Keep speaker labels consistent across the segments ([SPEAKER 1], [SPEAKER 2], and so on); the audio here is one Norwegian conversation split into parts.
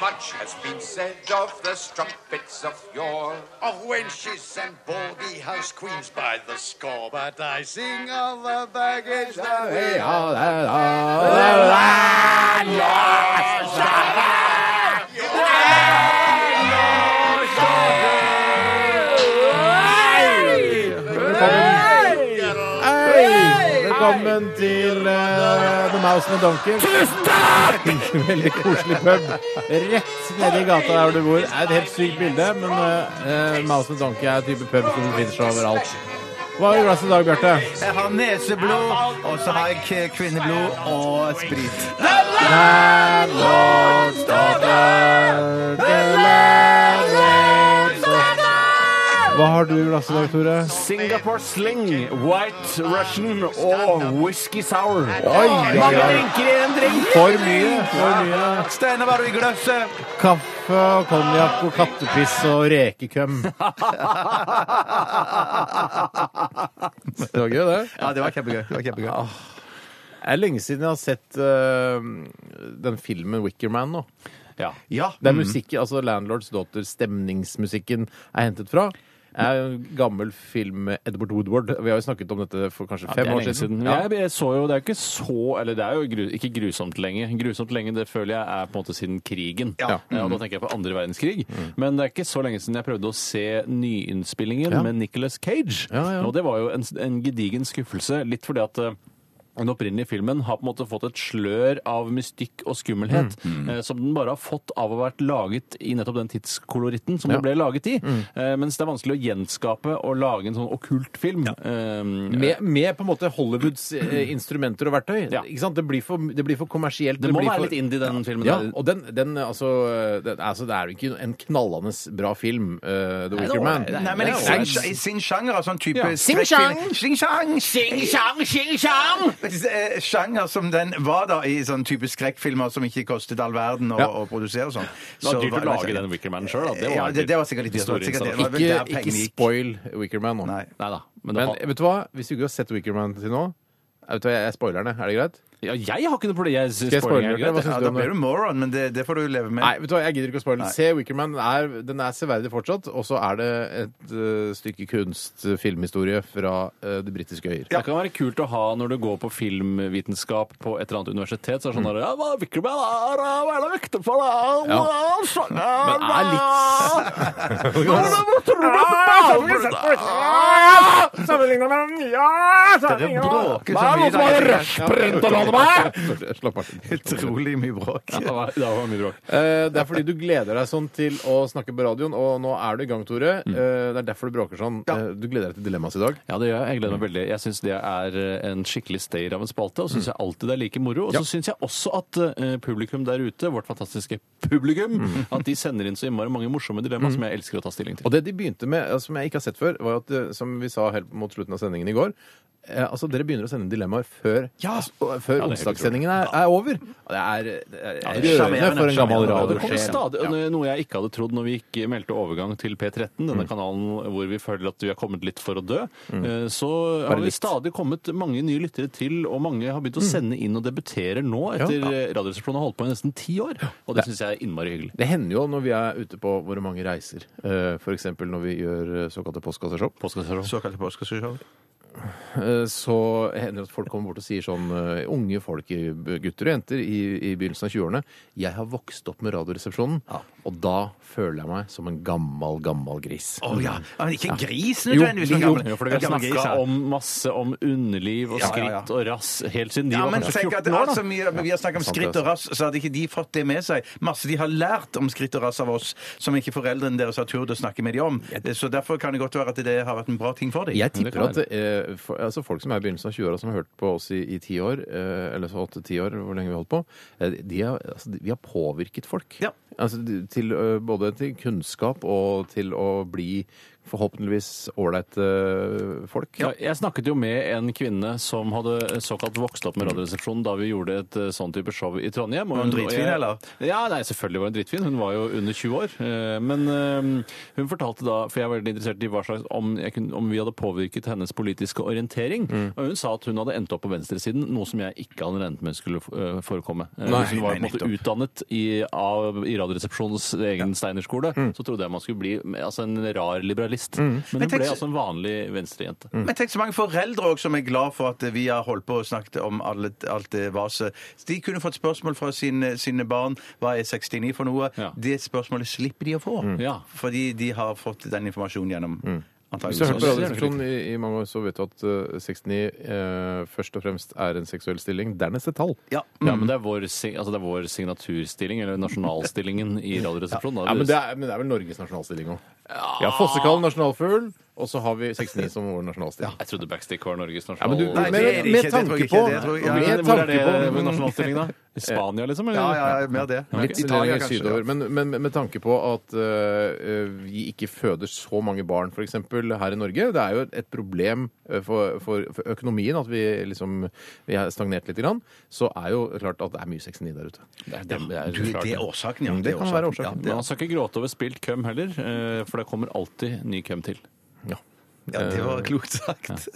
[SPEAKER 1] Much has been said of the strumpets of yore,
[SPEAKER 2] of wenches and baldy house queens by the score. But I sing of the baggage that we all
[SPEAKER 3] Velkommen til eh, The Mouse and the Donkey. Tusen takk! Veldig koselig pub. Rett nede i gata der hvor du bor. Det er et helt sykt bilde, men eh, eh, Mouse and the Donkey er en type pub som finner seg overalt. Hva har du i glasset i dag, Bjarte?
[SPEAKER 4] Jeg har neseblod, og så har jeg k- kvinneblod og sprit.
[SPEAKER 3] Hva har du i glasset i dag, Tore?
[SPEAKER 5] Singapore Sling, White Russian og Whisky Sour.
[SPEAKER 3] Oi, oi,
[SPEAKER 5] Mange
[SPEAKER 3] oi.
[SPEAKER 5] drinker i en drink!
[SPEAKER 3] For mye. For mye.
[SPEAKER 4] Steinar, hva har du i glasset?
[SPEAKER 3] Kaffe og konjakk og kattepiss og rekekøm. Det var gøy, det. Ah.
[SPEAKER 4] Ja, det var kjempegøy. Det var kjempegøy.
[SPEAKER 3] Det er lenge siden jeg har sett eh, den filmen Wicker Man nå.
[SPEAKER 5] Ja. Mm.
[SPEAKER 4] Ja.
[SPEAKER 3] Det er musikk, altså Landlords låter, stemningsmusikken er hentet fra. Det er en gammel film med Edward Woodward. Vi har jo snakket om dette for kanskje
[SPEAKER 5] Det
[SPEAKER 3] fem
[SPEAKER 5] er
[SPEAKER 3] år
[SPEAKER 5] lenge
[SPEAKER 3] siden.
[SPEAKER 5] siden.
[SPEAKER 3] Ja.
[SPEAKER 5] Jeg, jeg så jo, det er jo ikke så Eller det er jo gru, ikke grusomt lenge. Grusomt lenge, det føler jeg er på en måte siden krigen. Eh,
[SPEAKER 3] Ja. Mm.
[SPEAKER 5] og da tenker jeg på andre verdenskrig. Men det er ikke så lenge siden jeg prøvde å se nyinnspillingen
[SPEAKER 3] Ja.
[SPEAKER 5] med Nicolas Cage.
[SPEAKER 3] Ja, ja.
[SPEAKER 5] Og det var jo en, en gedigen skuffelse. Litt fordi at eh, den opprinnelige filmen har på en måte fått et slør av mystikk og skummelhet
[SPEAKER 3] Mm.
[SPEAKER 5] eh, som den bare har fått av å ha vært laget i nettopp den tidskoloritten som den ble laget i.
[SPEAKER 3] Mm.
[SPEAKER 5] Eh, mens det er vanskelig å gjenskape og lage en sånn okkult film. Eh,
[SPEAKER 3] Med, med på en måte Hollywoods eh, instrumenter og verktøy.
[SPEAKER 5] Ja.
[SPEAKER 3] Ikke sant? Det, blir for, det blir for kommersielt.
[SPEAKER 5] det må
[SPEAKER 3] blir
[SPEAKER 5] være
[SPEAKER 3] for...
[SPEAKER 5] litt indie, den filmen.
[SPEAKER 3] Ja,
[SPEAKER 5] der.
[SPEAKER 3] Eh, og den, den altså, den, altså Det er jo ikke en knallende bra film, eh, The Wicker Man.
[SPEAKER 4] Nei, men i
[SPEAKER 3] Det er
[SPEAKER 4] sin,
[SPEAKER 3] jo-
[SPEAKER 4] i sin sjanger, altså en type
[SPEAKER 5] Ja.
[SPEAKER 4] skrekkfilm.
[SPEAKER 3] Sing-sjang!
[SPEAKER 4] Sing-sjang! Eh, Sjanger som den var da i sånn type skrekkfilmer som ikke kostet all verden å,
[SPEAKER 3] Ja.
[SPEAKER 4] å produsere og sånn.
[SPEAKER 5] det
[SPEAKER 4] Så
[SPEAKER 5] var dyrt å
[SPEAKER 4] var-
[SPEAKER 5] lage den Wickerman sjøl, da. Det var,
[SPEAKER 4] Ja, det, det var sikkert litt dyrt.
[SPEAKER 5] store
[SPEAKER 4] Sikkert, det
[SPEAKER 5] installasjoner.
[SPEAKER 4] var vel der
[SPEAKER 3] Ikke, ikke
[SPEAKER 4] pengene gikk.
[SPEAKER 3] spoil Wicker Man nå.
[SPEAKER 4] Nei.
[SPEAKER 5] Nei da. Men, det
[SPEAKER 3] Men
[SPEAKER 5] var-
[SPEAKER 3] vet du hva? Hvis du ikke har sett Wicker Man til nå eh, vet du hva, Jeg er spoilerne. Er det greit?
[SPEAKER 5] ja, jeg har ikke noe problem. Jeg synes
[SPEAKER 3] Skal jeg spoile
[SPEAKER 5] spoiling er
[SPEAKER 3] dere? Hva
[SPEAKER 5] greit. jeg.
[SPEAKER 3] syns
[SPEAKER 4] Ja,
[SPEAKER 3] du
[SPEAKER 4] da
[SPEAKER 3] om det?
[SPEAKER 4] blir du moron, men det, det får du leve med.
[SPEAKER 3] Nei, vet du hva, jeg gidder ikke å spoile den. Se Wickerman. Den er, den er severdig fortsatt. Og så er det et eh, stykke kunst, eh, filmhistorie, fra eh, det britiske øyer.
[SPEAKER 5] Det kan være kult å ha når du går på filmvitenskap på et eller annet universitet. så er det sånn der, ja, hva er Wickerman? Ah, ah, Hva er det viktig for deg? Ah,
[SPEAKER 3] Ja.
[SPEAKER 5] ah, sånn, ah,
[SPEAKER 3] Men er litt
[SPEAKER 6] Sammenligna med den, ja!
[SPEAKER 4] Det bråker
[SPEAKER 5] Hva
[SPEAKER 4] så
[SPEAKER 5] er det
[SPEAKER 4] mye.
[SPEAKER 5] som er
[SPEAKER 4] da.
[SPEAKER 5] rushprint og lade meg?
[SPEAKER 3] Slapp av.
[SPEAKER 4] Utrolig mye bråk.
[SPEAKER 5] Ja, Det var det var mye bråk.
[SPEAKER 3] Eh, Det er fordi du gleder deg sånn til å snakke på radioen, og nå er du i gang, Tore. Eh, Det er derfor du bråker sånn. Eh, Du gleder deg til dilemmaet i dag.
[SPEAKER 5] Ja, det gjør jeg. Jeg gleder meg veldig. Jeg syns det er eh, en skikkelig stayer av en spalte, og syns jeg alltid det er like moro. Og så synes syns jeg også at eh, publikum der ute, vårt fantastiske publikum, at de sender inn så innmari mange morsomme dilemmaer som jeg elsker å ta stilling til.
[SPEAKER 3] Og det de begynte med, eh, som jeg ikke har sett før, var jo at, eh, som vi sa helt mot slutten av sendingen i går eh, Altså, Dere begynner å sende dilemmaer før, altså, og- før
[SPEAKER 5] Ja, det er helt
[SPEAKER 3] onsdagssendingen er, er over. Og Det er, det er,
[SPEAKER 5] Ja, det er
[SPEAKER 3] rørende for en gammel
[SPEAKER 4] sjarmerende.
[SPEAKER 5] Og det kommer
[SPEAKER 3] radiosjef.
[SPEAKER 5] stadig, Noe jeg ikke hadde trodd når vi gikk, meldte overgang til P13, denne kanalen hvor vi føler at vi har kommet litt for å dø, eh, så har vi
[SPEAKER 3] litt.
[SPEAKER 5] stadig kommet mange nye lyttere til, og mange har begynt å sende inn og debuterer nå, etter Mm. ja. Radioresepsjonen har holdt på i nesten ti år. Og det syns jeg er innmari hyggelig.
[SPEAKER 3] Det hender jo når vi er ute på våre mange reiser, f.eks. når vi gjør eh, såkalte postkasseshow,
[SPEAKER 4] Såkalte påskeshow.
[SPEAKER 3] eh, så hender det at folk kommer bort og sier sånn eh, Unge folk, i- gutter og jenter i, i begynnelsen av 20-årene. 'Jeg har vokst opp med Radioresepsjonen', og da føler jeg meg som en gammel, gammel gris.
[SPEAKER 4] Å ja. Ja, Men ikke en gris
[SPEAKER 3] Jo,
[SPEAKER 4] nødvendigvis. men
[SPEAKER 3] jo,
[SPEAKER 4] gammel-
[SPEAKER 5] Jo, for dere har
[SPEAKER 4] gammel gris,
[SPEAKER 5] snakka
[SPEAKER 4] ja.
[SPEAKER 5] om masse om underliv og
[SPEAKER 4] Ja, ja,
[SPEAKER 5] skritt
[SPEAKER 4] ja.
[SPEAKER 5] og rass helt siden de
[SPEAKER 4] Ja,
[SPEAKER 5] var
[SPEAKER 4] men
[SPEAKER 5] kanskje
[SPEAKER 4] tenk at
[SPEAKER 5] 14 år,
[SPEAKER 4] altså,
[SPEAKER 5] da.
[SPEAKER 4] mye, Vi har snakket om
[SPEAKER 3] sant
[SPEAKER 4] skritt
[SPEAKER 3] det,
[SPEAKER 4] og rass, så hadde ikke de fått det med seg. Masse de har lært om skritt og rass av oss, som ikke foreldrene deres har turt å snakke med dem om. Så derfor kan det godt være at det har vært en bra ting for dem.
[SPEAKER 3] Jeg
[SPEAKER 5] det
[SPEAKER 3] tipper
[SPEAKER 5] kan
[SPEAKER 3] at eh, for, altså folk som er i begynnelsen av 20-åra, som har hørt på oss i, i 10 år, eh, eller så 8-10 år, hvor lenge vi holdt på, eh, de har, altså, de, vi har påvirket folk.
[SPEAKER 4] Ja.
[SPEAKER 3] Altså, de- til, eh, både til kunnskap og til å bli forhåpentligvis ålreite eh, folk.
[SPEAKER 5] Ja, jeg snakket jo med en kvinne som hadde såkalt vokst opp med Radioresepsjonen da vi gjorde et eh, sånn type show i Trondheim. og
[SPEAKER 4] Var hun dritfin,
[SPEAKER 5] og jeg-
[SPEAKER 4] eller?
[SPEAKER 5] Ja, nei, selvfølgelig var hun dritfin. Hun var jo under 20 år. Eh, Men eh, hun fortalte da, for jeg var veldig interessert i hva slags, om, jeg kunne, om vi hadde påvirket hennes politiske orientering.
[SPEAKER 4] Mm.
[SPEAKER 5] Og hun sa at hun hadde endt opp på venstresiden, noe som jeg ikke hadde regnet med skulle eh, forekomme. Eh, Hvis hun var på en
[SPEAKER 4] nei,
[SPEAKER 5] måte utdannet i, av, i Radioresepsjonens egen Steinerskole, så trodde jeg man skulle bli altså, en rar liberalist. Men
[SPEAKER 4] Mm. Men
[SPEAKER 5] hun ble
[SPEAKER 4] tenk-
[SPEAKER 5] altså en vanlig venstrejente.
[SPEAKER 4] Men tenk så mange foreldre også som er glad for at vi har holdt på og snakket om alle, alt det vaset. De kunne fått spørsmål fra sine, sine barn hva er 69 for noe.
[SPEAKER 5] Ja. Mm.
[SPEAKER 4] Det spørsmålet slipper de å få,
[SPEAKER 5] Ja.
[SPEAKER 4] fordi de har fått den informasjonen gjennom
[SPEAKER 5] Mm.
[SPEAKER 3] Hvis du har hørt på
[SPEAKER 4] antakeligvis.
[SPEAKER 3] Radioresepsjonen i, i mange år, så vet du at eh, 69 eh, først og fremst er en seksuell stilling. Dernest et tall.
[SPEAKER 4] Ja.
[SPEAKER 5] Ja, men det er vår, sig- altså det er vår signaturstilling, eller nasjonalstillingen, i Radioresepsjonen. da.
[SPEAKER 3] Ja, men, det er, men det er vel Norges nasjonalstilling òg. Ja, Fossekallen nasjonalfugl, og så har vi 69 som vår nasjonalstilling.
[SPEAKER 5] Jeg trodde Backstick var Norges
[SPEAKER 3] Ja, men du,
[SPEAKER 5] nasjonal...
[SPEAKER 4] Nei,
[SPEAKER 3] med,
[SPEAKER 4] det er det
[SPEAKER 3] med
[SPEAKER 4] ikke. Det tror
[SPEAKER 3] tanke
[SPEAKER 4] jeg ikke.
[SPEAKER 3] på
[SPEAKER 4] Det tror jeg-
[SPEAKER 5] Hvor
[SPEAKER 3] Med
[SPEAKER 5] er det- hvor er
[SPEAKER 3] tanke
[SPEAKER 5] det
[SPEAKER 3] på
[SPEAKER 5] nasjonalstilling, da? I Spania, liksom? Eller?
[SPEAKER 4] Ja, ja, ja, mer det.
[SPEAKER 3] Litt
[SPEAKER 4] Italia,
[SPEAKER 3] lenger
[SPEAKER 4] kanskje,
[SPEAKER 3] sydover.
[SPEAKER 4] ja.
[SPEAKER 3] Men, men med tanke på at eh, vi ikke føder så mange barn f.eks. her i Norge Det er jo et problem eh, for, for, for økonomien at vi liksom vi har stagnert litt. Grann, så er jo klart at det er mye 69 der ute.
[SPEAKER 5] Det er, det, det er, Mm,
[SPEAKER 4] Du, det er årsaken, ja.
[SPEAKER 3] Det
[SPEAKER 4] er
[SPEAKER 3] kan være
[SPEAKER 4] Ja,
[SPEAKER 3] årsaken.
[SPEAKER 4] det,
[SPEAKER 5] Men man skal ikke gråte over spilt køm heller, eh, for det kommer alltid ny køm til.
[SPEAKER 4] ja, det
[SPEAKER 5] Eh,
[SPEAKER 4] var klokt sagt.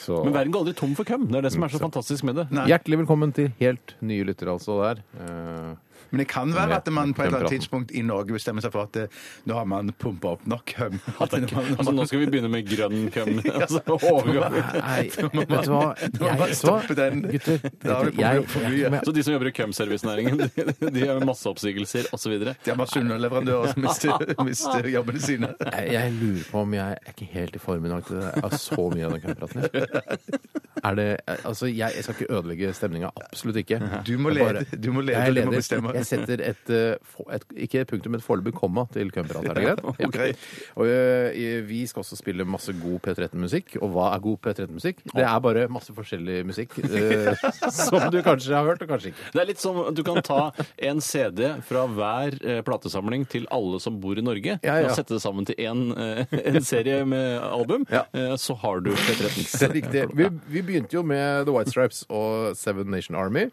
[SPEAKER 3] Så
[SPEAKER 5] Men verden går aldri tom for køm. Det er det som er Mm, så fantastisk med det.
[SPEAKER 3] hjertelig velkommen til helt nye lyttere, altså, der. Eh,
[SPEAKER 4] Men det kan være at man på et eller annet
[SPEAKER 3] Kjempepraten.
[SPEAKER 4] tidspunkt i Norge bestemmer seg for at eh, nå har man pumpa opp nok høm. At man-
[SPEAKER 5] Altså, nå skal vi begynne med grønn køm. Altså, overgang.
[SPEAKER 3] Nei, vet du hva?
[SPEAKER 4] må man
[SPEAKER 3] Jeg,
[SPEAKER 4] stoppe den.
[SPEAKER 3] Gutter,
[SPEAKER 4] Da har vi
[SPEAKER 3] gutter, jeg,
[SPEAKER 4] problemer for mye.
[SPEAKER 3] men-
[SPEAKER 5] Så de som jobber i kømservicenæringen, de, de har masseoppsigelser osv.
[SPEAKER 4] Det er masse underleverandører som mister, mister jobbene sine.
[SPEAKER 3] jeg, jeg lurer på om jeg er ikke helt i form i dag til det. Jeg har så mye av den kamppraten. Er det, altså, jeg, jeg skal ikke ødelegge stemninga. Absolutt ikke.
[SPEAKER 4] Du må
[SPEAKER 3] Jeg bare-
[SPEAKER 4] lede, du må lede,
[SPEAKER 3] Jeg,
[SPEAKER 4] du må
[SPEAKER 3] leder.
[SPEAKER 4] bestemme.
[SPEAKER 3] jeg setter et, eh, få- et Ikke et punktum, men et foreløpig komma til kømprat. Er det greit? Ja.
[SPEAKER 4] greit.
[SPEAKER 3] Og, eh, vi skal også spille masse god P13-musikk. Og hva er god P13-musikk? Det er bare masse forskjellig musikk eh, som du kanskje har hørt, og kanskje ikke.
[SPEAKER 5] Det er litt som at du kan ta en CD fra hver eh, platesamling til alle som bor i Norge,
[SPEAKER 3] Ja, ja.
[SPEAKER 5] og sette det sammen til en, eh, en serie med album, eh, så har du
[SPEAKER 3] Det
[SPEAKER 5] 13.
[SPEAKER 3] er riktig. Vi, vi begynte jo med The White Stripes og Seven Nation Army,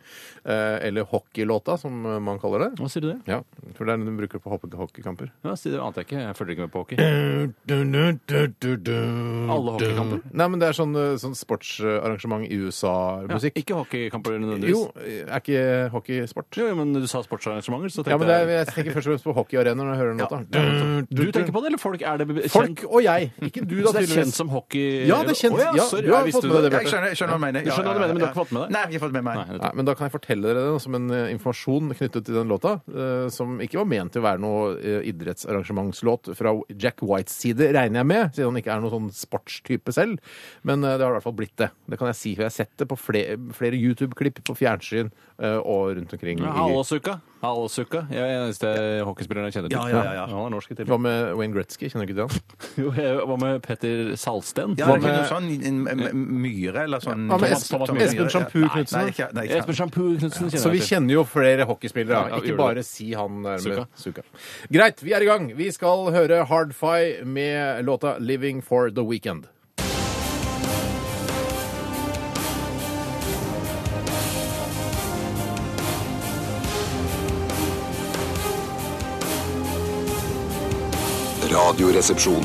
[SPEAKER 3] eh, eller hockeylåta, som man kaller det.
[SPEAKER 5] Hva sier du det?
[SPEAKER 3] Ja, for det er den du bruker på hoppe- hockeykamper.
[SPEAKER 5] Ja, sier det ante jeg ikke. Jeg følger ikke med på hockey. Alle hockeykamper?
[SPEAKER 3] Nei, men det er sånn, eh, sånn sportsarrangement i
[SPEAKER 5] Ja,
[SPEAKER 3] USA-musikk.
[SPEAKER 5] ikke hockeykamper nødvendigvis.
[SPEAKER 3] Jo, er ikke hockey sport?
[SPEAKER 5] Jo, men du sa sportsarrangementer, så tenkte
[SPEAKER 3] Ja, men det er,
[SPEAKER 5] jeg
[SPEAKER 3] jeg tenker først og fremst på hockeyarenaer når jeg hører den låta. Mm.
[SPEAKER 5] Du tenker på det, eller folk? Er det be-
[SPEAKER 3] Folk
[SPEAKER 5] kjent?
[SPEAKER 3] og jeg! Ikke du, da,
[SPEAKER 5] Så det er kjent
[SPEAKER 3] tydeligvis.
[SPEAKER 5] som hockey...
[SPEAKER 3] Ja, det er kjent.
[SPEAKER 5] Å, ja,
[SPEAKER 3] Ja,
[SPEAKER 5] sorry,
[SPEAKER 3] du har
[SPEAKER 5] jeg visste
[SPEAKER 3] fått med deg
[SPEAKER 5] det.
[SPEAKER 3] det,
[SPEAKER 4] Jeg skjønner, jeg skjønner hva du mener.
[SPEAKER 5] Du skjønner hva du mener, men du har ikke fått med deg?
[SPEAKER 4] Nei, jeg har ikke fått med meg.
[SPEAKER 5] Nei, nettopp.
[SPEAKER 3] Nei, men da kan jeg fortelle dere det som en eh, informasjon knyttet til den låta, eh, som ikke var ment til å være noe eh, idrettsarrangementslåt fra Jack Whites side, regner jeg med, siden han ikke er noen sånn sportstype selv. Men eh, det har i hvert fall blitt det. Det kan jeg si, for jeg har sett det på flere, flere YouTube-klipp på fjernsyn eh, og rundt omkring.
[SPEAKER 5] Ja,
[SPEAKER 3] i
[SPEAKER 5] Halvåsuka. Halvåsuka. Jeg er den eneste hockeyspilleren jeg kjenner til.
[SPEAKER 4] Ja, ja, ja, ja.
[SPEAKER 5] Han er norsk i tillegg.
[SPEAKER 3] hva med Wayne Gretzky? Kjenner du ikke til han?
[SPEAKER 5] Jo, jeg- Hva med Petter Salsten?
[SPEAKER 4] Ja,
[SPEAKER 5] Hva
[SPEAKER 4] det er
[SPEAKER 5] med
[SPEAKER 4] ikke noe sånn en, en, en myre eller sånn
[SPEAKER 3] Hva med
[SPEAKER 5] Thomas- Thomas
[SPEAKER 3] Espen,
[SPEAKER 5] Myhre.
[SPEAKER 3] Espen Shampoo Knutsen?
[SPEAKER 4] Nei, ikke, nei, ikke.
[SPEAKER 5] Espen Shampoo Knutsen?
[SPEAKER 3] Så vi kjenner jo flere hockeyspillere.
[SPEAKER 5] Ja, vi
[SPEAKER 3] Ikke
[SPEAKER 5] gjør
[SPEAKER 3] bare
[SPEAKER 5] det.
[SPEAKER 3] si han er
[SPEAKER 5] Suka.
[SPEAKER 3] med Suka. Greit, vi er i gang. Vi skal høre Hardfi med låta 'Living for the Weekend'.
[SPEAKER 7] Radioresepsjon.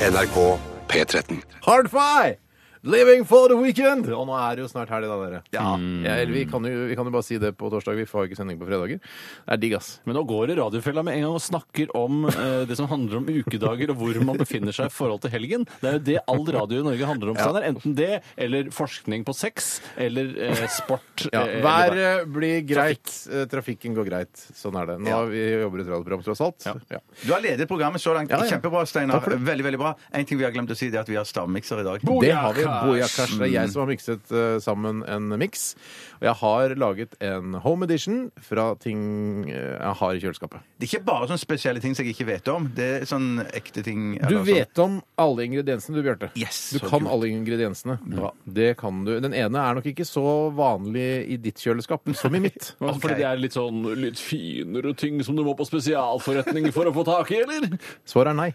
[SPEAKER 7] NRK P13.
[SPEAKER 3] Hardfi! Living for the weekend! Og nå er det jo snart helg, da, dere. Mm.
[SPEAKER 4] Ja.
[SPEAKER 3] Ja, eller vi kan, jo, vi kan jo bare si det på torsdag. Vi får ikke sending på fredager. Det er digg, ass.
[SPEAKER 5] Men nå går det radiofella med en gang og snakker om eh, det som handler om ukedager og hvor man befinner seg i forhold til helgen. Det er jo det all radio i Norge handler om. Steinar. Enten det, eller forskning på sex, eller eh, sport.
[SPEAKER 3] Ja,
[SPEAKER 5] eh,
[SPEAKER 3] Vær
[SPEAKER 5] eller hva.
[SPEAKER 3] eh, blir greit. Eh, Trafikken går greit. Sånn er det. Nå har vi jobber i et radioprogram, tross alt. Ja.
[SPEAKER 4] Du har ledet programmet så langt.
[SPEAKER 3] ja.
[SPEAKER 4] Kjempebra, Steinar.
[SPEAKER 3] Takk for det.
[SPEAKER 4] Veldig, veldig bra. En ting vi har glemt å si, det er at vi har stavmikser i dag.
[SPEAKER 3] Det har vi. Boyakash. Det er jeg som har mikset eh, sammen en miks. Og jeg har laget en home edition fra ting eh, jeg har i kjøleskapet.
[SPEAKER 4] Det er ikke bare sånne spesielle ting som jeg ikke vet om. Det er sånn ekte ting.
[SPEAKER 3] Du
[SPEAKER 4] eller
[SPEAKER 3] vet om alle ingrediensene, du, Bjarte.
[SPEAKER 4] Yes,
[SPEAKER 3] du
[SPEAKER 4] så
[SPEAKER 3] kan
[SPEAKER 4] kult.
[SPEAKER 3] alle ingrediensene. Det kan du. Den ene er nok ikke så vanlig i ditt kjøleskap som i mitt.
[SPEAKER 5] Altså, Fordi det er litt sånn litt finere ting som du må på spesialforretning for å få tak i, eller?
[SPEAKER 3] Svaret er nei.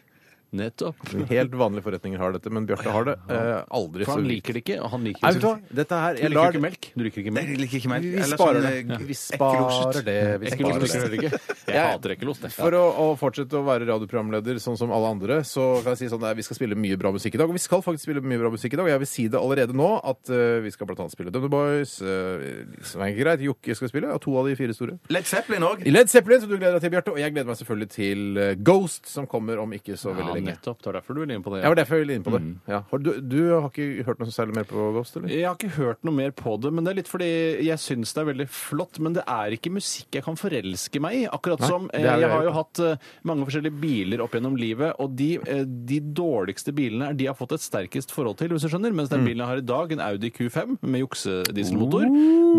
[SPEAKER 5] Nettopp.
[SPEAKER 3] Helt vanlige forretninger har dette, men Bjarte har det eh, aldri.
[SPEAKER 5] For
[SPEAKER 3] så
[SPEAKER 5] han
[SPEAKER 3] vidt.
[SPEAKER 5] liker det ikke. og Han liker
[SPEAKER 3] Nei,
[SPEAKER 5] det
[SPEAKER 3] vet du hva? Dette her,
[SPEAKER 5] Du
[SPEAKER 3] jeg
[SPEAKER 5] liker jo
[SPEAKER 3] lar
[SPEAKER 5] ikke melk. Du liker ikke melk.
[SPEAKER 4] Jeg liker ikke melk.
[SPEAKER 3] Vi
[SPEAKER 4] Eller
[SPEAKER 3] sparer
[SPEAKER 4] sånn,
[SPEAKER 3] det.
[SPEAKER 4] eh,
[SPEAKER 3] Vi
[SPEAKER 4] ekkelosjet.
[SPEAKER 3] sparer det. Vi sparer
[SPEAKER 5] Ekkelt, liker
[SPEAKER 3] det.
[SPEAKER 5] du ikke. Jeg
[SPEAKER 3] Jeg-
[SPEAKER 5] hater ekkelost. jeg.
[SPEAKER 3] For å, å fortsette å være radioprogramleder sånn som alle andre, så kan jeg si sånn at vi skal spille mye bra musikk i dag. Og vi skal faktisk spille mye bra musikk i dag. Og jeg vil si det allerede nå at eh, vi skal blant annet spille Dummy Boys. eh, som er greit. Jokke skal spille. Ja, to av de fire store.
[SPEAKER 4] Led Zeppelin òg.
[SPEAKER 3] I Led Zeppelin, som du gleder deg til, Bjarte. Og jeg gleder meg selvfølgelig til eh, Ghost, som kommer om ikke så
[SPEAKER 5] Ja,
[SPEAKER 3] veldig lenge.
[SPEAKER 5] nettopp. Mm. Det er derfor du vil inn på det.
[SPEAKER 3] Jeg var derfor jeg ville inn på det. Ja. Har Du, du har ikke hørt noe særlig mer på Ghost, eller?
[SPEAKER 5] Jeg har ikke hørt noe mer på det, men det er litt fordi jeg syns det er veldig flott. Men det er ikke musikk jeg kan forelske meg i. Akkurat
[SPEAKER 3] Nei,
[SPEAKER 5] som
[SPEAKER 3] det
[SPEAKER 5] eh,
[SPEAKER 3] er det
[SPEAKER 5] jeg har
[SPEAKER 3] jeg
[SPEAKER 5] jo hatt eh, mange forskjellige biler opp gjennom livet, og de, eh, de dårligste bilene er de jeg har fått et sterkest forhold til, hvis du skjønner. Mens den
[SPEAKER 3] Mm.
[SPEAKER 5] bilen jeg har i dag, en Audi Q5 med juksedieselmotor,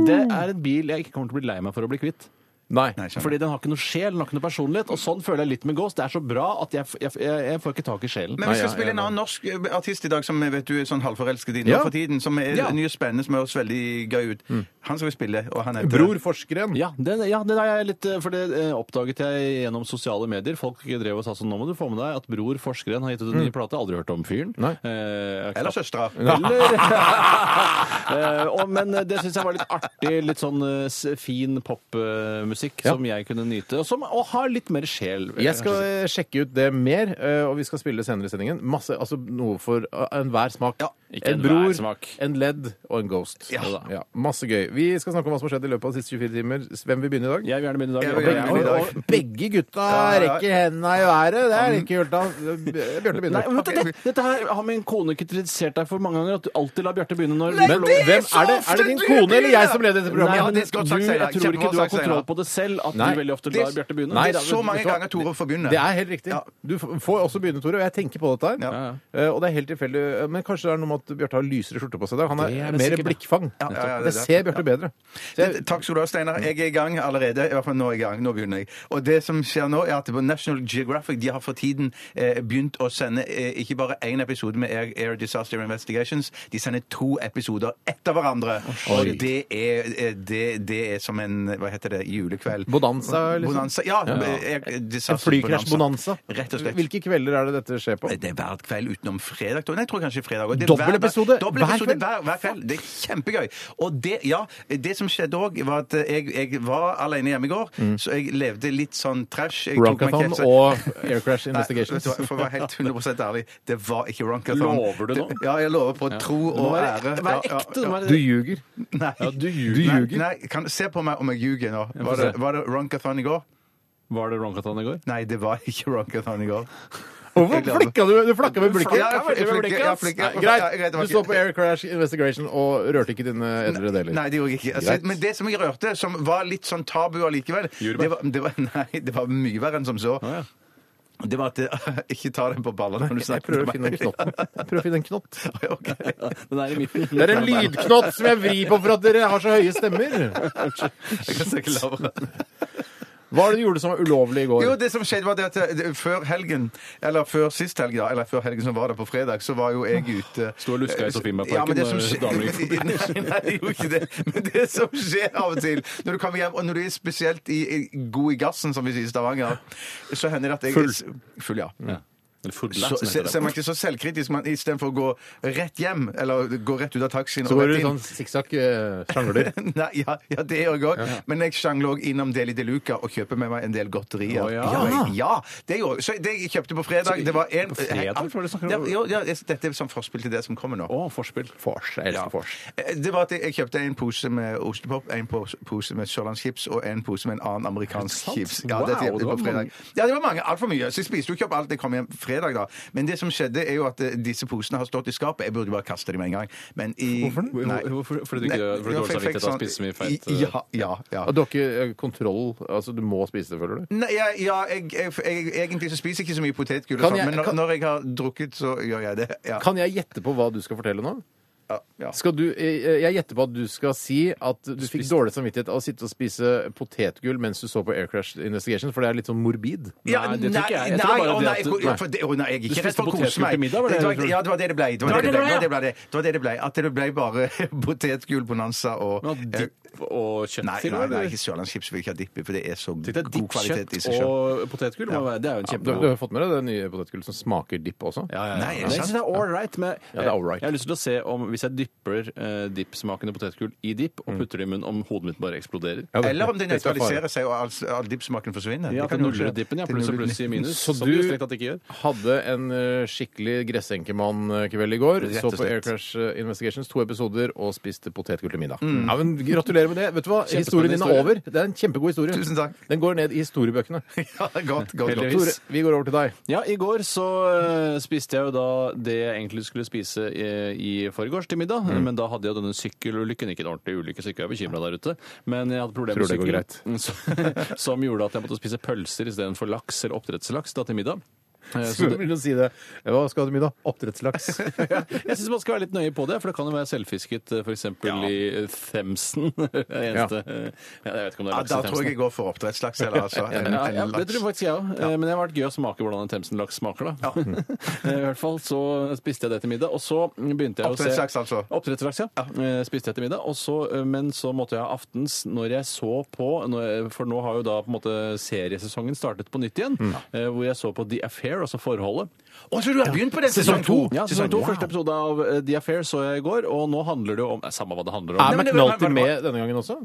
[SPEAKER 5] det er en bil jeg ikke kommer til å bli lei meg for å bli kvitt.
[SPEAKER 3] Nei.
[SPEAKER 5] Fordi den har ikke noe sjel, den har ikke noe personlighet. Og sånn føler jeg litt med Gås. Det er så bra at jeg, jeg, jeg, jeg får ikke tak i sjelen.
[SPEAKER 4] Men vi skal
[SPEAKER 3] ja,
[SPEAKER 4] spille en
[SPEAKER 3] ja.
[SPEAKER 4] annen norsk eh, artist i dag som jeg vet du er sånn halvforelsket i nå
[SPEAKER 3] Ja. Mm.
[SPEAKER 4] for tiden. Som er
[SPEAKER 5] Ja.
[SPEAKER 4] ny og spennende, som høres veldig gøy ut. Han skal vi spille, og han heter
[SPEAKER 3] Bror Forskeren.
[SPEAKER 5] Ja, den, ja, den er jeg litt eh, For det eh, oppdaget jeg gjennom sosiale medier. Folk drev og sa sånn Nå må du få med deg at Bror Forskeren har gitt ut en ny plate. Aldri hørt om fyren.
[SPEAKER 3] Nei.
[SPEAKER 5] Eh,
[SPEAKER 4] Eller søstera.
[SPEAKER 5] eller Eh, og, Men det syns jeg var litt artig. Litt sånn eh, s- fin popmusikk
[SPEAKER 3] Ja.
[SPEAKER 5] som jeg kunne nyte. Og, som, og har litt mer sjel. vil
[SPEAKER 3] Jeg
[SPEAKER 5] kanskje
[SPEAKER 3] skal
[SPEAKER 5] si.
[SPEAKER 3] eh, sjekke ut det mer, eh, og vi skal spille senere i sendingen. Masse, altså Noe for eh, enhver smak.
[SPEAKER 5] ikke
[SPEAKER 3] en
[SPEAKER 5] enhver
[SPEAKER 3] bror,
[SPEAKER 5] smak.
[SPEAKER 3] en ledd og en ghost.
[SPEAKER 4] Ja.
[SPEAKER 3] Ja, masse gøy. Vi skal snakke om hva som har skjedd i løpet av de siste 24 timer. Hvem vil begynne i dag?
[SPEAKER 5] Jeg vil gjerne begynne i dag.
[SPEAKER 4] Jeg vil gjerne
[SPEAKER 3] Og,
[SPEAKER 4] begynne i dag.
[SPEAKER 3] og begge gutta
[SPEAKER 4] Ja, ja.
[SPEAKER 3] rekker hendene i været. Det er ikke gjort av Bjarte
[SPEAKER 5] Nei,
[SPEAKER 3] begynner.
[SPEAKER 5] men vet du, det, dette her har min kone kritisert deg for mange ganger, at du alltid lar Bjarte begynne når
[SPEAKER 3] Men hvem er det? Er det din kone eller jeg som leder dette
[SPEAKER 5] Nei,
[SPEAKER 3] programmet?
[SPEAKER 5] men
[SPEAKER 4] det skal
[SPEAKER 5] du,
[SPEAKER 4] sagt, Steinar.
[SPEAKER 5] jeg tror ikke
[SPEAKER 4] Kjempebra
[SPEAKER 5] du har
[SPEAKER 4] sagt,
[SPEAKER 5] kontroll
[SPEAKER 4] Steinar.
[SPEAKER 5] på det selv, at
[SPEAKER 3] Nei.
[SPEAKER 5] du veldig ofte
[SPEAKER 4] Det-
[SPEAKER 5] lar Bjarte begynne.
[SPEAKER 3] Nei,
[SPEAKER 4] Det er så mange
[SPEAKER 3] vet du hva?
[SPEAKER 4] ganger Tore får begynne.
[SPEAKER 3] Det er helt riktig. Du f- får også begynne, Tore. Og jeg tenker på dette her.
[SPEAKER 4] Ja.
[SPEAKER 3] Eh, Og det er helt tilfeldig. Men kanskje det er noe med at Bjarte har lysere skjorte på seg i dag. Han er,
[SPEAKER 5] Det er det
[SPEAKER 3] mer
[SPEAKER 5] sikkert, ja.
[SPEAKER 3] blikkfang.
[SPEAKER 4] Ja, ja, ja, det er
[SPEAKER 3] det,
[SPEAKER 4] det.
[SPEAKER 3] ser Bjarte bedre. Så jeg,
[SPEAKER 4] Takk skal du ha, Steinar. Jeg er i gang allerede. I hvert fall nå er jeg i gang. Nå begynner jeg. Og det som skjer nå, er at på National Geographic de har for tiden eh, begynt å sende eh, ikke bare én episode med Air, Air Disaster Investigations, de sender to episoder etter hverandre. og det er, eh, det, det er som en Hva heter det? Julekveld.
[SPEAKER 3] Bonanza, liksom?
[SPEAKER 4] Bonanza. Ja. Air
[SPEAKER 3] en
[SPEAKER 4] Disaster
[SPEAKER 3] flykrasj-bonanza.
[SPEAKER 4] Rett og slett.
[SPEAKER 3] Hvilke kvelder er det dette skjer på?
[SPEAKER 4] Det er hver kveld utenom fredag. tror jeg. Nei, jeg tror kanskje fredag. Og det er
[SPEAKER 3] Dobbel
[SPEAKER 4] hver-
[SPEAKER 3] episode?
[SPEAKER 4] Dobbel
[SPEAKER 3] Hver
[SPEAKER 4] episode
[SPEAKER 3] kveld?
[SPEAKER 4] hver, hver kveld. Det er kjempegøy. Og det, ja, det som skjedde òg, var at jeg, jeg var alene hjemme i går, så jeg levde litt sånn trash. Jeg tok meg
[SPEAKER 3] Runkathon
[SPEAKER 4] kepse-
[SPEAKER 3] Mm. og Air Crash
[SPEAKER 4] Nei, vet
[SPEAKER 3] Investigations.
[SPEAKER 4] du hva, for å være helt 100 ærlig, det var ikke Runkathon.
[SPEAKER 5] Lover du nå?
[SPEAKER 4] Det- Ja, jeg lover på tro og ære.
[SPEAKER 5] Vær, vær
[SPEAKER 4] Ja, ja,
[SPEAKER 5] ekte. det
[SPEAKER 4] ja.
[SPEAKER 5] må være-
[SPEAKER 3] Du ljuger.
[SPEAKER 4] Nei.
[SPEAKER 5] Ja, du
[SPEAKER 3] Du
[SPEAKER 5] ljuger.
[SPEAKER 3] ljuger.
[SPEAKER 4] Nei, nei, kan, se på meg om jeg ljuger nå. Var
[SPEAKER 5] se.
[SPEAKER 4] det, var det Runkathon i går?
[SPEAKER 5] Var det Ronkaton i går?
[SPEAKER 4] Nei, det var ikke Runkathon i går. Jeg
[SPEAKER 3] Hvorfor
[SPEAKER 4] gleder meg.
[SPEAKER 3] flikka du? Du flakka med blikket.
[SPEAKER 4] Ja, jeg- jeg flikker- jeg flikker.
[SPEAKER 3] Nei,
[SPEAKER 4] Ja, greit,
[SPEAKER 3] greit.
[SPEAKER 4] det var
[SPEAKER 3] Du
[SPEAKER 4] ikke-
[SPEAKER 3] så på Air Crash Investigation og rørte ikke dine edlere deler.
[SPEAKER 4] Nei, det gjorde jeg ikke. Altså,
[SPEAKER 3] Greit.
[SPEAKER 4] men det som jeg rørte, som var litt sånn tabu allikevel det var, det var, Nei, det var mye verre enn som så.
[SPEAKER 5] ja.
[SPEAKER 4] Det var at det, Ikke ta den på ballene når du
[SPEAKER 3] Jeg
[SPEAKER 4] snakker
[SPEAKER 3] prøver å
[SPEAKER 4] til
[SPEAKER 3] finne
[SPEAKER 4] meg.
[SPEAKER 3] en knott. Jeg prøver å finne en knott.
[SPEAKER 4] Ok.
[SPEAKER 5] Den er i midten.
[SPEAKER 3] Det er en lydknott som jeg vrir på for at dere har så høye stemmer.
[SPEAKER 4] Jeg kan snakke lavere.
[SPEAKER 3] Hva er det du gjorde som var ulovlig i går?
[SPEAKER 4] Jo, det som skjedde var det at eh, det- før helgen, eller før sist helg, da, eller før helgen som var det på fredag, så var jo jeg ute eh,
[SPEAKER 5] Sto og luska i Sofiemarken
[SPEAKER 4] Ja, men det som
[SPEAKER 5] når
[SPEAKER 4] skje-
[SPEAKER 5] damer gikk
[SPEAKER 4] Nei, nei, jeg gjorde ikke det. Men det som skjer av og til, når du kommer hjem, og når du er spesielt i, i, god i gassen, som vi sier i Stavanger, så hender det at jeg Full. Full, ja.
[SPEAKER 5] Eller Fordland,
[SPEAKER 4] så,
[SPEAKER 5] som
[SPEAKER 4] så,
[SPEAKER 5] heter
[SPEAKER 4] så er man
[SPEAKER 5] det.
[SPEAKER 4] ikke så selvkritisk, men istedenfor å gå rett hjem, eller gå rett ut av taxien
[SPEAKER 3] Så
[SPEAKER 4] og
[SPEAKER 3] går du
[SPEAKER 4] rett
[SPEAKER 3] sånn
[SPEAKER 4] eh,
[SPEAKER 3] sikksakk-sjangler.
[SPEAKER 4] Nei, ja, ja, det gjør jeg òg. Men jeg sjangler òg innom Deli de Luca og kjøper med meg en del godterier.
[SPEAKER 5] Å, ja.
[SPEAKER 4] jeg- ja, det gjorde jeg. Så det jeg kjøpte på fredag, det var en
[SPEAKER 5] på fredag? Hva er det du snakker om?
[SPEAKER 4] Ja, jo, ja, dette er som forspill til det som kommer nå.
[SPEAKER 5] Å, forspill.
[SPEAKER 3] Fors. Jeg elsker fors.
[SPEAKER 4] Eh, Det var at jeg jeg kjøpte en pose med ostepop, en pos- pose med sørlandschips og en pose med en annen amerikansk
[SPEAKER 5] sant?
[SPEAKER 4] chips. Ja,
[SPEAKER 5] Wow,
[SPEAKER 4] dette er
[SPEAKER 5] det var
[SPEAKER 4] på fredag.
[SPEAKER 5] mange.
[SPEAKER 4] Ja, det var mange. Altfor mye. Så jeg spiste jo ikke opp alt jeg kom hjem fredag, da. Men det som skjedde, er jo at eh, disse posene har stått i skapet. Jeg burde bare kaste dem med en gang. Men i
[SPEAKER 3] Hvorfor den?
[SPEAKER 4] Nei.
[SPEAKER 5] Hvorfor- fordi du ikke-
[SPEAKER 4] Nei,
[SPEAKER 5] fordi du har dårlig
[SPEAKER 4] jeg fikk
[SPEAKER 5] samvittighet av å
[SPEAKER 4] sånn-
[SPEAKER 5] spise så mye feit, eh?
[SPEAKER 4] i- Ja, ja. ja.
[SPEAKER 3] Og du har ikke eh, kontroll Altså, du må spise det, føler du?
[SPEAKER 4] Nei, ja, ja jeg, jeg, jeg, egentlig så spiser jeg ikke så mye potetgull, og
[SPEAKER 3] Kan
[SPEAKER 4] sånt,
[SPEAKER 3] jeg-
[SPEAKER 4] men når,
[SPEAKER 3] kan-
[SPEAKER 4] når jeg har drukket, så gjør jeg det. Ja.
[SPEAKER 3] Kan jeg gjette på hva du skal fortelle nå?
[SPEAKER 4] Ja, ja.
[SPEAKER 3] Skal du, eh, jeg gjetter på at du skal si at du fikk dårlig samvittighet av å sitte og spise potetgull mens du så på Air Crash Investigation, for det er litt sånn morbid.
[SPEAKER 4] Ja,
[SPEAKER 5] Nei, det tror ikke jeg. Jeg tror
[SPEAKER 4] nei,
[SPEAKER 5] bare
[SPEAKER 4] å
[SPEAKER 5] det
[SPEAKER 4] nei,
[SPEAKER 5] at du-
[SPEAKER 4] for-
[SPEAKER 5] nei.
[SPEAKER 4] for det- å nei, jeg er
[SPEAKER 5] Du
[SPEAKER 4] ikke redd
[SPEAKER 5] spiste
[SPEAKER 4] for å kose
[SPEAKER 5] potetgull
[SPEAKER 4] meg.
[SPEAKER 5] til middag, var det
[SPEAKER 4] Det var-
[SPEAKER 5] det du
[SPEAKER 4] Ja, det var det det ble. Det
[SPEAKER 5] Det
[SPEAKER 4] var
[SPEAKER 5] var
[SPEAKER 4] det
[SPEAKER 5] det
[SPEAKER 4] det ble.
[SPEAKER 5] det
[SPEAKER 4] Det var det det ble. Det var det det ble. At det ble bare potetgullbonanza og
[SPEAKER 5] Men at dipp og kjøtt
[SPEAKER 4] Nei,
[SPEAKER 5] til,
[SPEAKER 4] nei,
[SPEAKER 5] eller?
[SPEAKER 4] nei, ikke sørlandschips vil ikke ha dipp i, for det er så
[SPEAKER 5] Tenk deg
[SPEAKER 4] god
[SPEAKER 5] dipp,
[SPEAKER 4] kvalitet i
[SPEAKER 5] kjøtt
[SPEAKER 4] seg selv.
[SPEAKER 5] og potetgull. må være- Det er jo en
[SPEAKER 3] Du, du
[SPEAKER 5] kjempegod
[SPEAKER 3] har fått med deg det nye potetgullet som smaker dipp også?
[SPEAKER 5] Ja, ja, ja.
[SPEAKER 4] Nei, er det
[SPEAKER 5] Men jeg
[SPEAKER 4] sant?
[SPEAKER 5] synes det er all right, men
[SPEAKER 3] Ja, det er all right.
[SPEAKER 5] jeg har lyst til å se om hvis jeg dypper eh, dippsmakende potetgull i dipp og putter det i munnen, om hodet mitt bare eksploderer.
[SPEAKER 3] Ja, det-
[SPEAKER 4] Eller om det
[SPEAKER 3] det skal jeg fare.
[SPEAKER 4] nøytraliserer seg og all, all dippsmaken forsvinner.
[SPEAKER 5] Ja, at det
[SPEAKER 4] kan jo skje.
[SPEAKER 5] nuller ut dippen, ja.
[SPEAKER 4] Det
[SPEAKER 5] Pluss og
[SPEAKER 4] nuller ut
[SPEAKER 5] pluss i minus.
[SPEAKER 3] Så
[SPEAKER 5] som
[SPEAKER 3] du-
[SPEAKER 5] det jo strengt tatt ikke gjør.
[SPEAKER 3] Hadde en eh, skikkelig gressenkemann-kveld i går.
[SPEAKER 4] Rett
[SPEAKER 3] Så
[SPEAKER 4] og
[SPEAKER 3] på Air
[SPEAKER 4] slett.
[SPEAKER 3] Crash eh, Investigations to episoder og spiste potetgull til middag.
[SPEAKER 4] Mm.
[SPEAKER 3] Ja, men Gratulerer med det. Vet du hva? Historien din er
[SPEAKER 5] historie.
[SPEAKER 3] over. Det er en kjempegod historie.
[SPEAKER 4] Tusen takk.
[SPEAKER 3] Den går ned i historiebøkene.
[SPEAKER 4] Ja, godt, godt, godt.
[SPEAKER 3] Tore, vi går over til deg.
[SPEAKER 5] Ja, i går så eh, spiste jeg jo da det jeg egentlig skulle spise i, i forgårs til middag, men da hadde jeg denne sykkelulykken, ikke en ordentlig ulykke, så ikke jeg er bekymra der ute, men jeg hadde problemer
[SPEAKER 3] Tror det går
[SPEAKER 5] sykkelen, som- som gjorde at jeg måtte spise pølser istedenfor laks eller oppdrettslaks da til middag. Eh, så
[SPEAKER 3] Så du vil jo si det. Eh, Hva skal du ha til middag? Oppdrettslaks.
[SPEAKER 5] Ja, jeg syns man skal være litt nøye på det, for det kan jo være selvfisket f.eks. i Themsen. Det eneste ja, Jeg vet ikke om det
[SPEAKER 4] Ja,
[SPEAKER 5] er laks
[SPEAKER 4] da tror
[SPEAKER 5] i
[SPEAKER 4] jeg
[SPEAKER 5] Themsen.
[SPEAKER 4] jeg går for oppdrettslaks. Eller, altså, en,
[SPEAKER 5] Ja,
[SPEAKER 4] en
[SPEAKER 5] ja, det
[SPEAKER 4] laks.
[SPEAKER 5] tror faktisk jeg òg, men det har vært gøy å smake hvordan en Themsen-laks smaker, da. Eh, I hvert fall så spiste jeg det til middag, og så begynte jeg å se
[SPEAKER 4] Oppdrettslaks, altså.
[SPEAKER 5] Oppdrettslaks, ja. Eh, Spiste jeg til middag, og så, eh, men så måtte jeg ha aftens når jeg så på når- For nå har jo da på en måte seriesesongen startet på nytt igjen, eh, hvor jeg så på The Affair, altså Forholdet.
[SPEAKER 4] Mm. Å, så du har begynt på det? Sesong to!
[SPEAKER 5] Ja, sesong to.
[SPEAKER 4] Wow.
[SPEAKER 5] Første episode av eh, The Affair så jeg i går, og nå handler det jo om Nei, Samme hva det handler
[SPEAKER 3] Er
[SPEAKER 5] om.
[SPEAKER 4] men det-
[SPEAKER 3] McNulty
[SPEAKER 4] men-
[SPEAKER 3] med denne gangen også?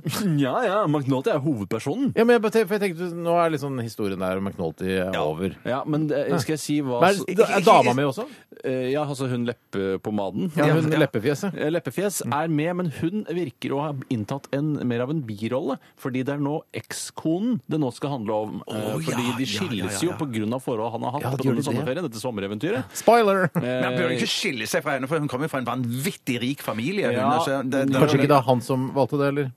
[SPEAKER 5] Ja, ja, McNaughty er hovedpersonen.
[SPEAKER 3] Ja, men jeg, bare- for jeg tenkte, Nå er liksom historien der om McNulty er over.
[SPEAKER 5] Ja, men eh, skal jeg si hva
[SPEAKER 3] Men
[SPEAKER 4] Altså,
[SPEAKER 5] så-
[SPEAKER 3] er, er dama med også?
[SPEAKER 5] Eh, Ja, altså hun leppepomaden.
[SPEAKER 3] Ja, hun
[SPEAKER 4] ja.
[SPEAKER 3] med leppefjeset.
[SPEAKER 5] Eh, Leppefjes er med, men hun virker å ha inntatt en, mer av en birolle. Fordi det er nå ekskonen det nå skal handle om. eh,
[SPEAKER 4] Å, ja,
[SPEAKER 5] fordi de
[SPEAKER 4] ja,
[SPEAKER 5] skilles
[SPEAKER 4] ja, ja,
[SPEAKER 5] jo
[SPEAKER 4] ja.
[SPEAKER 5] på grunn av forholdet han har hatt
[SPEAKER 3] Ja, gjør
[SPEAKER 5] på
[SPEAKER 3] de
[SPEAKER 5] denne
[SPEAKER 3] det?
[SPEAKER 5] sommerferien, dette sommereventyret.
[SPEAKER 3] Spoiler!
[SPEAKER 4] Men han bør jo ikke skille seg fra henne, for hun kommer jo fra en vanvittig rik familie. Hun,
[SPEAKER 5] Ja,
[SPEAKER 4] altså, det, det,
[SPEAKER 3] Kanskje ikke det er han som valgte det, eller?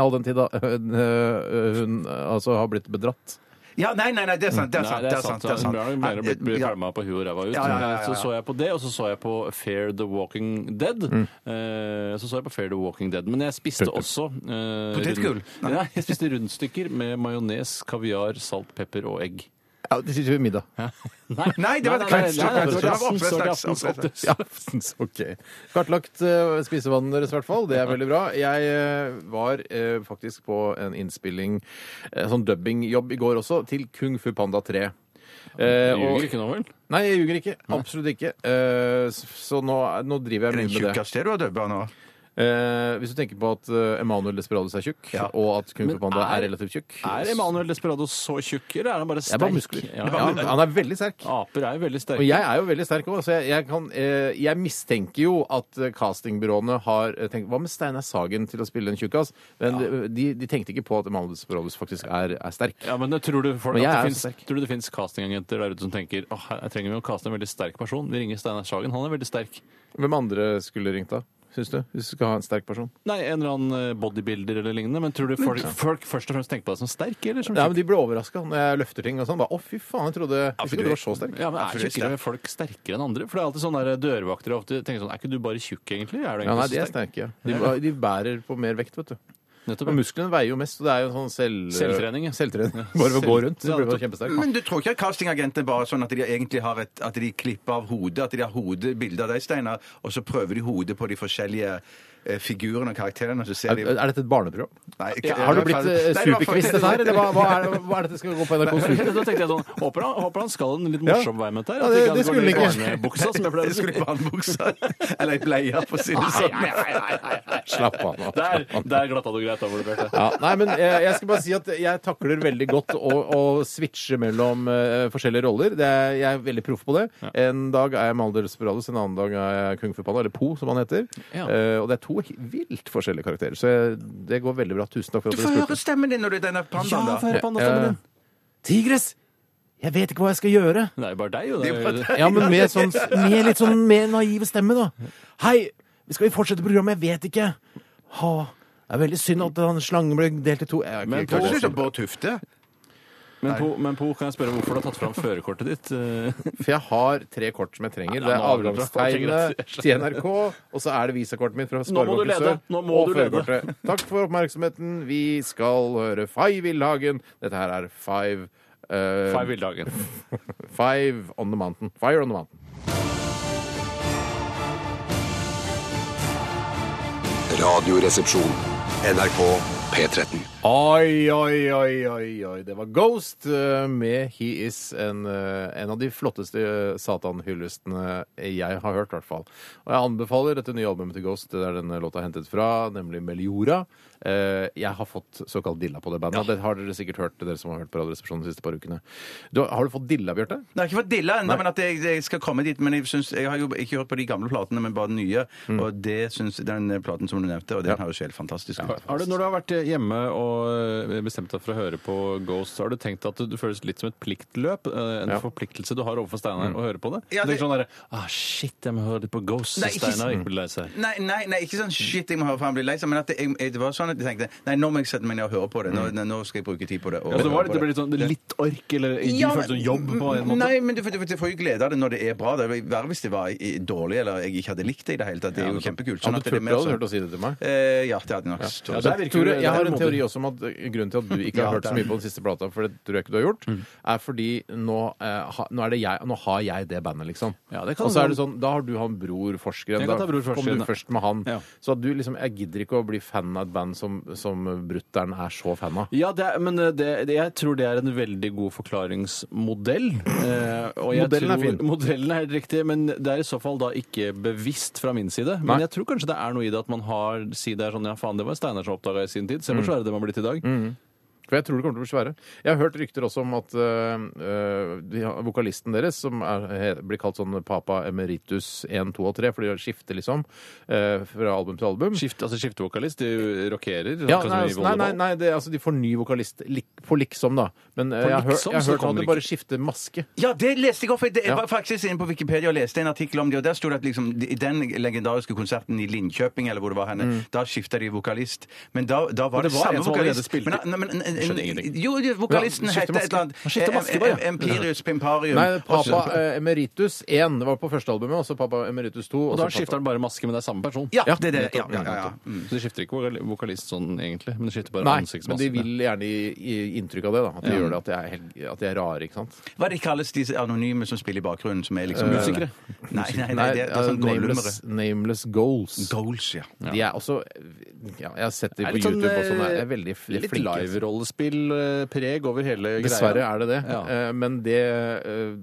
[SPEAKER 3] All den tid da hun, øh, hun øh, altså har blitt bedratt.
[SPEAKER 4] Ja, nei, nei, nei, det er
[SPEAKER 3] Mm.
[SPEAKER 4] sant. Det er sant.
[SPEAKER 5] Eh, Nei, det er sant.
[SPEAKER 4] det er sant.
[SPEAKER 5] Hun ble- ble- ble- ble
[SPEAKER 4] Ja,
[SPEAKER 5] pælma på huet og ræva ut. Eh,
[SPEAKER 4] Ja, ja, ja, ja, ja.
[SPEAKER 5] Så så jeg på det, og så så jeg på Fair the Walking Dead.
[SPEAKER 4] Mm.
[SPEAKER 5] Eh, Så så jeg på Fair the Walking Dead. Men jeg spiste også eh,
[SPEAKER 4] Potetgull?
[SPEAKER 5] rund- Nei, jeg spiste rundstykker med majones, kaviar, salt, pepper og egg.
[SPEAKER 3] Ja, det sitter ved middag.
[SPEAKER 4] Nei, det var
[SPEAKER 5] nei,
[SPEAKER 4] det
[SPEAKER 5] nei,
[SPEAKER 4] kanskje-
[SPEAKER 5] nei, nei, det var
[SPEAKER 4] kanskje-
[SPEAKER 5] aftens-
[SPEAKER 4] oppdrettslaks,
[SPEAKER 5] aftens-
[SPEAKER 4] oppdrettslaks.
[SPEAKER 5] Ja.
[SPEAKER 3] ok. Kartlagt øh, spisevannet deres i hvert fall. Det er veldig bra. Jeg øh, var øh, faktisk på en innspilling, øh, sånn dubbingjobb i går også, til Kung Fu Panda 3. Eh,
[SPEAKER 5] Du
[SPEAKER 3] og-
[SPEAKER 5] ljuger ikke nå, vel?
[SPEAKER 3] Nei, jeg ljuger ikke. Absolutt ikke. Eh, så så nå, nå driver jeg
[SPEAKER 4] Den
[SPEAKER 3] mye med det.
[SPEAKER 4] tjukkeste du har dubba nå.
[SPEAKER 3] Eh, hvis du tenker på at eh, Emanuel Desperados er tjukk, og at Kung Fu
[SPEAKER 5] Men
[SPEAKER 3] Panda er,
[SPEAKER 5] er-
[SPEAKER 3] relativt tjukk
[SPEAKER 5] Er Emanuel Desperado så tjukk, eller er han bare
[SPEAKER 3] Det
[SPEAKER 5] sterk?
[SPEAKER 3] er bare muskler.
[SPEAKER 5] Ja,
[SPEAKER 3] Ja,
[SPEAKER 5] ja.
[SPEAKER 3] han er veldig sterk.
[SPEAKER 5] Aper er jo veldig
[SPEAKER 3] Og
[SPEAKER 5] sterke.
[SPEAKER 3] jeg er jo veldig sterk òg, så jeg, jeg, kan, eh, jeg mistenker jo at eh, castingbyråene har eh, tenkt Hva med Steinar Sagen til å spille en tjukkas? Men eh, de, de tenkte ikke på at Emanuel Desperados faktisk er, er sterk.
[SPEAKER 5] Ja, men tror du, folk,
[SPEAKER 3] Men jeg
[SPEAKER 5] at
[SPEAKER 3] er
[SPEAKER 5] det
[SPEAKER 3] jo
[SPEAKER 5] finnes,
[SPEAKER 3] sterk.
[SPEAKER 5] tror du det finnes castingagenter der ute som tenker åh, her trenger vi å caste en veldig sterk person? Vi ringer Steinar Sagen, han er veldig sterk.
[SPEAKER 3] Hvem andre skulle ringt da? Syns du? Hvis du skal ha en sterk person?
[SPEAKER 5] Nei, en eller annen eh, bodybuilder eller lignende. Men tror du folk, folk først og fremst tenker på deg som sterk, eller som
[SPEAKER 3] Ja,
[SPEAKER 5] tjukk?
[SPEAKER 3] men De ble overraska når jeg løfter ting og sånn. Bare, Å, fy faen, jeg trodde jeg ikke du var så sterk.
[SPEAKER 5] Ja, men Er
[SPEAKER 4] for du er
[SPEAKER 5] tjukkere folk sterkere enn andre? For det er alltid sånn der eh, dørvakter ofte tenker sånn Er ikke du bare tjukk, egentlig? Er du
[SPEAKER 3] Ja,
[SPEAKER 5] egentlig
[SPEAKER 3] nei,
[SPEAKER 5] så
[SPEAKER 3] de er
[SPEAKER 5] sterk?
[SPEAKER 3] sterke. Ja. De, de bærer på mer vekt, vet du.
[SPEAKER 5] Nettopp,
[SPEAKER 3] Og
[SPEAKER 5] ja.
[SPEAKER 3] musklene veier jo mest, så det er jo en sånn selv...
[SPEAKER 5] Selvtrening, ja.
[SPEAKER 3] Selvtrening. Bare ved å gå rundt, så
[SPEAKER 5] Ja,
[SPEAKER 3] blir man
[SPEAKER 5] nettopp.
[SPEAKER 3] kjempesterk.
[SPEAKER 4] Men du tror ikke at castingagentene bare er sånn at de egentlig har et At de klipper av hodet, at de har hodet, bilde av deg, Steinar, og så prøver de hodet på de forskjellige eh, figurene og karakterene, og så ser
[SPEAKER 3] Er,
[SPEAKER 4] de
[SPEAKER 3] er dette et barneprogram?
[SPEAKER 4] Nei, ikke-
[SPEAKER 3] Ja, har du blitt eh,
[SPEAKER 4] Nei, det var
[SPEAKER 3] superquiz, dette her? Eller hva, hva, er, det- hva er dette skal gå på NRK Super?
[SPEAKER 5] Da tenkte jeg sånn Håper han, håper han skal en litt morsom vei med dette her.
[SPEAKER 3] Ja,
[SPEAKER 5] at
[SPEAKER 3] det-
[SPEAKER 5] ikke han
[SPEAKER 3] det
[SPEAKER 5] går
[SPEAKER 3] skulle
[SPEAKER 5] ned i
[SPEAKER 3] ikke-
[SPEAKER 5] barnebuksa, som jeg
[SPEAKER 4] Jeg
[SPEAKER 5] pleier å si.
[SPEAKER 4] skulle i barnebuksa. Eller ei bleie, for å si det sånn.
[SPEAKER 3] Slapp av nå.
[SPEAKER 5] Der,
[SPEAKER 3] slapp av nå.
[SPEAKER 5] der glatta du greit over det, Bjarte.
[SPEAKER 3] Ja, nei, men jeg, jeg skal bare si at jeg takler veldig godt å, å switche mellom eh, forskjellige roller. Det er, jeg er veldig proff på det. En dag er jeg Malder Desperados, en annen dag er jeg Kung Fu Panda, eller Po, som han heter.
[SPEAKER 5] Ja.
[SPEAKER 3] Eh, og det er to he- vilt forskjellige karakterer, så jeg, det går veldig bra. Tusen takk for
[SPEAKER 4] Du
[SPEAKER 3] at
[SPEAKER 4] får
[SPEAKER 3] dere
[SPEAKER 4] høre
[SPEAKER 3] spurte.
[SPEAKER 4] stemmen din når du er denne pandaen, da.
[SPEAKER 5] høre på
[SPEAKER 3] Eh, Tigres! Jeg vet ikke hva jeg skal gjøre.
[SPEAKER 5] Det er jo bare deg, jo. Det er, jo-
[SPEAKER 3] Ja, men med, sånn, med litt sånn mer naiv stemme, da. Hei, skal vi fortsette programmet? Jeg vet ikke. Ha, det er veldig synd at den slangen ble delt i to. Jeg,
[SPEAKER 4] sånn Høres ut som Bård Tufte.
[SPEAKER 5] Men Po, men po kan jeg spørre hvorfor du har tatt fram førerkortet ditt? Eh,
[SPEAKER 3] For jeg har tre kort som jeg trenger. Det
[SPEAKER 5] Ja,
[SPEAKER 3] er
[SPEAKER 5] nå har du det bra.
[SPEAKER 3] avgangstegnet
[SPEAKER 5] Jeg skjønner.
[SPEAKER 3] til NRK, og så er det visakortet mitt fra
[SPEAKER 5] Nå må du
[SPEAKER 3] Sparebanken
[SPEAKER 5] lede.
[SPEAKER 3] Sør.
[SPEAKER 5] Nå må
[SPEAKER 3] og
[SPEAKER 5] du lede.
[SPEAKER 3] førerkortet. Takk for oppmerksomheten. Vi skal høre Five Villhagen. Dette her er Five eh,
[SPEAKER 5] Fei Vildhagen.
[SPEAKER 3] Five on the mountain. Fire on the mountain.
[SPEAKER 7] Radioresepsjon. NRK P13.
[SPEAKER 3] Oi, oi, oi, oi, oi. Det var Ghost eh, med He Is, en, eh, en av de flotteste eh, satanhyllestene jeg har hørt, i hvert fall. Og jeg anbefaler dette nye albumet til Ghost, det er denne låta hentet fra, nemlig Meliora. Eh, Jeg har fått såkalt dilla på det bandet. Det har dere sikkert hørt, dere som har hørt på Radioresepsjonen de siste par ukene. Du, har du fått dilla, Bjarte?
[SPEAKER 4] Nei, ikke fått dilla ennå, men at jeg, jeg skal komme dit. Men jeg, synes, jeg har jo ikke hørt på de gamle platene, men bare den nye.
[SPEAKER 5] Mm.
[SPEAKER 4] Og det syns den eh, platen som du nevnte, og den høres helt fantastisk ut.
[SPEAKER 5] Har du, når du har vært hjemme og eh, bestemt deg for å høre på Ghost, har du tenkt at du føles litt som et pliktløp? eh, En
[SPEAKER 3] Ja. Mm.
[SPEAKER 5] forpliktelse du har overfor Steinar å høre på det?
[SPEAKER 4] Ja,
[SPEAKER 5] Du tenker
[SPEAKER 4] det-
[SPEAKER 5] sånn derre ah, Shit, jeg må høre litt på Ghost,
[SPEAKER 4] Nei,
[SPEAKER 5] så
[SPEAKER 4] ikke
[SPEAKER 5] Steinar ikke blir lei seg.
[SPEAKER 4] Nei, nei, nei, ikke sånn shit, jeg må høre for han blir lei seg, men at jeg, jeg, det var sånn at jeg tenkte nei, nå må jeg sette meg ned og høre på det. Nå, nå skal jeg bruke tid på det. og
[SPEAKER 5] Mm. Ja, det, var,
[SPEAKER 4] høre på
[SPEAKER 5] det ble litt sånn litt ork, eller ikke
[SPEAKER 4] Ja,
[SPEAKER 5] føltes som jobb på en måte.
[SPEAKER 4] Nei, men du, får- du, får- du får jo glede av det når det er bra. Det er jo verre hvis det var i- dårlig eller jeg ikke hadde likt det i det hele tatt. Det er jo kjempekult.
[SPEAKER 3] Hadde du
[SPEAKER 4] at det er
[SPEAKER 3] turt
[SPEAKER 4] mer
[SPEAKER 3] å
[SPEAKER 4] sånn-
[SPEAKER 3] hørt å si det til meg?
[SPEAKER 4] Eh, ja, det hadde jeg nok. tror jeg.
[SPEAKER 5] Ja, der virker
[SPEAKER 3] Tore,
[SPEAKER 5] du-
[SPEAKER 3] jeg har
[SPEAKER 5] der er
[SPEAKER 3] en
[SPEAKER 5] modig.
[SPEAKER 3] teori også om at eh, grunnen til at du ikke
[SPEAKER 4] Ja,
[SPEAKER 3] har hørt så
[SPEAKER 4] det er-
[SPEAKER 3] mye på den siste plata, for det tror jeg ikke du har gjort,
[SPEAKER 5] Mm.
[SPEAKER 3] er fordi nå, eh, ha, nå, er det jeg, nå har jeg det bandet, liksom.
[SPEAKER 5] Ja, det kan
[SPEAKER 3] Og så er
[SPEAKER 5] du-
[SPEAKER 3] det sånn, da har du han Bror Forskeren.
[SPEAKER 5] Jeg
[SPEAKER 3] Da
[SPEAKER 5] kan ta Bror Forskeren,
[SPEAKER 3] kom
[SPEAKER 5] ja.
[SPEAKER 3] du først med han.
[SPEAKER 5] Ja.
[SPEAKER 3] Så at du liksom, jeg gidder ikke å bli fan av et band som, som Brutter'n er så fan av.
[SPEAKER 5] Ja, det er, men eh, det, det, jeg tror det er en veldig god forklaringsmodell. Eh, og jeg
[SPEAKER 3] Modellen er
[SPEAKER 5] tror,
[SPEAKER 3] fin.
[SPEAKER 5] Modellen er helt riktig, men det er i så fall da ikke bevisst fra min side. Men
[SPEAKER 3] Nei.
[SPEAKER 5] jeg tror kanskje det er noe i det at man har si det er sånn ja faen, det var Steinar som oppdaga i sin tid.
[SPEAKER 3] Mm.
[SPEAKER 5] Se hvor svære de har blitt i dag.
[SPEAKER 3] For jeg tror det kommer til å bli svære. Jeg har hørt rykter også om at øh, øh, de har- vokalisten deres, som er, he- blir kalt sånn Papa Emeritus 1, 2 og 3, for de skifter liksom øh, fra album til album
[SPEAKER 5] Skift, altså skiftevokalist, de rockerer.
[SPEAKER 3] Ja,
[SPEAKER 5] akkurat
[SPEAKER 3] nei, altså, nei,
[SPEAKER 5] som i
[SPEAKER 3] nei,
[SPEAKER 5] volleyball.
[SPEAKER 3] nei det, altså, de får ny vokalist lik, på liksom, da. Men eh, jeg har hørt-
[SPEAKER 5] liksom,
[SPEAKER 3] jeg har
[SPEAKER 5] så
[SPEAKER 3] hørt
[SPEAKER 5] kommer
[SPEAKER 3] at
[SPEAKER 5] det
[SPEAKER 3] de bare skifter maske.
[SPEAKER 4] Ja, det leste jeg opp. for Jeg jeg
[SPEAKER 3] Ja.
[SPEAKER 4] var faktisk inne på Wikipedia og leste en artikkel om det, og der sto det at liksom, i den legendariske konserten i Linköping, eller hvor det var henne, da skifta de vokalist. Men da, da var
[SPEAKER 5] det
[SPEAKER 4] det,
[SPEAKER 5] var
[SPEAKER 4] samme
[SPEAKER 5] en som allerede
[SPEAKER 4] vokalist.
[SPEAKER 5] spilte.
[SPEAKER 4] Men, men,
[SPEAKER 5] Skjønner ingenting.
[SPEAKER 4] jo, vokalisten
[SPEAKER 3] Ja, skifter
[SPEAKER 4] het et eller annet eh,
[SPEAKER 3] maske. Han skifter maske bare, ja.
[SPEAKER 4] Em- em- Empirius Pimparium.
[SPEAKER 3] Nei, Papa
[SPEAKER 4] Også-
[SPEAKER 3] eh, Emeritus 1. Det var på første albumet, og så Papa Emeritus 2.
[SPEAKER 5] Og da
[SPEAKER 3] så
[SPEAKER 5] skifter han bare maske, men det er samme person.
[SPEAKER 4] Ja, det er det. Ja,
[SPEAKER 3] nettopp,
[SPEAKER 4] ja, ja, ja. Mm.
[SPEAKER 3] nettopp.
[SPEAKER 5] Så de skifter ikke vokal- vokalist sånn egentlig, men de skifter bare
[SPEAKER 3] Nei,
[SPEAKER 5] ansiktsmaske.
[SPEAKER 3] men de vil gjerne gi, gi inntrykk av det. da At de gjør det, at de er, helt- at de er rare, ikke sant.
[SPEAKER 4] Hva er det kalles disse anonyme som spiller i bakgrunnen, som er liksom
[SPEAKER 5] Musikere.
[SPEAKER 4] Nei, nei, nei, det, det er sånn
[SPEAKER 3] eh, nameless,
[SPEAKER 4] gollumere.
[SPEAKER 3] nameless Goals.
[SPEAKER 4] Goals, ja.
[SPEAKER 3] De er også ja, Jeg har sett dem
[SPEAKER 5] Det er
[SPEAKER 3] på
[SPEAKER 5] litt
[SPEAKER 3] YouTube
[SPEAKER 5] sånn,
[SPEAKER 3] også. De er
[SPEAKER 5] eh,
[SPEAKER 3] veldig f-
[SPEAKER 5] Litt
[SPEAKER 3] flinke.
[SPEAKER 5] live-rollespill-preg over hele greia.
[SPEAKER 3] Dessverre er det det.
[SPEAKER 5] Ja.
[SPEAKER 3] Eh, Men det eh,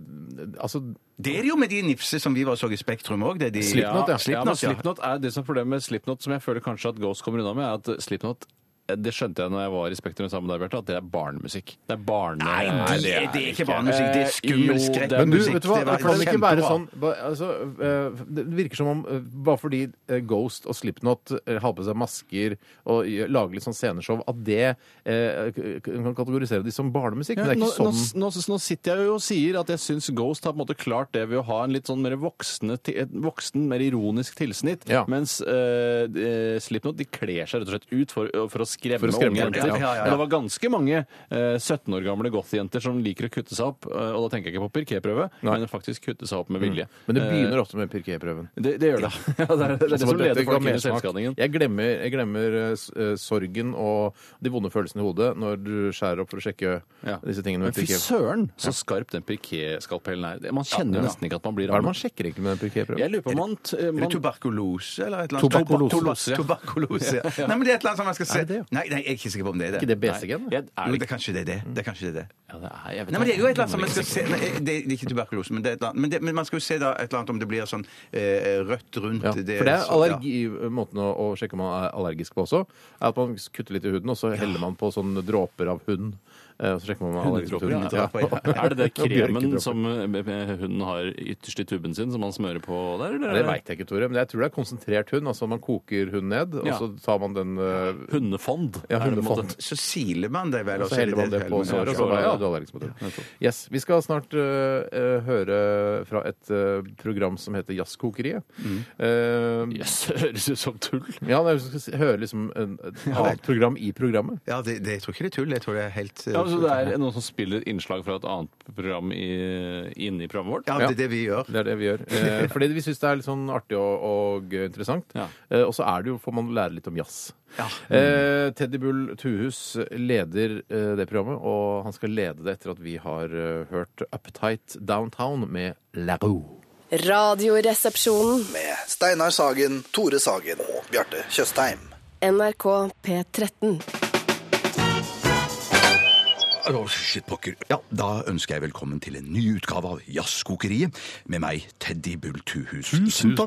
[SPEAKER 3] Altså
[SPEAKER 4] Det er det jo med de nifse som vi var og så i Spektrum òg. De...
[SPEAKER 3] Slipknot, ja.
[SPEAKER 5] Ja, men
[SPEAKER 4] Slipknot, ja.
[SPEAKER 5] Slipknot er det som er problemet med Slipknot, som jeg føler kanskje at Ghost kommer unna med, er at Slipknot eh, det skjønte jeg når jeg var i Spektrum sammen med deg, Bjarte, at det er barnemusikk. Det er barne...
[SPEAKER 4] Nei, det, er, det er ikke barnemusikk. Det er
[SPEAKER 5] Eh,
[SPEAKER 4] skummel
[SPEAKER 5] jo, det er-
[SPEAKER 3] Men du,
[SPEAKER 4] skrekkmusikk.
[SPEAKER 3] vet du hva?
[SPEAKER 4] Det
[SPEAKER 3] Det
[SPEAKER 4] var-
[SPEAKER 3] kan ikke være
[SPEAKER 4] kjempebra.
[SPEAKER 3] sånn ba- altså, eh, Det virker som om eh, bare fordi eh, Ghost og Slipknot eh, har på seg masker og gjør- lager litt sånn sceneshow, at det eh, k- kan kategorisere de som barnemusikk.
[SPEAKER 5] Ja,
[SPEAKER 3] Men det er
[SPEAKER 5] nå,
[SPEAKER 3] ikke sånn
[SPEAKER 5] nå, nå, nå sitter jeg jo og sier at jeg syns Ghost har på en måte klart det ved å ha en litt sånn mer voksne, ti- et voksen, mer ironisk tilsnitt,
[SPEAKER 3] Ja.
[SPEAKER 5] mens eh, eh, Slipknot de kler seg rett og slett ut for, for å skremme,
[SPEAKER 3] For å skremme folk,
[SPEAKER 5] unge
[SPEAKER 4] ja,
[SPEAKER 5] jenter.
[SPEAKER 4] ja, ja.
[SPEAKER 5] Og Det var ganske mange eh, 17 år gamle gothjenter som liker å kutte seg opp, eh, og da tenker jeg ikke på pirképrøve, men faktisk kutte seg opp med vilje.
[SPEAKER 3] Mm. Men det begynner ofte med pirképrøven.
[SPEAKER 5] Eh, det, det gjør det. Ja, det er det, er det
[SPEAKER 3] Så
[SPEAKER 5] som
[SPEAKER 3] dette
[SPEAKER 5] leder
[SPEAKER 3] ga
[SPEAKER 5] folk inn i
[SPEAKER 3] mersmak.
[SPEAKER 5] selvskadingen.
[SPEAKER 3] Jeg glemmer, jeg glemmer eh, s- eh, sorgen og de vonde følelsene i hodet når du skjærer opp for å sjekke
[SPEAKER 5] Ja.
[SPEAKER 3] disse tingene
[SPEAKER 5] Men
[SPEAKER 3] med
[SPEAKER 5] fy
[SPEAKER 3] pirké.
[SPEAKER 5] søren, så skarp den pirkéskalpellen er. Man kjenner jo nesten ikke at man blir
[SPEAKER 3] Hva er det
[SPEAKER 5] rammet.
[SPEAKER 3] man sjekker egentlig med en pirképrøve?
[SPEAKER 5] Jeg lurer på om man, eh,
[SPEAKER 4] Er det
[SPEAKER 5] man
[SPEAKER 4] tuberkulose eller et eller annet?
[SPEAKER 3] Tuberkulose.
[SPEAKER 4] Tuberkulose, ja. Tuberkulose, ja. Nei, men det er et eller annet som man skal se.
[SPEAKER 3] Er det det,
[SPEAKER 4] Nei, nei, jeg er ikke sikker på om det er
[SPEAKER 3] Er
[SPEAKER 4] det.
[SPEAKER 3] ikke det Mm. BC-gen?
[SPEAKER 5] Jeg- er
[SPEAKER 4] Jo,
[SPEAKER 5] det
[SPEAKER 4] det er kanskje det er det. Det er kanskje det er det.
[SPEAKER 5] Ja, det er, jeg vet
[SPEAKER 4] Nei, men det er jo et eller annet som man skal se Nei, det, er- det er ikke tuberkulose, men det er et eller annet. Men, det, men man skal jo se da et eller annet om det blir sånn eh, rødt rundt
[SPEAKER 3] Ja, for det er
[SPEAKER 4] så- ja.
[SPEAKER 3] allergi, måten å, å sjekke om man er allergisk på også, er at man kutter litt i huden, og så heller man på sånne dråper av hund. eh, Og så sjekker man om man er allergisk på huden.
[SPEAKER 5] ja. Er det det
[SPEAKER 3] Og
[SPEAKER 5] kremen
[SPEAKER 3] bjørkedråper.
[SPEAKER 5] som eh, hunden har ytterst i tuben sin, som man smører på der?
[SPEAKER 3] Nei,
[SPEAKER 5] Eller?
[SPEAKER 3] Det veit jeg ikke, Tore, men jeg tror det er konsentrert hund. Altså man koker hunden ned, og
[SPEAKER 5] Ja.
[SPEAKER 3] så tar man den eh,
[SPEAKER 5] Hundefond.
[SPEAKER 3] Ja,
[SPEAKER 5] er det på en måte.
[SPEAKER 3] hundefond.
[SPEAKER 4] Så siler man det vel, og
[SPEAKER 3] Så
[SPEAKER 4] så er
[SPEAKER 3] heller
[SPEAKER 4] det
[SPEAKER 3] man
[SPEAKER 4] det
[SPEAKER 3] det på
[SPEAKER 4] helmen.
[SPEAKER 3] såret, og så
[SPEAKER 5] Ja,
[SPEAKER 3] bare,
[SPEAKER 5] ja.
[SPEAKER 3] ja, du du er allergisk mot det. Yes, Vi skal snart øh, øh, høre fra et øh, program som heter Jazzkokeriet.
[SPEAKER 5] Mm.
[SPEAKER 3] Eh,
[SPEAKER 8] Jøss, høres ut som tull.
[SPEAKER 3] ja, det er, vi skal s- høre liksom en, et annet program i programmet.
[SPEAKER 9] Ja, det, det, jeg tror ikke det er tull. Jeg tror det er helt eh,
[SPEAKER 8] Ja,
[SPEAKER 3] altså-
[SPEAKER 8] så det er noen som spiller innslag fra et annet program i, inne i programmet vårt?
[SPEAKER 9] ja, det er det vi gjør.
[SPEAKER 3] Det er det vi gjør. Eh, fordi vi syns det er litt sånn artig og, og interessant.
[SPEAKER 8] Ja.
[SPEAKER 3] Eh, og så er det jo, får man lære litt om jazz. Eh, Teddy Bull Tuhus leder eh, det programmet, og han skal lede det etter at vi har eh, hørt Uptight Downtown med La Roux.
[SPEAKER 10] Radioresepsjonen.
[SPEAKER 11] med Steinar Sagen, Tore Sagen og Bjarte Tjøstheim.
[SPEAKER 10] NRK P13.
[SPEAKER 4] Å, shit, pokker. Ja, da ønsker jeg velkommen til en ny utgave av Jazzkokeriet med meg, Teddy Bull Tuhus. Tusen
[SPEAKER 8] du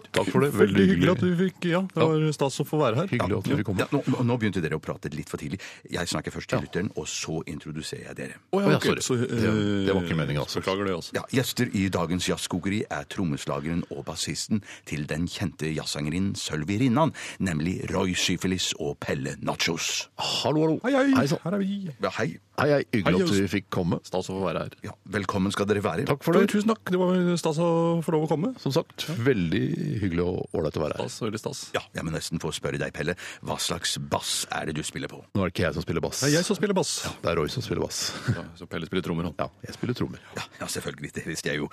[SPEAKER 8] fikk Ja, det var stas å få være her.
[SPEAKER 4] Ja, ja, nå, nå begynte dere å prate litt for tidlig. Jeg snakker først til lytteren, og så introduserer jeg dere.
[SPEAKER 3] Å, ja, sorry.
[SPEAKER 5] eh,
[SPEAKER 8] det, var ikke meningen, altså. Beklager det også.
[SPEAKER 4] Ja, Gjester i dagens jazzkokeri er trommeslageren og bassisten til den kjente jazzsangerinnen Sølvi Rinnan, nemlig Roy Syfilis og Pelle Nachos.
[SPEAKER 8] Ah.
[SPEAKER 5] Hallo, hallo. Hei, hei. Her er vi.
[SPEAKER 4] Ja, hei.
[SPEAKER 5] Hei, hei. Hyggelig at du fikk komme. Stas å få være her.
[SPEAKER 4] Ja, velkommen skal dere være.
[SPEAKER 5] Takk for det. Tusen takk. Det var stas å få lov å komme. Som sagt, veldig hyggelig og ålreit å være her. veldig stas.
[SPEAKER 4] Ja, jeg må nesten få spørre deg, Pelle. Hva slags bass er det du spiller på?
[SPEAKER 5] Nå er det ikke jeg som spiller bass. Det er jeg som spiller bass. Ja, det er Roy som spiller bass. Så Pelle spiller trommer, han. Ja, jeg spiller trommer.
[SPEAKER 4] Ja, ja selvfølgelig, det visste jeg jo.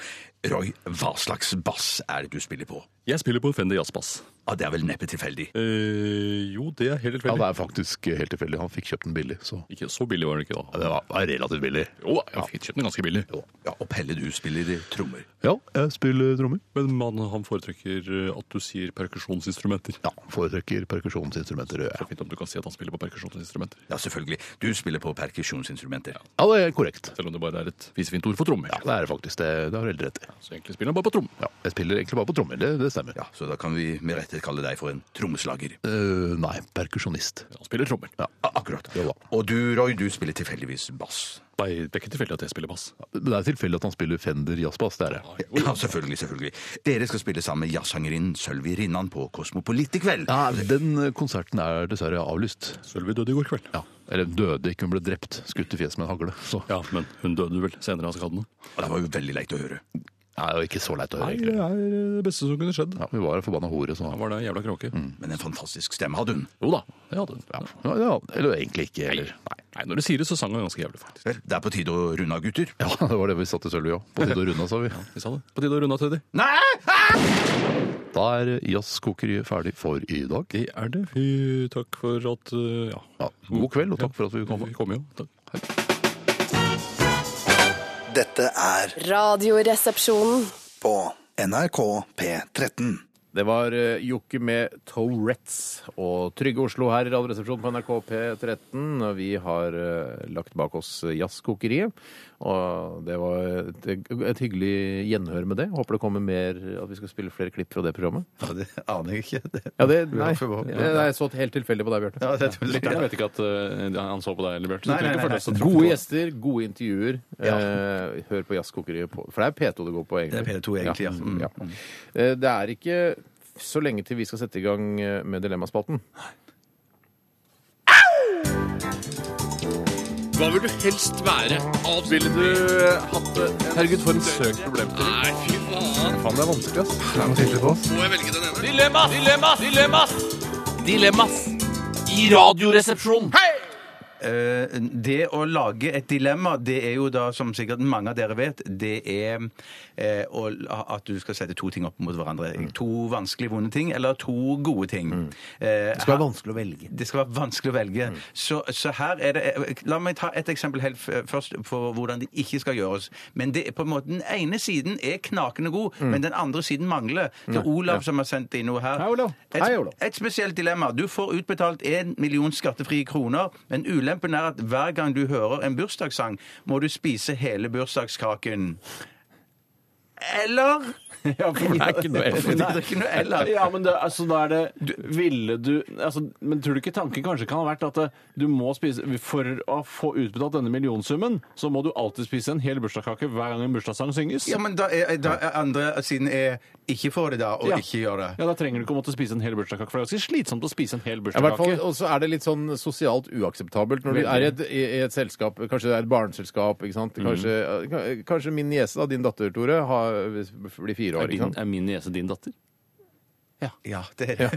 [SPEAKER 4] Roy, hva slags bass er det du spiller på?
[SPEAKER 5] Jeg spiller på Fender jazzbass.
[SPEAKER 4] Ja, Det er vel neppe tilfeldig.
[SPEAKER 5] Eh, jo, det er helt
[SPEAKER 12] Ja,
[SPEAKER 5] tilfeldig.
[SPEAKER 12] det er faktisk helt tilfeldig. Han fikk kjøpt den billig, så
[SPEAKER 5] Ikke så billig var det ikke da.
[SPEAKER 12] ja, det var var relativt billig.
[SPEAKER 5] Jo, jeg fikk kjøpt den ganske billig.
[SPEAKER 4] Ja, Og Pelle, du spiller trommer.
[SPEAKER 12] Ja, jeg spiller trommer.
[SPEAKER 5] Men man, han foretrekker eh, at du sier perkusjonsinstrumenter.
[SPEAKER 12] Ja, foretrekker perkusjonsinstrumenter.
[SPEAKER 5] Det
[SPEAKER 12] Ja,
[SPEAKER 5] er fint om du kan si at han spiller på perkusjonsinstrumenter.
[SPEAKER 4] Ja, selvfølgelig. Du spiller på perkusjonsinstrumenter.
[SPEAKER 12] ja det er korrekt.
[SPEAKER 5] Selv om det bare er et fisefint ord for trommer.
[SPEAKER 12] Ja, det er det faktisk. Det, det har du helt rett i.
[SPEAKER 5] Så egentlig spiller han bare på trom.
[SPEAKER 12] Ja, jeg spiller egentlig bare på trommer. Det, det stemmer.
[SPEAKER 4] Ja, Så da kan vi med rette kalle deg for en trommeslager.
[SPEAKER 12] Eh, nei, perkusjonist.
[SPEAKER 5] Han spiller trommer.
[SPEAKER 4] Ja, akkurat.
[SPEAKER 12] Jo da.
[SPEAKER 4] Og du, Roy, du spiller tilfeldigvis bass.
[SPEAKER 5] Nei, det er ikke tilfeldig at jeg spiller bass.
[SPEAKER 12] Men Det er tilfeldig at han spiller Fender jazzbass. Det er det.
[SPEAKER 4] Ja, selvfølgelig, selvfølgelig. Dere skal spille sammen med jazzsangerinnen Sølvi Rinnan på Kosmopolit i kveld.
[SPEAKER 12] Ja, den konserten er dessverre avlyst.
[SPEAKER 5] Sølvi døde i går kveld.
[SPEAKER 12] Ja, Eller døde ikke, hun ble drept. Skutt i fjeset med en hagle. Så
[SPEAKER 5] Ja, men hun døde vel senere av skadene.
[SPEAKER 4] Og Det var jo veldig leit å høre.
[SPEAKER 12] Nei, det var ikke så leit å høre.
[SPEAKER 5] Nei, det
[SPEAKER 12] egentlig.
[SPEAKER 5] er det beste som kunne skjedd.
[SPEAKER 12] Ja, vi var en forbanna hore, så
[SPEAKER 5] Han var det jævla kråke.
[SPEAKER 4] Men en fantastisk stemme hadde hun.
[SPEAKER 5] Mm. Jo da, det hadde hun.
[SPEAKER 12] ja. ja, Eller egentlig ikke.
[SPEAKER 5] Nei,
[SPEAKER 12] Eller.
[SPEAKER 5] nei, nei, når du sier det, så sang han ganske jævlig, faktisk.
[SPEAKER 4] Vel, det er på tide å runde av, gutter.
[SPEAKER 12] Ja, det var det vi satt i Sølvi òg. På tide å runde av, sa vi.
[SPEAKER 5] Vi sa det. På tide å runde av, Teddy.
[SPEAKER 12] Da er jazzkokeriet ferdig for i dag.
[SPEAKER 5] Det er det. Fy, takk for at eh, Ja.
[SPEAKER 12] Ja, god kveld, og takk for at vi kom.
[SPEAKER 5] Vi kom jo. Takk.
[SPEAKER 11] Dette er
[SPEAKER 10] Radioresepsjonen.
[SPEAKER 11] på NRK P13.
[SPEAKER 3] Det var eh, Jokke med Tourettes og Trygge Oslo her i Radioresepsjonen på NRK P13. Vi har eh, lagt bak oss Jazzkokeriet, og det var et, et hyggelig gjenhør med det. Håper det kommer mer, at vi skal spille flere klipp fra det programmet.
[SPEAKER 9] Ja, det aner jeg ikke. Det.
[SPEAKER 3] Ja, det, nei,
[SPEAKER 9] Ja, for hva-
[SPEAKER 3] jeg, jeg så helt tilfeldig på deg, Bjarte.
[SPEAKER 9] Ja, det, det,
[SPEAKER 8] Jeg vet ikke at eh, han så på deg, eller Bjørt. så
[SPEAKER 9] Nei,
[SPEAKER 8] du trenger
[SPEAKER 9] nei,
[SPEAKER 8] ikke
[SPEAKER 9] nei,
[SPEAKER 8] føle deg så tråkket.
[SPEAKER 3] Gode gjester, gode intervjuer. Eh, hør på Jazzkokeriet, på- for det er P2 det går på, egentlig.
[SPEAKER 9] Det er P2 egentlig, ja. Mm.
[SPEAKER 3] ja. Eh, Det er ikke så lenge til vi skal sette i gang eh, med Dilemmaspalten.
[SPEAKER 8] Hva vil du helst være? Ville du hatt det? Herregud, for en søk problemstilling. Nei, fy faen.
[SPEAKER 3] Faen, det er vanskelig, ass.
[SPEAKER 8] Må jeg velge den ene? Dilemmas! Dilemmas! Dilemmas! Dilemmas! I radioresepsjonen!
[SPEAKER 9] Eh, det å lage et dilemma, det er jo da, som sikkert mange av dere vet, det er eh, å, at du skal sette to ting opp mot hverandre. To vanskelig vonde ting, eller to gode ting. Mm. det skal være vanskelig å velge. Mm. Det skal være vanskelig å velge. Så, så her er det eh, La meg ta et eksempel helt f- først for hvordan det ikke skal gjøres. Men det er på en måte, den ene siden er knakende god, men den andre siden mangler. Det er Olav som har sendt inn noe her.
[SPEAKER 3] Hei, Olav.
[SPEAKER 9] Et,
[SPEAKER 3] Hei, Olav.
[SPEAKER 9] et spesielt dilemma. Du får utbetalt en million skattefrie kroner, men ulempen er at hver gang du hører en bursdagssang, må du spise hele bursdagskaken.
[SPEAKER 4] eller
[SPEAKER 5] Ja, for det er ikke noe eller.
[SPEAKER 4] Det er ikke noe eller.
[SPEAKER 5] Ja, men det, altså, da er det Ville du altså, Men tror du ikke tanken kanskje kan ha vært at eh, du må spise For å få utbetalt denne millionsummen, så må du alltid spise en hel bursdagskake hver gang en bursdagssang synges?
[SPEAKER 4] Ja, men da er, da er andre siden er ikke får det da, og
[SPEAKER 5] Ja.
[SPEAKER 4] ikke gjør det.
[SPEAKER 5] Ja, Da trenger du ikke å måtte spise en hel bursdagskake, for det er ganske slitsomt å spise en hel
[SPEAKER 3] Ja, i hvert fall,
[SPEAKER 5] bursdagskake.
[SPEAKER 3] Og så er det litt sånn sosialt uakseptabelt når du
[SPEAKER 5] Veldig. Mm.
[SPEAKER 3] er i et, i i et selskap, kanskje det er et barneselskap, ikke sant? Kanskje, eh, kanskje min niese, da, din datter, Tore, har, blir fire
[SPEAKER 5] Er
[SPEAKER 3] år, ikke
[SPEAKER 5] din,
[SPEAKER 3] sant?
[SPEAKER 5] er min niese din datter?
[SPEAKER 4] Ja, det er
[SPEAKER 3] Ja.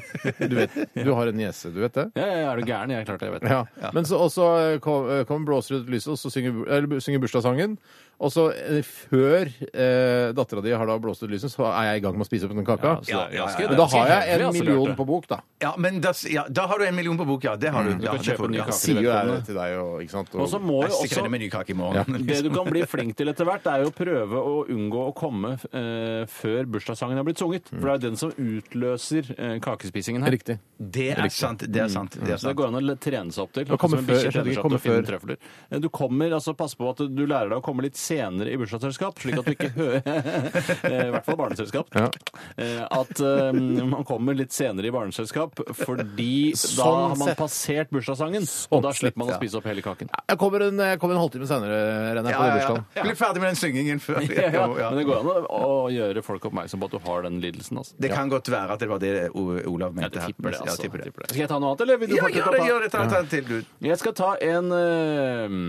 [SPEAKER 3] Du, vet, du har en niese, du vet det?
[SPEAKER 5] Ja, ja, er du gæren? Jeg er klart jeg vet det.
[SPEAKER 3] Ja. Men så og så, eh, kom- eh, kommer blåser ut lyset, og så synger, eller, bu- synger bursdagssangen. Og så eh, før eh, dattera di har da blåst ut lyset, så er jeg i gang med å spise opp den kaka.
[SPEAKER 5] så Altså, det er Ja, ja, ganske- ja, ja.
[SPEAKER 3] Men da har
[SPEAKER 5] det er
[SPEAKER 3] jeg en
[SPEAKER 5] ganske hederlig, altså,
[SPEAKER 3] million
[SPEAKER 5] Bjarte.
[SPEAKER 3] på bok, da.
[SPEAKER 4] Ja, men da, s- ja, da har du en million på bok, ja. Det har du.
[SPEAKER 5] Mm, Du
[SPEAKER 4] ja,
[SPEAKER 5] kan
[SPEAKER 4] det
[SPEAKER 5] kjøpe
[SPEAKER 4] får du,
[SPEAKER 5] ny
[SPEAKER 4] ja.
[SPEAKER 5] kake til
[SPEAKER 3] Sier jo jeg
[SPEAKER 5] vedkommende.
[SPEAKER 3] til deg og ikke sant.
[SPEAKER 5] Og så må
[SPEAKER 4] Jeg
[SPEAKER 5] jo
[SPEAKER 4] stikker
[SPEAKER 5] også
[SPEAKER 4] ned med ny kake i morgen.
[SPEAKER 3] Ja.
[SPEAKER 5] Det du kan bli flink til etter hvert, er jo å prøve å unngå å komme eh, før bursdagssangen har blitt sunget. For det er jo den som utløser eh, kakespisingen her.
[SPEAKER 3] Riktig.
[SPEAKER 4] Det er sant. Det er sant. Det er sant.
[SPEAKER 5] Så det Mm. går an å le- trene seg opp til.
[SPEAKER 3] komme
[SPEAKER 5] Akkurat som en
[SPEAKER 3] før,
[SPEAKER 5] bikkje
[SPEAKER 3] jeg skjønner ikke,
[SPEAKER 5] trener seg opp til å
[SPEAKER 3] komme
[SPEAKER 5] finne trøfler. Eh, Du kommer, altså Pass på at du lærer deg å komme litt senere i bursdagsselskap, slik at du ikke hører eh, I hvert fall barneselskap.
[SPEAKER 3] Ja.
[SPEAKER 5] Eh, At eh, man kommer litt senere i barneselskap fordi da
[SPEAKER 3] Sånn
[SPEAKER 5] har man
[SPEAKER 3] sett.
[SPEAKER 5] passert bursdagssangen,
[SPEAKER 3] Sånn
[SPEAKER 5] og da slipper man
[SPEAKER 3] sett,
[SPEAKER 5] å spise opp hele kaken.
[SPEAKER 3] Jeg kommer en, jeg kommer en halvtime senere, René, på
[SPEAKER 4] Ja, ja,
[SPEAKER 3] bursdagen.
[SPEAKER 4] ja. Bli ferdig med den syngingen før.
[SPEAKER 5] Ja, ja.
[SPEAKER 4] Ja.
[SPEAKER 5] Men det går an å, å gjøre folk oppmerksom på at du har den lidelsen. Altså.
[SPEAKER 4] Det kan godt være at det var det O- Olav mente.
[SPEAKER 5] Jeg
[SPEAKER 4] her.
[SPEAKER 5] tipper det,
[SPEAKER 4] Ja,
[SPEAKER 5] altså.
[SPEAKER 4] jeg tipper det.
[SPEAKER 5] Skal jeg ta noe annet, eller vil du
[SPEAKER 4] Ja, gjør
[SPEAKER 5] fortsette å
[SPEAKER 4] det,
[SPEAKER 5] ta-
[SPEAKER 4] gjør det. Ta, ta en til, du.
[SPEAKER 5] Jeg skal ta en eh,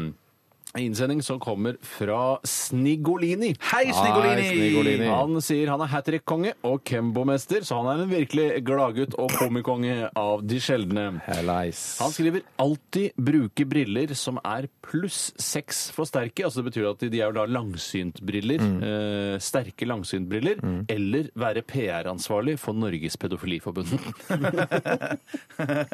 [SPEAKER 5] innsending som kommer fra Snigolini.
[SPEAKER 4] Hei, Snigolini!
[SPEAKER 3] Hei, Snigolini.
[SPEAKER 5] Han sier han er hat trick-konge og Kembo-mester, så han er en virkelig gladgutt og komikonge av de sjeldne. Han skriver 'alltid bruke briller som er pluss seks for sterke'. Altså Det betyr at de er jo da langsyntbriller. Eh, sterke langsyntbriller. Eller være PR-ansvarlig for Norges Pedofiliforbund.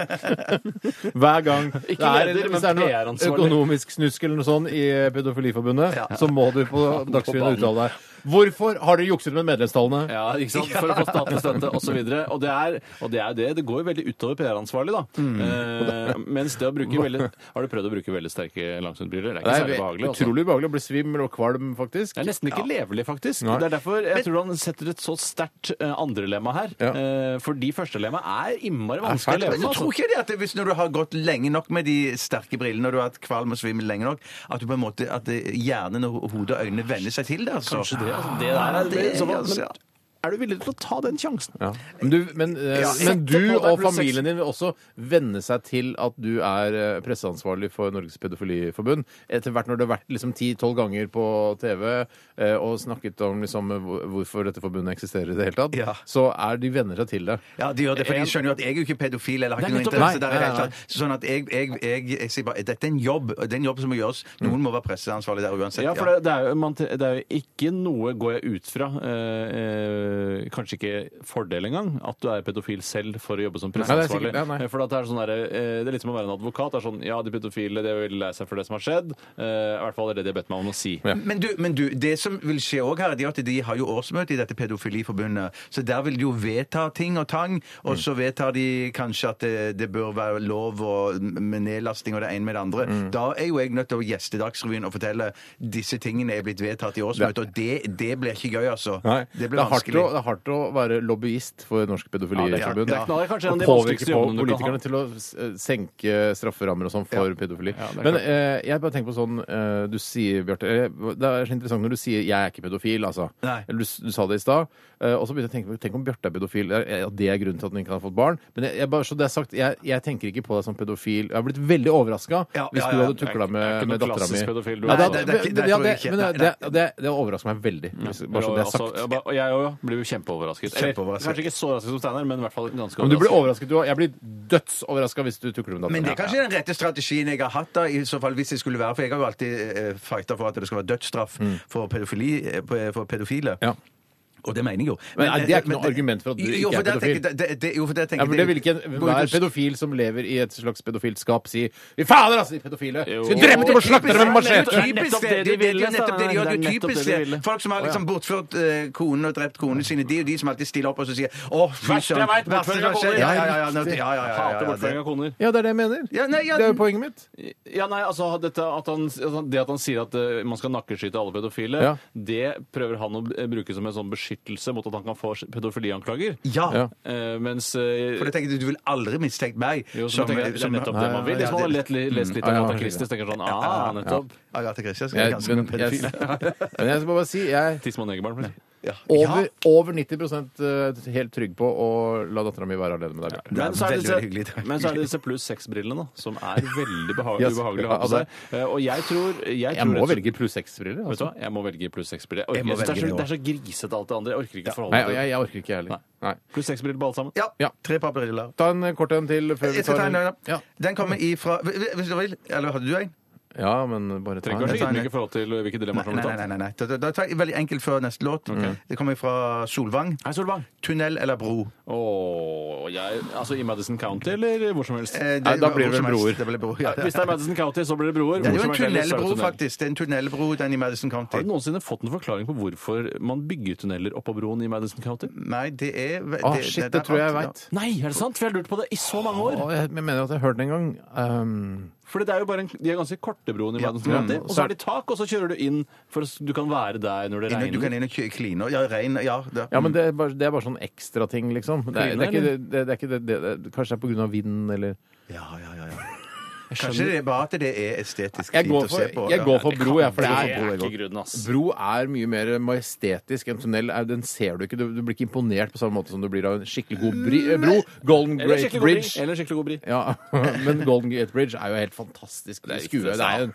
[SPEAKER 3] Hver gang det er,
[SPEAKER 5] leder, men
[SPEAKER 3] hvis det er noe
[SPEAKER 5] PR-ansvarlig.
[SPEAKER 3] økonomisk snusk eller noe sånn i Pedofiliforbundet, så må du på Dagsrevyen
[SPEAKER 5] banen.
[SPEAKER 3] uttale deg. Hvorfor har dere jukset med medlemstallene?
[SPEAKER 5] ja, ikke sant? For å få statlig støtte osv. Og det er og det er jo det. Det går jo veldig utover PR-ansvarlig, da. Eh, mens det å bruke veldig Har du prøvd å bruke veldig sterke langsyntbriller? Det
[SPEAKER 3] Det
[SPEAKER 5] er ikke
[SPEAKER 3] er
[SPEAKER 5] særlig behagelig. altså.
[SPEAKER 3] utrolig ubehagelig å bli svimmel og kvalm, faktisk.
[SPEAKER 5] Det er nesten ikke levelig, faktisk.
[SPEAKER 3] Nei.
[SPEAKER 5] Det er derfor jeg tror han setter et så sterkt eh, andrelemma her.
[SPEAKER 3] Ja.
[SPEAKER 5] Eh, fordi førstelemma er innmari
[SPEAKER 3] fælt,
[SPEAKER 5] vanskelig å leve
[SPEAKER 4] Men
[SPEAKER 5] med.
[SPEAKER 4] jeg tror
[SPEAKER 5] Altså.
[SPEAKER 4] ikke det at det, hvis når du har gått lenge nok med de sterke brillene, og du har hatt kvalm og svimmel lenge nok, at du på en måte, at det, hjernen og hodet og øynene venner seg til det, altså.
[SPEAKER 5] Kanskje det, altså, det der er, det,
[SPEAKER 4] det er
[SPEAKER 5] så,
[SPEAKER 4] altså, ja.
[SPEAKER 5] men, er du villig til å ta den sjansen?
[SPEAKER 3] Ja. Men du, men, eh,
[SPEAKER 5] Ja,
[SPEAKER 3] men
[SPEAKER 5] sette
[SPEAKER 3] du
[SPEAKER 5] på deg
[SPEAKER 3] og
[SPEAKER 5] pluss seks.
[SPEAKER 3] familien din vil også venne seg til at du er eh, presseansvarlig for Norges Pedofiliforbund. Etter hvert når du har vært liksom 10-12 ganger på TV eh, og snakket om liksom, hvor- hvorfor dette forbundet eksisterer i det hele tatt,
[SPEAKER 4] Ja.
[SPEAKER 3] så er de venner seg til det.
[SPEAKER 4] Ja, de gjør det, for de
[SPEAKER 5] En-
[SPEAKER 4] skjønner jo at jeg er jo ikke pedofil eller har
[SPEAKER 5] Nei,
[SPEAKER 4] ikke noe
[SPEAKER 5] nettopp.
[SPEAKER 4] interesse
[SPEAKER 3] Nei,
[SPEAKER 4] der i det hele
[SPEAKER 3] nei,
[SPEAKER 4] tatt. Sånn at jeg, jeg, jeg, jeg sier bare dette er en jobb, og det er en jobb som må gjøres. Noen må være presseansvarlig der uansett.
[SPEAKER 5] Mm. Ja, for det, det, er jo, man, det er jo ikke noe, går jeg ut fra, eh, eh, kanskje ikke fordel engang, at du er pedofil selv for å jobbe som
[SPEAKER 3] Nei, det er sikkert
[SPEAKER 5] presseansvarlig.
[SPEAKER 3] det, nei.
[SPEAKER 5] Eh, For at det, er sånn der, eh, det er litt som å være en advokat. Det er sånn, ja, de pedofile de er veldig lei seg for det som har skjedd. Eh, I hvert fall er det de har bedt meg om å si.
[SPEAKER 4] Men du, men du, det som vil skje òg her, er det at de har jo årsmøte i dette pedofiliforbundet. Så der vil de jo vedta ting og tang,
[SPEAKER 3] Mm.
[SPEAKER 4] og så vedtar de kanskje at det, det bør være lov og, med nedlasting og det ene med det andre.
[SPEAKER 3] Mm.
[SPEAKER 4] Da er jo jeg nødt til å gjeste Dagsrevyen og fortelle disse tingene er blitt vedtatt i årsmøtet, og det, det blir ikke gøy, altså.
[SPEAKER 3] det,
[SPEAKER 4] Det blir
[SPEAKER 3] er hardt
[SPEAKER 4] vanskelig.
[SPEAKER 3] å, det er hardt å være lobbyist for Norsk Pedofiliforbund.
[SPEAKER 5] Ja, det er klart. Det er kanskje
[SPEAKER 3] Og
[SPEAKER 5] en av de
[SPEAKER 3] påvirke
[SPEAKER 5] vanskeligste
[SPEAKER 3] på
[SPEAKER 5] jobbene du kan ha.
[SPEAKER 3] politikerne til å s- eh, senke strafferammer og sånn for pedofili.
[SPEAKER 5] Ja, det er
[SPEAKER 3] Men
[SPEAKER 5] klart.
[SPEAKER 3] eh, jeg bare tenker på sånn eh, Du sier, Bjarte eh, Det er så interessant når du sier 'jeg er ikke pedofil', altså.
[SPEAKER 4] Nei.
[SPEAKER 3] Eller du, s- du sa det i stad. eh, og så begynte jeg å tenke på Tenk om Bjarte er pedofil. Det er- Ja, det er grunnen til at han ikke har fått barn. Men jeg, jeg bare, så det er sagt, jeg, jeg tenker ikke på deg som pedofil. Jeg har blitt veldig overraska
[SPEAKER 4] Ja,
[SPEAKER 3] hvis
[SPEAKER 4] ja,
[SPEAKER 3] du
[SPEAKER 4] ja.
[SPEAKER 3] hadde
[SPEAKER 5] Det er ikke-
[SPEAKER 3] tukla
[SPEAKER 5] det er
[SPEAKER 3] med,
[SPEAKER 5] ikke
[SPEAKER 3] med
[SPEAKER 5] noen
[SPEAKER 3] dattera mi.
[SPEAKER 5] klassisk pedofil, du
[SPEAKER 3] Nei,
[SPEAKER 5] er.
[SPEAKER 3] det-
[SPEAKER 4] Det er ikke-
[SPEAKER 3] det-
[SPEAKER 4] det
[SPEAKER 3] ja,
[SPEAKER 4] tror jeg ikke.
[SPEAKER 3] det- men det-
[SPEAKER 4] Nei,
[SPEAKER 3] det- det- det overrasker meg veldig. hvis- Bare så det er
[SPEAKER 5] Altså,
[SPEAKER 3] sagt.
[SPEAKER 5] jeg ba- og jeg òg blir jo kjempeoverrasket. Eller,
[SPEAKER 4] Kjempeoverrasket.
[SPEAKER 5] Kanskje ikke så overrasket som Steinar, men i hvert fall ganske
[SPEAKER 3] Men du blir overrasket,
[SPEAKER 5] overrasket.
[SPEAKER 3] du òg. Jeg blir dødsoverraska hvis du tukler med datteren.
[SPEAKER 4] Men det er kanskje den rette strategien jeg har hatt, da, i så fall hvis det skulle være. For jeg har jo alltid eh, fighta for at det skal være dødsstraff for, pedofili, eh, for eh, pedofile.
[SPEAKER 3] Mm. Ja.
[SPEAKER 4] Og det mener jeg jo. eh,
[SPEAKER 3] Men, nei, det er ikke noe argument for at du
[SPEAKER 4] Jo,
[SPEAKER 3] ikke
[SPEAKER 4] for
[SPEAKER 3] er
[SPEAKER 4] der tenker-
[SPEAKER 3] pedofil.
[SPEAKER 4] det- det- det- Jo, for det tenker
[SPEAKER 3] Ja, for det vil ikke enhver pedofil som lever i et slags pedofilskap si «Vi fader, altså, de pedofile! Skal drepe dem og slakte dem med machete!
[SPEAKER 4] Typisk det! Det er jo nettopp det de gjør. Det er jo typisk det. Folk som har liksom bortført eh, konen og drept konene sine, det er jo de som alltid stiller opp og så sier Å, fy
[SPEAKER 3] Verste jeg vet, bortføring av koner.
[SPEAKER 4] Ja, ja, ja, ja, nå- ja, ja, ja, ja,
[SPEAKER 5] Hater
[SPEAKER 4] ja,
[SPEAKER 5] bortføring av
[SPEAKER 4] det-
[SPEAKER 5] koner.
[SPEAKER 3] Ja, det er det jeg mener. Det er jo poenget mitt.
[SPEAKER 5] Ja, nei, altså dette, at han, at han- Det at han sier at eh, man skal nakkeskyte alle pedofile,
[SPEAKER 3] Ja.
[SPEAKER 5] det prøver han å eh, bruke som en sånn beskyttelse mot at han kan få pedofilianklager.
[SPEAKER 4] Ja. Ja.
[SPEAKER 5] Eh, mens eh,
[SPEAKER 4] For da tenker du du vil aldri mistenke meg eh,
[SPEAKER 5] jo, så tenker jeg, Det er nettopp det man vil. Hvis man har lett, lest
[SPEAKER 3] Mm.
[SPEAKER 5] litt om Agatha Christie, så tenker jeg sånn Ah, nettopp.
[SPEAKER 4] Agatha Christie
[SPEAKER 3] Jeg- men- jeg- Men jeg skal bare si jeg
[SPEAKER 5] Tidsmann Egerbarn, plutselig.
[SPEAKER 3] over, over 90 helt trygg på å la dattera mi være alene med deg. Bjarte.
[SPEAKER 5] Men så, er det disse, men så er det disse pluss seks-brillene, da, som er veldig beha-
[SPEAKER 3] Yes.
[SPEAKER 5] ubehagelige å ha på
[SPEAKER 3] Ja, altså,
[SPEAKER 5] seg. Eh, Og jeg tror Jeg,
[SPEAKER 3] Jeg
[SPEAKER 5] tror
[SPEAKER 3] må
[SPEAKER 5] rett og-
[SPEAKER 3] velge pluss seks-briller.
[SPEAKER 5] Vet du
[SPEAKER 3] Altså.
[SPEAKER 5] hva? Jeg må velge pluss seks-briller. Jeg
[SPEAKER 3] Jeg må
[SPEAKER 5] orker- Det, er
[SPEAKER 3] velge
[SPEAKER 5] så-
[SPEAKER 3] det
[SPEAKER 5] det er så grisete alt det andre. Jeg orker ikke forholde
[SPEAKER 3] Nei,
[SPEAKER 5] meg til
[SPEAKER 3] jeg,
[SPEAKER 5] det.
[SPEAKER 3] jeg orker ikke, jeg heller. Nei.
[SPEAKER 5] Pluss seks-briller på alle sammen.
[SPEAKER 4] Ja.
[SPEAKER 3] Ja.
[SPEAKER 4] Tre papiriller.
[SPEAKER 3] Ta en eh, kort en til før vi
[SPEAKER 4] Jeg skal
[SPEAKER 3] tar
[SPEAKER 4] ta en
[SPEAKER 3] en.
[SPEAKER 4] øl, da. Den kommer ifra Hvis du vil. Eller hadde du en?
[SPEAKER 3] Ja, men bare ta en.
[SPEAKER 5] Trenger ikke være så ydmyk i forhold til hvilke dilemmaer som
[SPEAKER 4] Nei,
[SPEAKER 5] blir
[SPEAKER 4] nei,
[SPEAKER 5] tatt.
[SPEAKER 4] nei, nei, nei. Da, da, da tar jeg veldig enkelt før neste låt. Det kommer fra Solvang.
[SPEAKER 5] Hei, Solvang.
[SPEAKER 4] Tunnel eller bro? Eh,
[SPEAKER 5] Åh, jeg, altså i Madison County eller hvor som helst?
[SPEAKER 3] Nei,
[SPEAKER 4] Eh,
[SPEAKER 3] da blir det
[SPEAKER 4] hvor som
[SPEAKER 3] vel broer.
[SPEAKER 4] helst. Det blir broer, ja.
[SPEAKER 5] Hvis det er Madison County, så blir det broer.
[SPEAKER 4] Det er
[SPEAKER 5] Hvor
[SPEAKER 4] jo
[SPEAKER 5] som
[SPEAKER 4] en
[SPEAKER 5] helst ellers er det
[SPEAKER 4] tunnelbro,
[SPEAKER 5] tunnel.
[SPEAKER 4] faktisk. Det er en tunnelbro, den i Madison County.
[SPEAKER 5] Har du noensinne fått noen forklaring på hvorfor man bygger tunneler oppå broen i Madison County?
[SPEAKER 4] Nei, det er det-
[SPEAKER 3] Å, shit, det tror jeg jeg veit.
[SPEAKER 5] Nei, er det sant? For jeg har lurt på det i så mange år.
[SPEAKER 3] Å, Jeg jeg mener at jeg hørte det en gang. Um,
[SPEAKER 5] Fordi det er jo bare en, De er ganske korte broene i Madison
[SPEAKER 3] Ja,
[SPEAKER 5] County.
[SPEAKER 3] mm.
[SPEAKER 5] Og så er de tak, og så kjører du inn for at du kan være der når det
[SPEAKER 4] Inne- Du kan
[SPEAKER 5] regner.
[SPEAKER 4] inn og kjø- kline og Ja, rein Ja. det-
[SPEAKER 3] ja, men det er bare, det er bare sånn ekstrating, liksom. Det er, det er ikke det, det, er ikke det, det, det Kanskje det er på grunn av vinden, eller
[SPEAKER 4] ja, ja, ja, ja. Kanskje det er bare at det er estetisk
[SPEAKER 3] Jeg
[SPEAKER 4] fint
[SPEAKER 3] går
[SPEAKER 4] å se
[SPEAKER 3] for,
[SPEAKER 4] på.
[SPEAKER 3] jeg
[SPEAKER 4] ja.
[SPEAKER 3] går for bro, jeg, for det
[SPEAKER 5] Det
[SPEAKER 3] er
[SPEAKER 5] er ikke grunnen, ass.
[SPEAKER 3] Bro er mye mer majestetisk. En tunnel er, den ser du ikke. Du, du blir ikke imponert på samme måte som du blir av en skikkelig god bri, eh, bro. Golden
[SPEAKER 5] Eller
[SPEAKER 3] Great
[SPEAKER 5] skikkelig god bri.
[SPEAKER 3] Bridge.
[SPEAKER 5] Eller skikkelig god bri.
[SPEAKER 3] Ja, Men Golden Gate Bridge er jo helt fantastisk skue. Det er jo en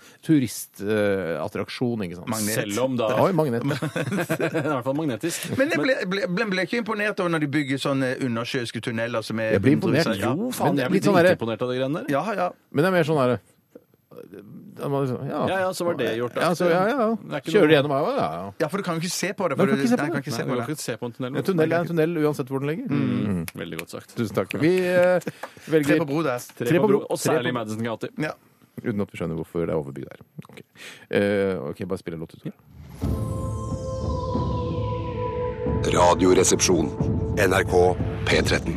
[SPEAKER 3] turistattraksjon, ikke sant.
[SPEAKER 4] Magnet.
[SPEAKER 5] Selv om da
[SPEAKER 3] Oi, magnet.
[SPEAKER 5] Det er I hvert fall magnetisk.
[SPEAKER 4] Men jeg ble, ble, ble, ble ikke imponert over når de bygger sånne undersjøiske tunneler som er
[SPEAKER 3] Jeg blir imponert.
[SPEAKER 4] 100 ja.
[SPEAKER 3] Jo,
[SPEAKER 5] Faen,
[SPEAKER 3] Men
[SPEAKER 5] jeg
[SPEAKER 3] litt
[SPEAKER 5] blir
[SPEAKER 3] sånn derre-
[SPEAKER 5] imponert av de greiene der.
[SPEAKER 4] ja, ja.
[SPEAKER 3] Men det er mer sånn derre da må du sånn,
[SPEAKER 5] Ja, ja, så var det gjort, da.
[SPEAKER 3] Ja, så, ja, ja.
[SPEAKER 5] Det er ikke
[SPEAKER 3] Kjører du
[SPEAKER 5] noe-
[SPEAKER 3] gjennom her, ja, ja.
[SPEAKER 4] Ja, for du kan jo ikke se på det.
[SPEAKER 3] Nei, du
[SPEAKER 4] For
[SPEAKER 3] kan ikke se på det.
[SPEAKER 4] nei, kan ikke se
[SPEAKER 5] Nei,
[SPEAKER 4] på
[SPEAKER 5] du kan
[SPEAKER 4] det.
[SPEAKER 5] ikke se på en tunnel.
[SPEAKER 3] En tunnel er en tunnel uansett hvor den ligger. Mm.
[SPEAKER 5] Veldig godt sagt.
[SPEAKER 3] Tusen takk. Vi eh,
[SPEAKER 4] Tre
[SPEAKER 3] velger
[SPEAKER 4] på bro der.
[SPEAKER 5] Tre på bro, og
[SPEAKER 3] Tre på
[SPEAKER 5] særlig Madison County.
[SPEAKER 4] Ja.
[SPEAKER 3] Uten at vi skjønner hvorfor det er overbygd der. Ok, Eh, ok, bare spill en låt ut.
[SPEAKER 13] Radioresepsjon. NRK P13.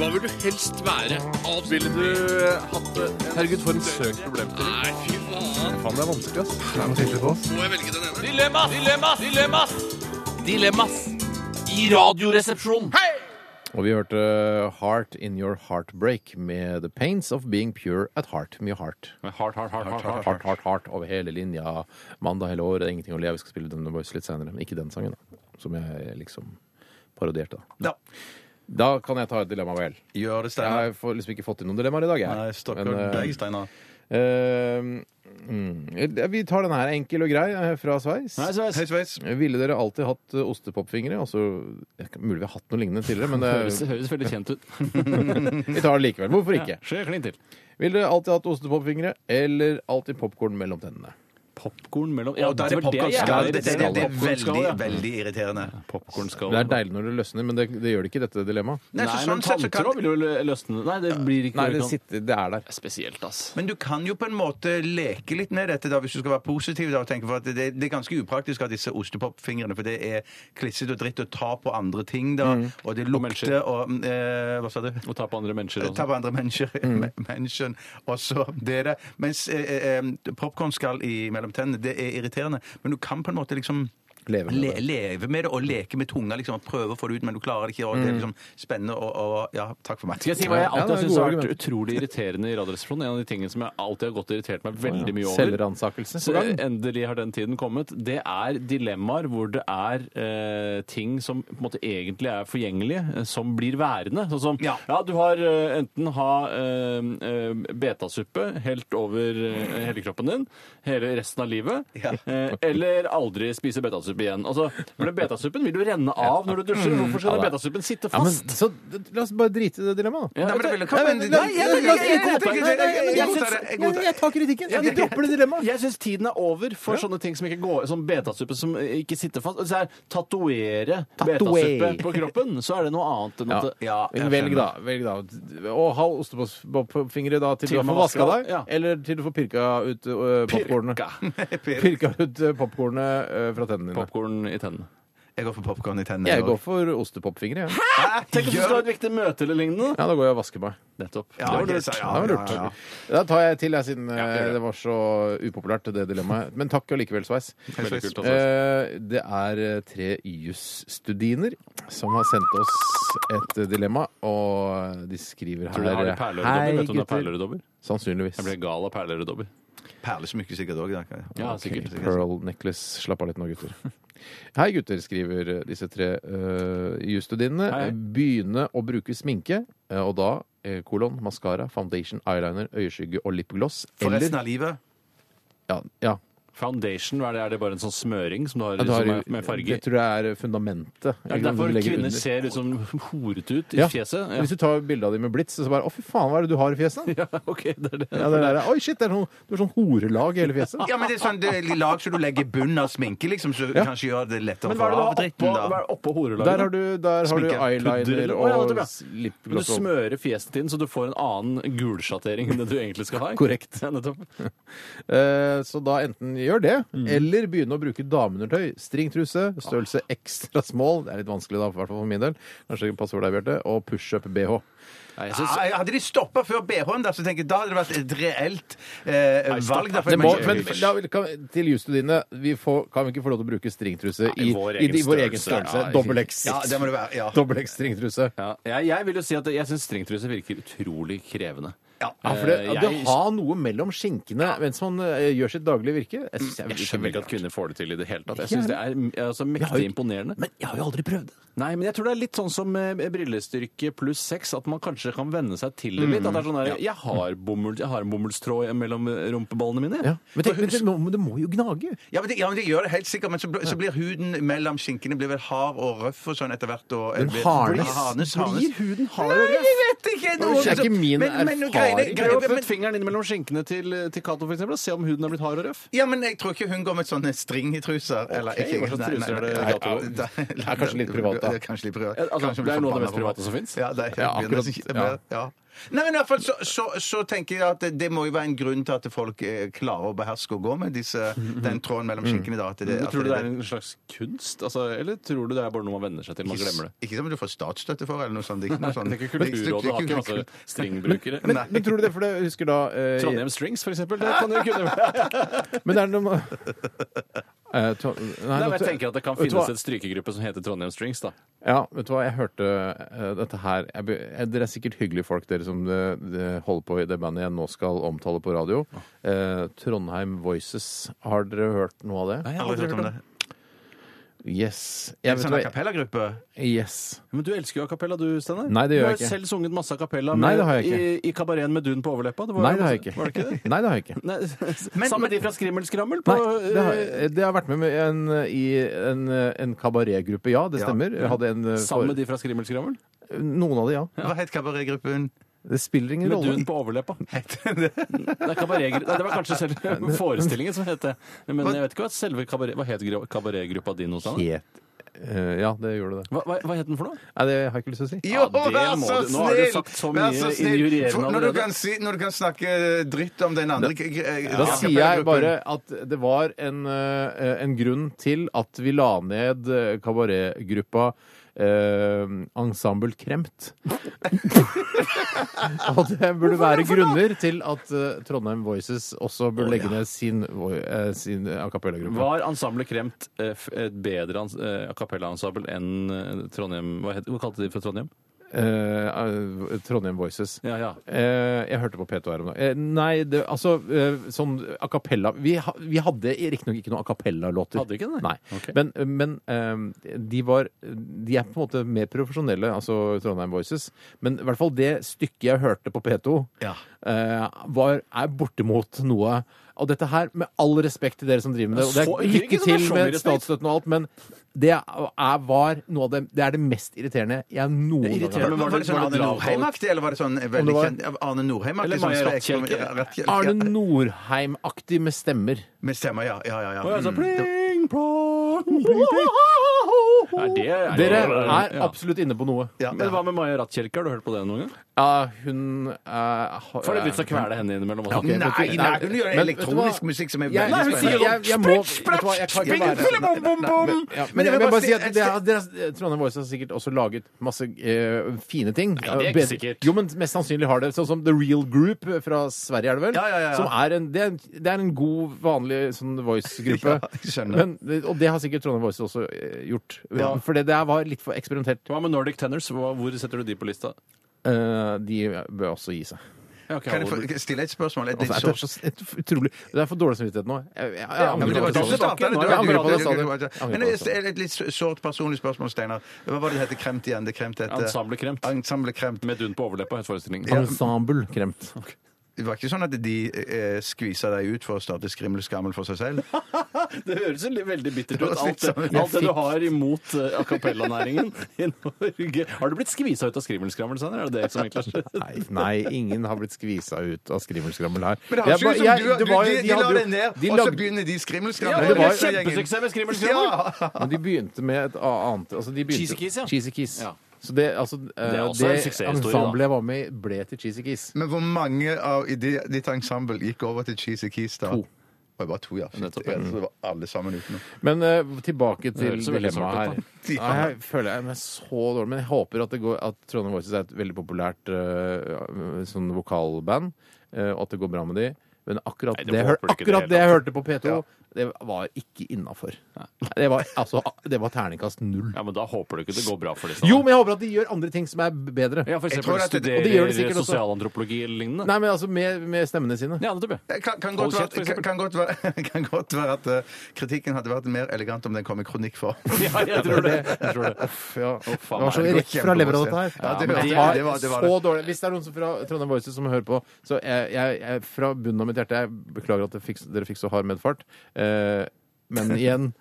[SPEAKER 5] Hva vil du helst være? Ville du hatt det? Herregud, for en søk problemstilling. Nei, fy faen.
[SPEAKER 3] Faen, det er vanskelig, ass.
[SPEAKER 5] Må jeg velge den ene? Dilemmas! Dilemmas! Dilemmas! Dilemmas! I radioresepsjonen. Hei!
[SPEAKER 3] Og vi hørte Heart In Your Heartbreak med The Pains of Being Pure at Heart. Mye heart.
[SPEAKER 5] Hardt, hardt, hardt, hardt,
[SPEAKER 3] Heart, heart, heart, heart over hele linja. Mandag hele året, ingenting å le av. Vi skal spille Dunn Boys litt seinere. Ikke den sangen, da. Som jeg liksom parodierte, da.
[SPEAKER 4] Ja.
[SPEAKER 3] Da kan jeg ta et dilemma, vel.
[SPEAKER 4] Gjør det,
[SPEAKER 3] Jeg
[SPEAKER 4] Steinar.
[SPEAKER 3] har få- liksom ikke fått inn noen dilemmaer i dag, jeg.
[SPEAKER 4] Nei, stakkar
[SPEAKER 3] Men, eh,
[SPEAKER 4] deg, Steinar.
[SPEAKER 3] eh, mm, vi tar den her enkel og grei eh, fra Sveis.
[SPEAKER 5] Nei,
[SPEAKER 4] Hei,
[SPEAKER 5] Sveis.
[SPEAKER 4] sveis.
[SPEAKER 3] Ville dere alltid hatt eh, ostepopfingre? Altså, det er ikke- mulig vi har hatt noe lignende tidligere, men
[SPEAKER 5] Det høres,
[SPEAKER 3] det,
[SPEAKER 5] høres veldig kjent ut.
[SPEAKER 3] vi tar det likevel. Hvorfor ikke?
[SPEAKER 5] Skje klin til.
[SPEAKER 3] Ville dere alltid hatt ostepopfingre eller alltid popkorn mellom tennene?
[SPEAKER 5] Popkorn mellom Ja,
[SPEAKER 4] Da er det popkornskall. Det, det, det, det er veldig,
[SPEAKER 5] popkornskall.
[SPEAKER 4] veldig irriterende.
[SPEAKER 3] Det er deilig når det løsner, men det, det gjør det ikke i dette dilemmaet.
[SPEAKER 4] Nei,
[SPEAKER 5] Nei,
[SPEAKER 4] så
[SPEAKER 5] men
[SPEAKER 4] sånn sett så kan-
[SPEAKER 5] tanntråd vil jo lø- løsne Nei, det blir ikke
[SPEAKER 3] Nei, det, sitter, det er der.
[SPEAKER 5] Spesielt, ass.
[SPEAKER 4] Men du kan jo på en måte leke litt med dette da, hvis du skal være positiv. da, og tenke for at Det, det er ganske upraktisk å ha disse ostepopfingrene, for det er klissete og dritt å ta på andre ting. da, Og det lukter
[SPEAKER 5] mennesker.
[SPEAKER 4] og, eh, Hva sa du?
[SPEAKER 5] Å ta på andre mennesker
[SPEAKER 4] Ta
[SPEAKER 5] også.
[SPEAKER 4] på andre mennesker. Mm. Menschen, og så det der. Mens eh, eh, popkornskall i mellom tennene, det er irriterende. Men du kan på en måte liksom
[SPEAKER 3] Leve med
[SPEAKER 4] le,
[SPEAKER 3] det.
[SPEAKER 4] leve med det og leke med tunga. liksom, og Prøve å få det ut, men du klarer det ikke. og Det er liksom spennende og, og Ja, takk for meg.
[SPEAKER 5] Skal jeg si hva
[SPEAKER 3] Ja,
[SPEAKER 5] jeg
[SPEAKER 3] det er
[SPEAKER 5] alltid har syntes
[SPEAKER 3] gode
[SPEAKER 5] har vært
[SPEAKER 3] argumenter.
[SPEAKER 5] utrolig irriterende i Radioresepsjonen? En av de tingene som jeg alltid har gått og irritert meg veldig mye over.
[SPEAKER 3] Selvransakelse.
[SPEAKER 5] Så endelig har den tiden kommet. Det er dilemmaer hvor det er eh, ting som på en måte egentlig er forgjengelige, eh, som blir værende. Sånn som ja,
[SPEAKER 4] Ja.
[SPEAKER 5] du har eh, enten ha eh, eh, betasuppe helt over eh, hele kroppen din hele resten av livet,
[SPEAKER 4] Ja.
[SPEAKER 5] eh, eller aldri spise betasuppe betasuppe igjen. Altså, for det betasuppen vil jo renne av når du dusjer. Hvorfor skal
[SPEAKER 3] Ja,
[SPEAKER 5] den
[SPEAKER 3] da.
[SPEAKER 5] betasuppen sitte
[SPEAKER 3] Ja, men,
[SPEAKER 5] fast?
[SPEAKER 3] så, la oss bare drite i det dilemmaet, da.
[SPEAKER 5] Ja, men det vil-
[SPEAKER 3] Nei, men-
[SPEAKER 5] Nei,
[SPEAKER 3] la- la-
[SPEAKER 5] jeg- jeg-
[SPEAKER 3] la oss
[SPEAKER 5] jeg-
[SPEAKER 3] ikke
[SPEAKER 5] jeg-
[SPEAKER 3] godta det. Nei, nei,
[SPEAKER 5] jeg-
[SPEAKER 3] nei,
[SPEAKER 5] jeg-
[SPEAKER 3] jeg godtar det. Jeg godtar det. Jeg tar kritikken. Vi dropper det dilemmaet.
[SPEAKER 5] Jeg syns tiden er over for sånne ting som ikke går Som betasuppe som ikke sitter fast. Så er tatovere
[SPEAKER 3] Tatoer.
[SPEAKER 5] betasuppe på kroppen, så er det noe annet enn at
[SPEAKER 3] Ja,
[SPEAKER 5] jeg
[SPEAKER 3] men velg
[SPEAKER 5] skjønner.
[SPEAKER 3] da. velg da Og ha ostepopfingre da til,
[SPEAKER 5] Til
[SPEAKER 3] du
[SPEAKER 5] man
[SPEAKER 3] får vaska
[SPEAKER 5] vasker
[SPEAKER 3] deg,
[SPEAKER 5] av, ja.
[SPEAKER 3] eller til du får pirka ut uh, popkornet. pirka ut uh, popkornet øh, fra tennene dine.
[SPEAKER 5] Popkorn i tennene.
[SPEAKER 4] Jeg går for popkorn i tennene.
[SPEAKER 3] Jeg går for ostepopfingre. Ja.
[SPEAKER 5] Hæ? Tenk om du skal ha et viktig møte eller lignende.
[SPEAKER 3] ja, da går jeg og vasker meg.
[SPEAKER 5] Nettopp.
[SPEAKER 3] Ja, det var lurt. det var lurt. Da tar jeg til, jeg, siden eh, det var så upopulært, det dilemmaet. Men takk allikevel, Sveis.
[SPEAKER 5] Veldig kult, altså.
[SPEAKER 3] Eh, Det er eh, tre jusstudiner som har sendt oss et eh, dilemma, og eh, de skriver her
[SPEAKER 5] Tror du det er det perlerødobber? Vet du om det er perlerødobber?
[SPEAKER 3] Sannsynligvis.
[SPEAKER 5] Jeg ble gal av perlerødobber.
[SPEAKER 4] Perlesmykke sikkert òg.
[SPEAKER 5] Ja,
[SPEAKER 3] Ok,
[SPEAKER 5] sikkert.
[SPEAKER 3] Pearl necklace. Slapp av litt nå, gutter. Hei, gutter, skriver eh, disse tre uh, jusstudinene. Begynne å bruke sminke, eh, og da eh, kolon, maskara, foundation, eyeliner, øyeskygge og lipgloss.
[SPEAKER 4] For resten
[SPEAKER 3] Eller
[SPEAKER 4] av livet.
[SPEAKER 3] ja, ja,
[SPEAKER 5] Foundation, hva er det? Er det bare en sånn smøring som du har,
[SPEAKER 3] Ja, du har
[SPEAKER 5] som er,
[SPEAKER 3] jo-
[SPEAKER 5] med farger?
[SPEAKER 3] Det tror jeg er eh, fundamentet.
[SPEAKER 5] Ja,
[SPEAKER 3] Ikke sant,
[SPEAKER 5] derfor
[SPEAKER 3] du legger
[SPEAKER 5] kvinner
[SPEAKER 3] under.
[SPEAKER 5] ser ut som horete ut i
[SPEAKER 3] Ja.
[SPEAKER 5] fjeset.
[SPEAKER 3] Hvis du tar bilde av dem med blits, så bare Å, fy faen, hva er det du har i fjeset?
[SPEAKER 5] Ja, ok, det er det.
[SPEAKER 3] Ja, det er der, Oi, shit, det er sånn, du har sånn horelag i hele fjeset.
[SPEAKER 4] Ja, men det er sånn det er lag som du legger i bunnen av sminke, liksom, så kanskje gjør det lettere
[SPEAKER 5] Men
[SPEAKER 4] for
[SPEAKER 5] hva er det du har
[SPEAKER 4] avdritten,
[SPEAKER 5] oppå, hva
[SPEAKER 4] da.
[SPEAKER 5] er oppå horelaget?
[SPEAKER 3] Der har du, der har du
[SPEAKER 5] Sminke. Pudder,
[SPEAKER 3] eyeliner
[SPEAKER 5] eller- Å, ja,
[SPEAKER 3] og
[SPEAKER 5] nettopp, ja. Men Du
[SPEAKER 3] lipgloss. og-
[SPEAKER 5] smører fjeset ditt så du får en annen gulsjattering enn det du egentlig skal ha. ikke?
[SPEAKER 3] Korrekt.
[SPEAKER 5] Ja, nettopp.
[SPEAKER 3] Eh, Så da enten gjør det,
[SPEAKER 5] Mm.
[SPEAKER 3] eller begynne å bruke dameundertøy. Stringtruse, størrelse ekstra small, det er litt vanskelig da, i hvert fall for min del, kanskje det passer for deg, Bjarte, og pushup-bh.
[SPEAKER 4] Nei, Hadde de stoppa før BH-en, da, så tenker jeg da hadde det vært et reelt eh, valg. Da, for
[SPEAKER 3] Det må,
[SPEAKER 4] jeg-
[SPEAKER 3] men la, kan, til jusstudiene, vi får, kan vi ikke få lov til å bruke stringtruse i, i,
[SPEAKER 5] vår
[SPEAKER 3] i,
[SPEAKER 5] egen
[SPEAKER 3] vår egen
[SPEAKER 5] størrelse.
[SPEAKER 3] størrelse?
[SPEAKER 5] Ja,
[SPEAKER 3] Dobbel X.
[SPEAKER 4] Ja, det må det være, ja.
[SPEAKER 3] Dobbel X stringtruse.
[SPEAKER 5] Ja, jeg, jeg vil jo si at jeg syns stringtruse virker utrolig krevende.
[SPEAKER 3] Ja, for det,
[SPEAKER 5] Eh,
[SPEAKER 3] det
[SPEAKER 5] jeg-
[SPEAKER 3] å ha noe mellom skinkene mens man eh, gjør sitt daglige virke jeg, synes jeg,
[SPEAKER 5] Mm, Jeg
[SPEAKER 3] virker
[SPEAKER 5] skjønner
[SPEAKER 3] veldig
[SPEAKER 5] ikke at kvinner får det til i det hele tatt. Jeg
[SPEAKER 3] Ikke
[SPEAKER 5] syns det er mm, altså,
[SPEAKER 3] har
[SPEAKER 5] mektig
[SPEAKER 3] jo-
[SPEAKER 5] imponerende.
[SPEAKER 3] Men jeg har jo aldri prøvd det.
[SPEAKER 5] Nei, men jeg tror det er litt sånn som eh, brillestyrke pluss sex, at man kanskje kan venne seg til det litt. At det er sånn der, jeg, har bomull, jeg har en bomullstråd mellom rumpeballene mine.
[SPEAKER 3] Ja. Men, tenk, men det, må, men det må jo gnage.
[SPEAKER 4] Ja, men det, ja, men det gjør det helt sikkert, men så, bl- så blir huden mellom skinkene blir vel hard og røff og sånn etter hvert. Og,
[SPEAKER 3] Den
[SPEAKER 4] blir-
[SPEAKER 3] hardnes.
[SPEAKER 4] Blir harnes,
[SPEAKER 5] Blir
[SPEAKER 4] harnes.
[SPEAKER 5] huden hard og
[SPEAKER 4] Nei,
[SPEAKER 5] røff?
[SPEAKER 4] jeg vet ikke!
[SPEAKER 3] Det er ikke min erfaring.
[SPEAKER 4] greiene-
[SPEAKER 5] Prøv å
[SPEAKER 4] greiene-
[SPEAKER 5] putte fingeren inn mellom skinkene til, til Cato, for eksempel, og se om huden er blitt hard og røff.
[SPEAKER 4] Ja, men jeg tror ikke hun går med sånne stringtruser. eller
[SPEAKER 5] Ok,
[SPEAKER 4] ikke.
[SPEAKER 5] hva slags
[SPEAKER 4] Nei,
[SPEAKER 5] truser
[SPEAKER 4] nei,
[SPEAKER 5] er det
[SPEAKER 4] nei,
[SPEAKER 5] Gato går i?
[SPEAKER 4] da-
[SPEAKER 3] Det er kanskje litt privat, da.
[SPEAKER 4] Det er kanskje litt privat.
[SPEAKER 5] Ja, altså,
[SPEAKER 4] Kanskje hun
[SPEAKER 5] det er
[SPEAKER 4] blir
[SPEAKER 5] noe av det mest
[SPEAKER 4] forbanna på
[SPEAKER 5] private som
[SPEAKER 4] meg.
[SPEAKER 5] fins.
[SPEAKER 4] Ja, det er helt
[SPEAKER 3] Ja, akkurat,
[SPEAKER 4] begynnelsen.
[SPEAKER 3] ja.
[SPEAKER 4] Ja. Nei, men i hvert fall så, så, så tenker jeg at det, det må jo være en grunn til at folk eh, klarer å beherske å gå med disse, den tråden mellom skinkene. da. At det, at
[SPEAKER 5] Tror du det er en slags kunst, altså, eller tror du det er bare noe man venner seg til? Man glemmer det.
[SPEAKER 4] Ikke som du får statsstøtte for, eller noe sånt. Det er ikke noe sånt.
[SPEAKER 5] Det er ikke Kulturrådet har ikke masse stringbrukere.
[SPEAKER 3] Men, men tror du det, for det husker da eh,
[SPEAKER 5] Trondheim Strings, for eksempel. Det kan jo kunne
[SPEAKER 3] Men det er noe Eh, Tro- Nei,
[SPEAKER 5] Nei, men
[SPEAKER 3] nå-
[SPEAKER 5] jeg tenker at det kan
[SPEAKER 3] Vet du hva?
[SPEAKER 5] finnes et strykegruppe som heter Trondheim Strings, da.
[SPEAKER 3] Ja, vet du hva, jeg hørte eh, dette her jeg, be- eh, Dere er sikkert hyggelige folk, dere som eh, de holder på i det bandet jeg nå skal omtale på radio. Eh, Trondheim Voices. Har dere hørt noe av det?
[SPEAKER 5] Nei,
[SPEAKER 4] Jeg har aldri hørt om det.
[SPEAKER 3] Yes.
[SPEAKER 4] Er
[SPEAKER 3] Jeg
[SPEAKER 4] det
[SPEAKER 3] vet
[SPEAKER 4] sånn
[SPEAKER 3] hva,
[SPEAKER 4] a cappella-gruppe?
[SPEAKER 3] yes.
[SPEAKER 5] Men du elsker jo a cappella, du, Steinar.
[SPEAKER 3] Nei, det gjør jeg
[SPEAKER 5] Du
[SPEAKER 3] ikke.
[SPEAKER 5] har selv sunget masse a cappella
[SPEAKER 3] Nei,
[SPEAKER 5] med-
[SPEAKER 3] det har jeg ikke.
[SPEAKER 5] i, i kabareten med dun på overleppa. Det var-
[SPEAKER 3] Nei, det har jeg ikke.
[SPEAKER 5] Var det ikke det?
[SPEAKER 3] Nei, det har jeg ikke.
[SPEAKER 5] Nei, sammen med de fra Skrimmelskrammel på
[SPEAKER 3] Nei, det har, eh, det har vært med, med en, eh, i en, eh, en kabaretgruppe, ja, det
[SPEAKER 4] Ja.
[SPEAKER 3] stemmer. Jeg hadde en, eh,
[SPEAKER 5] Sammen med
[SPEAKER 3] for,
[SPEAKER 5] de fra Skrimmelskrammel?
[SPEAKER 3] noen av de, ja.
[SPEAKER 4] Hva het kabaretgruppen?
[SPEAKER 3] Det spiller ingen
[SPEAKER 5] Med
[SPEAKER 3] rolle.
[SPEAKER 5] dun på overleppa.
[SPEAKER 4] Het den det?
[SPEAKER 5] Nei, kabaretgru- Nei, det var kanskje selve forestillingen som het det. Men jeg vet ikke hva selve kabaret... Hva het gru- kabaretgruppa di nå, Steinar?
[SPEAKER 3] Het. Eh, ja, det gjorde det.
[SPEAKER 5] Hva, hva, hva het den for noe?
[SPEAKER 3] Nei, det har jeg ikke lyst til å si.
[SPEAKER 4] Jo,
[SPEAKER 5] Ja, det
[SPEAKER 4] vær
[SPEAKER 5] må
[SPEAKER 4] så
[SPEAKER 5] du-
[SPEAKER 4] snill!
[SPEAKER 5] nå har du sagt så
[SPEAKER 4] Vær
[SPEAKER 5] mye
[SPEAKER 4] snill!
[SPEAKER 5] injurierende
[SPEAKER 4] For Når du,
[SPEAKER 5] allerede.
[SPEAKER 4] kan si, når du kan snakke dritt om den andre k- k-
[SPEAKER 3] Da
[SPEAKER 4] ja.
[SPEAKER 3] sier jeg bare at det var en, eh, en grunn til at vi la ned eh, kabaretgruppa eh, Ensemble Kremt. og det burde være
[SPEAKER 4] sånn,
[SPEAKER 3] grunner til at eh, Trondheim Voices også burde legge ned sin, voi- eh, sin a cappella-gruppe.
[SPEAKER 5] Var ensemblet Kremt eh, f- et bedre ans- eh, a cappella-ensemble enn eh, Trondheim Hva, het, hva kalte de for Trondheim?
[SPEAKER 3] eh, Trondheim Voices.
[SPEAKER 5] Ja, ja.
[SPEAKER 3] Eh, jeg hørte på P2 her om dagen. Eh, nei, det, altså eh, sånn a cappella Vi, ha, vi hadde riktignok ikke noen a cappella-låter.
[SPEAKER 5] Hadde ikke det?
[SPEAKER 3] Nei.
[SPEAKER 5] Ok.
[SPEAKER 3] Men, men eh, de var De er på en måte mer profesjonelle, altså Trondheim Voices. Men i hvert fall det stykket jeg hørte på P2, eh, var, er bortimot noe og dette her, med all respekt til dere som driver med det, og det
[SPEAKER 5] Så-
[SPEAKER 3] er
[SPEAKER 5] ikke
[SPEAKER 3] lykke
[SPEAKER 5] så-
[SPEAKER 3] til
[SPEAKER 5] så mye
[SPEAKER 3] med
[SPEAKER 5] respekt.
[SPEAKER 3] statsstøtten og alt, men det er, var noe av det, det er det mest irriterende jeg noen gang har
[SPEAKER 4] Var,
[SPEAKER 3] hørt.
[SPEAKER 4] var, det sånn Arne Norheim-aktig, eller var det sånn
[SPEAKER 3] Om det
[SPEAKER 4] veldig
[SPEAKER 3] var-
[SPEAKER 4] kjent Arne Norheim-aktig?
[SPEAKER 3] Eller Maja
[SPEAKER 4] sånn
[SPEAKER 3] Rattkjelke.
[SPEAKER 4] Rattkjelke, ja.
[SPEAKER 3] Arne Norheim-aktig med stemmer.
[SPEAKER 4] Med stemmer, ja. ja, ja, ja.
[SPEAKER 3] Og jeg sa,
[SPEAKER 4] Mm.
[SPEAKER 3] pling, plong, pling,
[SPEAKER 5] det, er
[SPEAKER 3] Dere er
[SPEAKER 5] Ja.
[SPEAKER 3] absolutt inne på noe.
[SPEAKER 5] Men hva med Maja Rattkjelke? Har du hørt på det noen gang?
[SPEAKER 3] Ja, hun eh, har-
[SPEAKER 5] Får det ut til å kvele henne innimellom også.
[SPEAKER 3] Ja, ok,
[SPEAKER 5] Nei,
[SPEAKER 3] vet du-
[SPEAKER 5] nei, hun gjør
[SPEAKER 3] men vet du
[SPEAKER 4] elektronisk
[SPEAKER 3] hva?
[SPEAKER 4] musikk som er
[SPEAKER 3] Jeg-
[SPEAKER 4] veldig
[SPEAKER 3] Nei, hun
[SPEAKER 4] spennende.
[SPEAKER 3] sier jo, Jeg må
[SPEAKER 4] Spritz,
[SPEAKER 3] vet du hva, jeg kan
[SPEAKER 4] spritz,
[SPEAKER 3] ikke være-
[SPEAKER 4] spritz, bom, bom, bom.
[SPEAKER 3] Men- ja, Men jeg vil bare si at det er- dere har- Trondheim Voice har sikkert også laget masse eh, fine ting.
[SPEAKER 5] Nei, det er ikke
[SPEAKER 3] Bedre-
[SPEAKER 5] sikkert.
[SPEAKER 3] Jo, men mest sannsynlig har det. Sånn som The Real Group fra Sverige, er det vel?
[SPEAKER 5] Ja, ja, ja.
[SPEAKER 3] Som er en, det, er, det er en god, vanlig sånn Voice-gruppe. Men- eh, og det har sikkert Trondheim Voice også eh, gjort.
[SPEAKER 5] Ja.
[SPEAKER 3] For det der var litt for eksperimentelt.
[SPEAKER 5] Hva med Nordic Tenors? Hva- Hvor setter du de på lista?
[SPEAKER 3] Eh, de bør også gi seg.
[SPEAKER 4] Kan jeg få stille et spørsmål? Er det
[SPEAKER 3] Altså,
[SPEAKER 4] så
[SPEAKER 3] det, er så, et utrolig, det er for dårlig samvittighet nå. Jeg, jeg, jeg,
[SPEAKER 4] Ja,
[SPEAKER 3] angrer
[SPEAKER 4] men
[SPEAKER 3] på
[SPEAKER 4] det var
[SPEAKER 3] at
[SPEAKER 4] du
[SPEAKER 3] jeg
[SPEAKER 4] som
[SPEAKER 3] sa det.
[SPEAKER 4] startet det.
[SPEAKER 3] Jeg angrer på at jeg sa det. Jeg angrer på at
[SPEAKER 4] Men
[SPEAKER 3] jeg sa det.
[SPEAKER 4] et litt sårt personlig spørsmål, Steinar. Hva var det det het kremt igjen? Det kremt het
[SPEAKER 5] Ensemble Kremt.
[SPEAKER 4] Ensemble Kremt.
[SPEAKER 5] Med dun på overleppa, het forestillingen.
[SPEAKER 4] eh, Ja.
[SPEAKER 3] Ensemble kremt.
[SPEAKER 4] Det var ikke sånn at de eh, skvisa deg ut for å starte skrimmel-skammel for seg selv?
[SPEAKER 5] Det høres jo litt veldig bittert
[SPEAKER 4] Det
[SPEAKER 5] ut.
[SPEAKER 4] høres
[SPEAKER 5] Alt det,
[SPEAKER 4] litt sånn-
[SPEAKER 5] alt det du har imot eh, a cappella-næringen i Norge. Har du blitt skvisa ut av skrivelskrammel, Sander? Er det det som egentlig har skjedd?
[SPEAKER 3] Nei, nei, ingen har blitt skvisa ut av skrimmelskrammel her.
[SPEAKER 4] Men det har
[SPEAKER 3] Jeg
[SPEAKER 4] ikke
[SPEAKER 3] bare-
[SPEAKER 4] ut som
[SPEAKER 3] jeg-
[SPEAKER 4] du, du,
[SPEAKER 3] det var jo-
[SPEAKER 4] de,
[SPEAKER 3] de
[SPEAKER 4] de la
[SPEAKER 3] hadde jo-
[SPEAKER 4] deg ned,
[SPEAKER 3] de
[SPEAKER 4] og så
[SPEAKER 3] lag-
[SPEAKER 4] begynner de
[SPEAKER 3] Ja,
[SPEAKER 4] skrimmel-skrammel.
[SPEAKER 3] men det var-
[SPEAKER 5] Kjempesuksess med skrimmelskrammel!
[SPEAKER 3] Men de begynte med et annet altså de begynte,
[SPEAKER 5] Cheesy Kiss, ja.
[SPEAKER 3] Cheesy Kiss.
[SPEAKER 5] Ja.
[SPEAKER 3] Så det, altså, eh,
[SPEAKER 5] Det er også en
[SPEAKER 3] det
[SPEAKER 5] suksesshistorie, da.
[SPEAKER 3] ensemblet jeg var med i, ble til Cheesy Kiss.
[SPEAKER 4] Men hvor mange av i de- ditt ensemble gikk over til Cheesy Keys da?
[SPEAKER 3] To.
[SPEAKER 4] Det var to, ja. Shit, jeg tror det var alle sammen utenom.
[SPEAKER 3] Men eh, tilbake til
[SPEAKER 5] høres jo veldig
[SPEAKER 3] dilemmaet
[SPEAKER 5] sårt
[SPEAKER 3] her.
[SPEAKER 5] ut,
[SPEAKER 4] da.
[SPEAKER 3] Nei, jeg føler jeg meg så dårlig, men jeg håper at, det går, at Trondheim Voices er et veldig populært eh, sånn vokalband, eh, og at det går bra med de. Men akkurat
[SPEAKER 5] Nei,
[SPEAKER 3] det,
[SPEAKER 5] det
[SPEAKER 3] jeg
[SPEAKER 5] håper
[SPEAKER 3] hør-
[SPEAKER 5] du ikke i det
[SPEAKER 3] akkurat
[SPEAKER 5] hele
[SPEAKER 3] det jeg
[SPEAKER 5] tatt.
[SPEAKER 3] hørte på P2,
[SPEAKER 5] Ja.
[SPEAKER 3] det var ikke innafor. Det, var- altså, det var terningkast null.
[SPEAKER 5] Ja, men da håper du ikke det går bra for disse.
[SPEAKER 3] Jo, men jeg håper at de gjør andre ting som er b- bedre.
[SPEAKER 5] Ja, for
[SPEAKER 3] Jeg
[SPEAKER 5] eksempel
[SPEAKER 3] tror at det- og
[SPEAKER 5] studerer
[SPEAKER 3] det gjør de sikkert også.
[SPEAKER 5] sosialantropologi eller lignende.
[SPEAKER 3] Nei, men altså med, med stemmene sine.
[SPEAKER 5] Ja, nettopp. ja.
[SPEAKER 4] Kan, kan,
[SPEAKER 5] Hold
[SPEAKER 4] godt være,
[SPEAKER 5] kjeft,
[SPEAKER 4] kan,
[SPEAKER 5] for eksempel.
[SPEAKER 4] kan, godt være, kan godt være at eh, kritikken hadde vært mer elegant om den kom i kronikkform.
[SPEAKER 5] Ja, jeg tror det. Jeg tror det.
[SPEAKER 3] Uff, ja.
[SPEAKER 5] faen,
[SPEAKER 3] det var så
[SPEAKER 5] det
[SPEAKER 4] går
[SPEAKER 3] rett fra levra,
[SPEAKER 4] kjempebra
[SPEAKER 3] dette her.
[SPEAKER 4] sted. Ja, det-
[SPEAKER 3] Men
[SPEAKER 4] det-
[SPEAKER 3] var
[SPEAKER 4] det var- det var
[SPEAKER 3] så
[SPEAKER 4] det.
[SPEAKER 3] dårlig. Hvis det er noen som fra Trondheim Voices som hører på, så jeg, jeg, jeg, fra bunnen av mitt hjerte Jeg beklager at dere fikk, dere fikk så hard medfart, eh, men igjen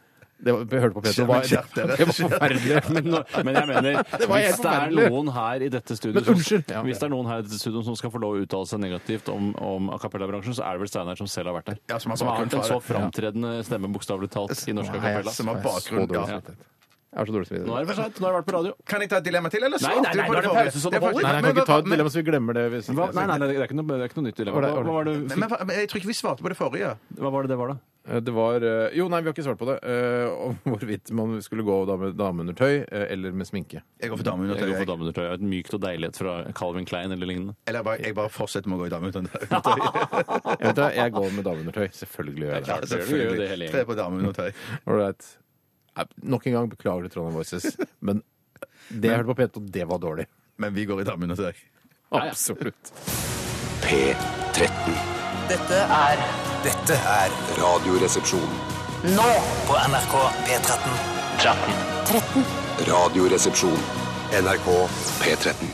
[SPEAKER 3] det var, Jeg hørte på Peter, det var,
[SPEAKER 4] Skjerp dere.
[SPEAKER 3] det, var forferdelig.
[SPEAKER 5] Men, nå- men jeg mener,
[SPEAKER 3] Det var helt
[SPEAKER 5] hvis det er
[SPEAKER 3] forferdelig.
[SPEAKER 5] noen her i dette
[SPEAKER 3] Men
[SPEAKER 5] studioet
[SPEAKER 3] unnskyld. Ja.
[SPEAKER 5] Hvis det er noen her i dette studioet som skal få lov å uttale seg negativt om, om a cappella-bransjen, så er det vel Steinar som selv har vært der.
[SPEAKER 4] Ja, som har
[SPEAKER 5] har
[SPEAKER 4] bakgrunn
[SPEAKER 5] hatt
[SPEAKER 4] fra
[SPEAKER 5] en så
[SPEAKER 4] det.
[SPEAKER 5] framtredende stemme, bokstavelig talt, i norsk
[SPEAKER 3] Nei,
[SPEAKER 5] a
[SPEAKER 3] jeg er
[SPEAKER 5] cappella.
[SPEAKER 3] så-
[SPEAKER 4] Som har
[SPEAKER 3] jeg er så
[SPEAKER 4] bakgrunn,
[SPEAKER 3] dårlig
[SPEAKER 4] ja.
[SPEAKER 3] samvittighet. Jeg har så dårlig
[SPEAKER 5] Nå er
[SPEAKER 3] samvittighet.
[SPEAKER 5] det for seint. Nå har jeg vært på radio.
[SPEAKER 4] Kan jeg ta et dilemma til, eller
[SPEAKER 5] Nei, nei, nei, nå er det pause, så det
[SPEAKER 4] er faktisk-
[SPEAKER 5] holder.
[SPEAKER 3] Nei, jeg kan ikke ta et dilemma så vi glemmer det. Hvis
[SPEAKER 5] Hva, nei, nei, det er ikke noe, det er ikke noe nytt dilemma. Hva, hva, var det,
[SPEAKER 4] Men, men, men jeg tror ikke vi svarte på det forrige.
[SPEAKER 5] hva var det det var, da?
[SPEAKER 3] Eh, Det var eh, Jo, nei, vi har ikke svart på det. eh, Om hvorvidt man skulle gå da med dameundertøy eh, eller med sminke.
[SPEAKER 4] Jeg går for dameundertøy.
[SPEAKER 5] Jeg går
[SPEAKER 4] jeg.
[SPEAKER 5] for dameundertøy. Et mykt og deilig et fra Calvin Klein eller lignende.
[SPEAKER 4] Eller jeg bare, jeg bare fortsetter med å gå i dameundertøy.
[SPEAKER 3] Jeg, vet, det, jeg går med dameundertøy. Selvfølgelig gjør jeg det.
[SPEAKER 5] klart. det gjør du, gjør det hele gjengen.
[SPEAKER 4] Tre på dameundertøy.
[SPEAKER 3] Ålreit. Nei, Nok en gang beklager til Trondheim Voices, men det jeg hørte på P2, det var dårlig.
[SPEAKER 4] Men vi går i dameundertøy.
[SPEAKER 3] Absolutt.
[SPEAKER 13] P13.
[SPEAKER 14] Dette er
[SPEAKER 6] Dette er
[SPEAKER 13] Radioresepsjon.
[SPEAKER 14] nå
[SPEAKER 6] på NRK P13.
[SPEAKER 14] 13.
[SPEAKER 13] Radioresepsjon. NRK P13.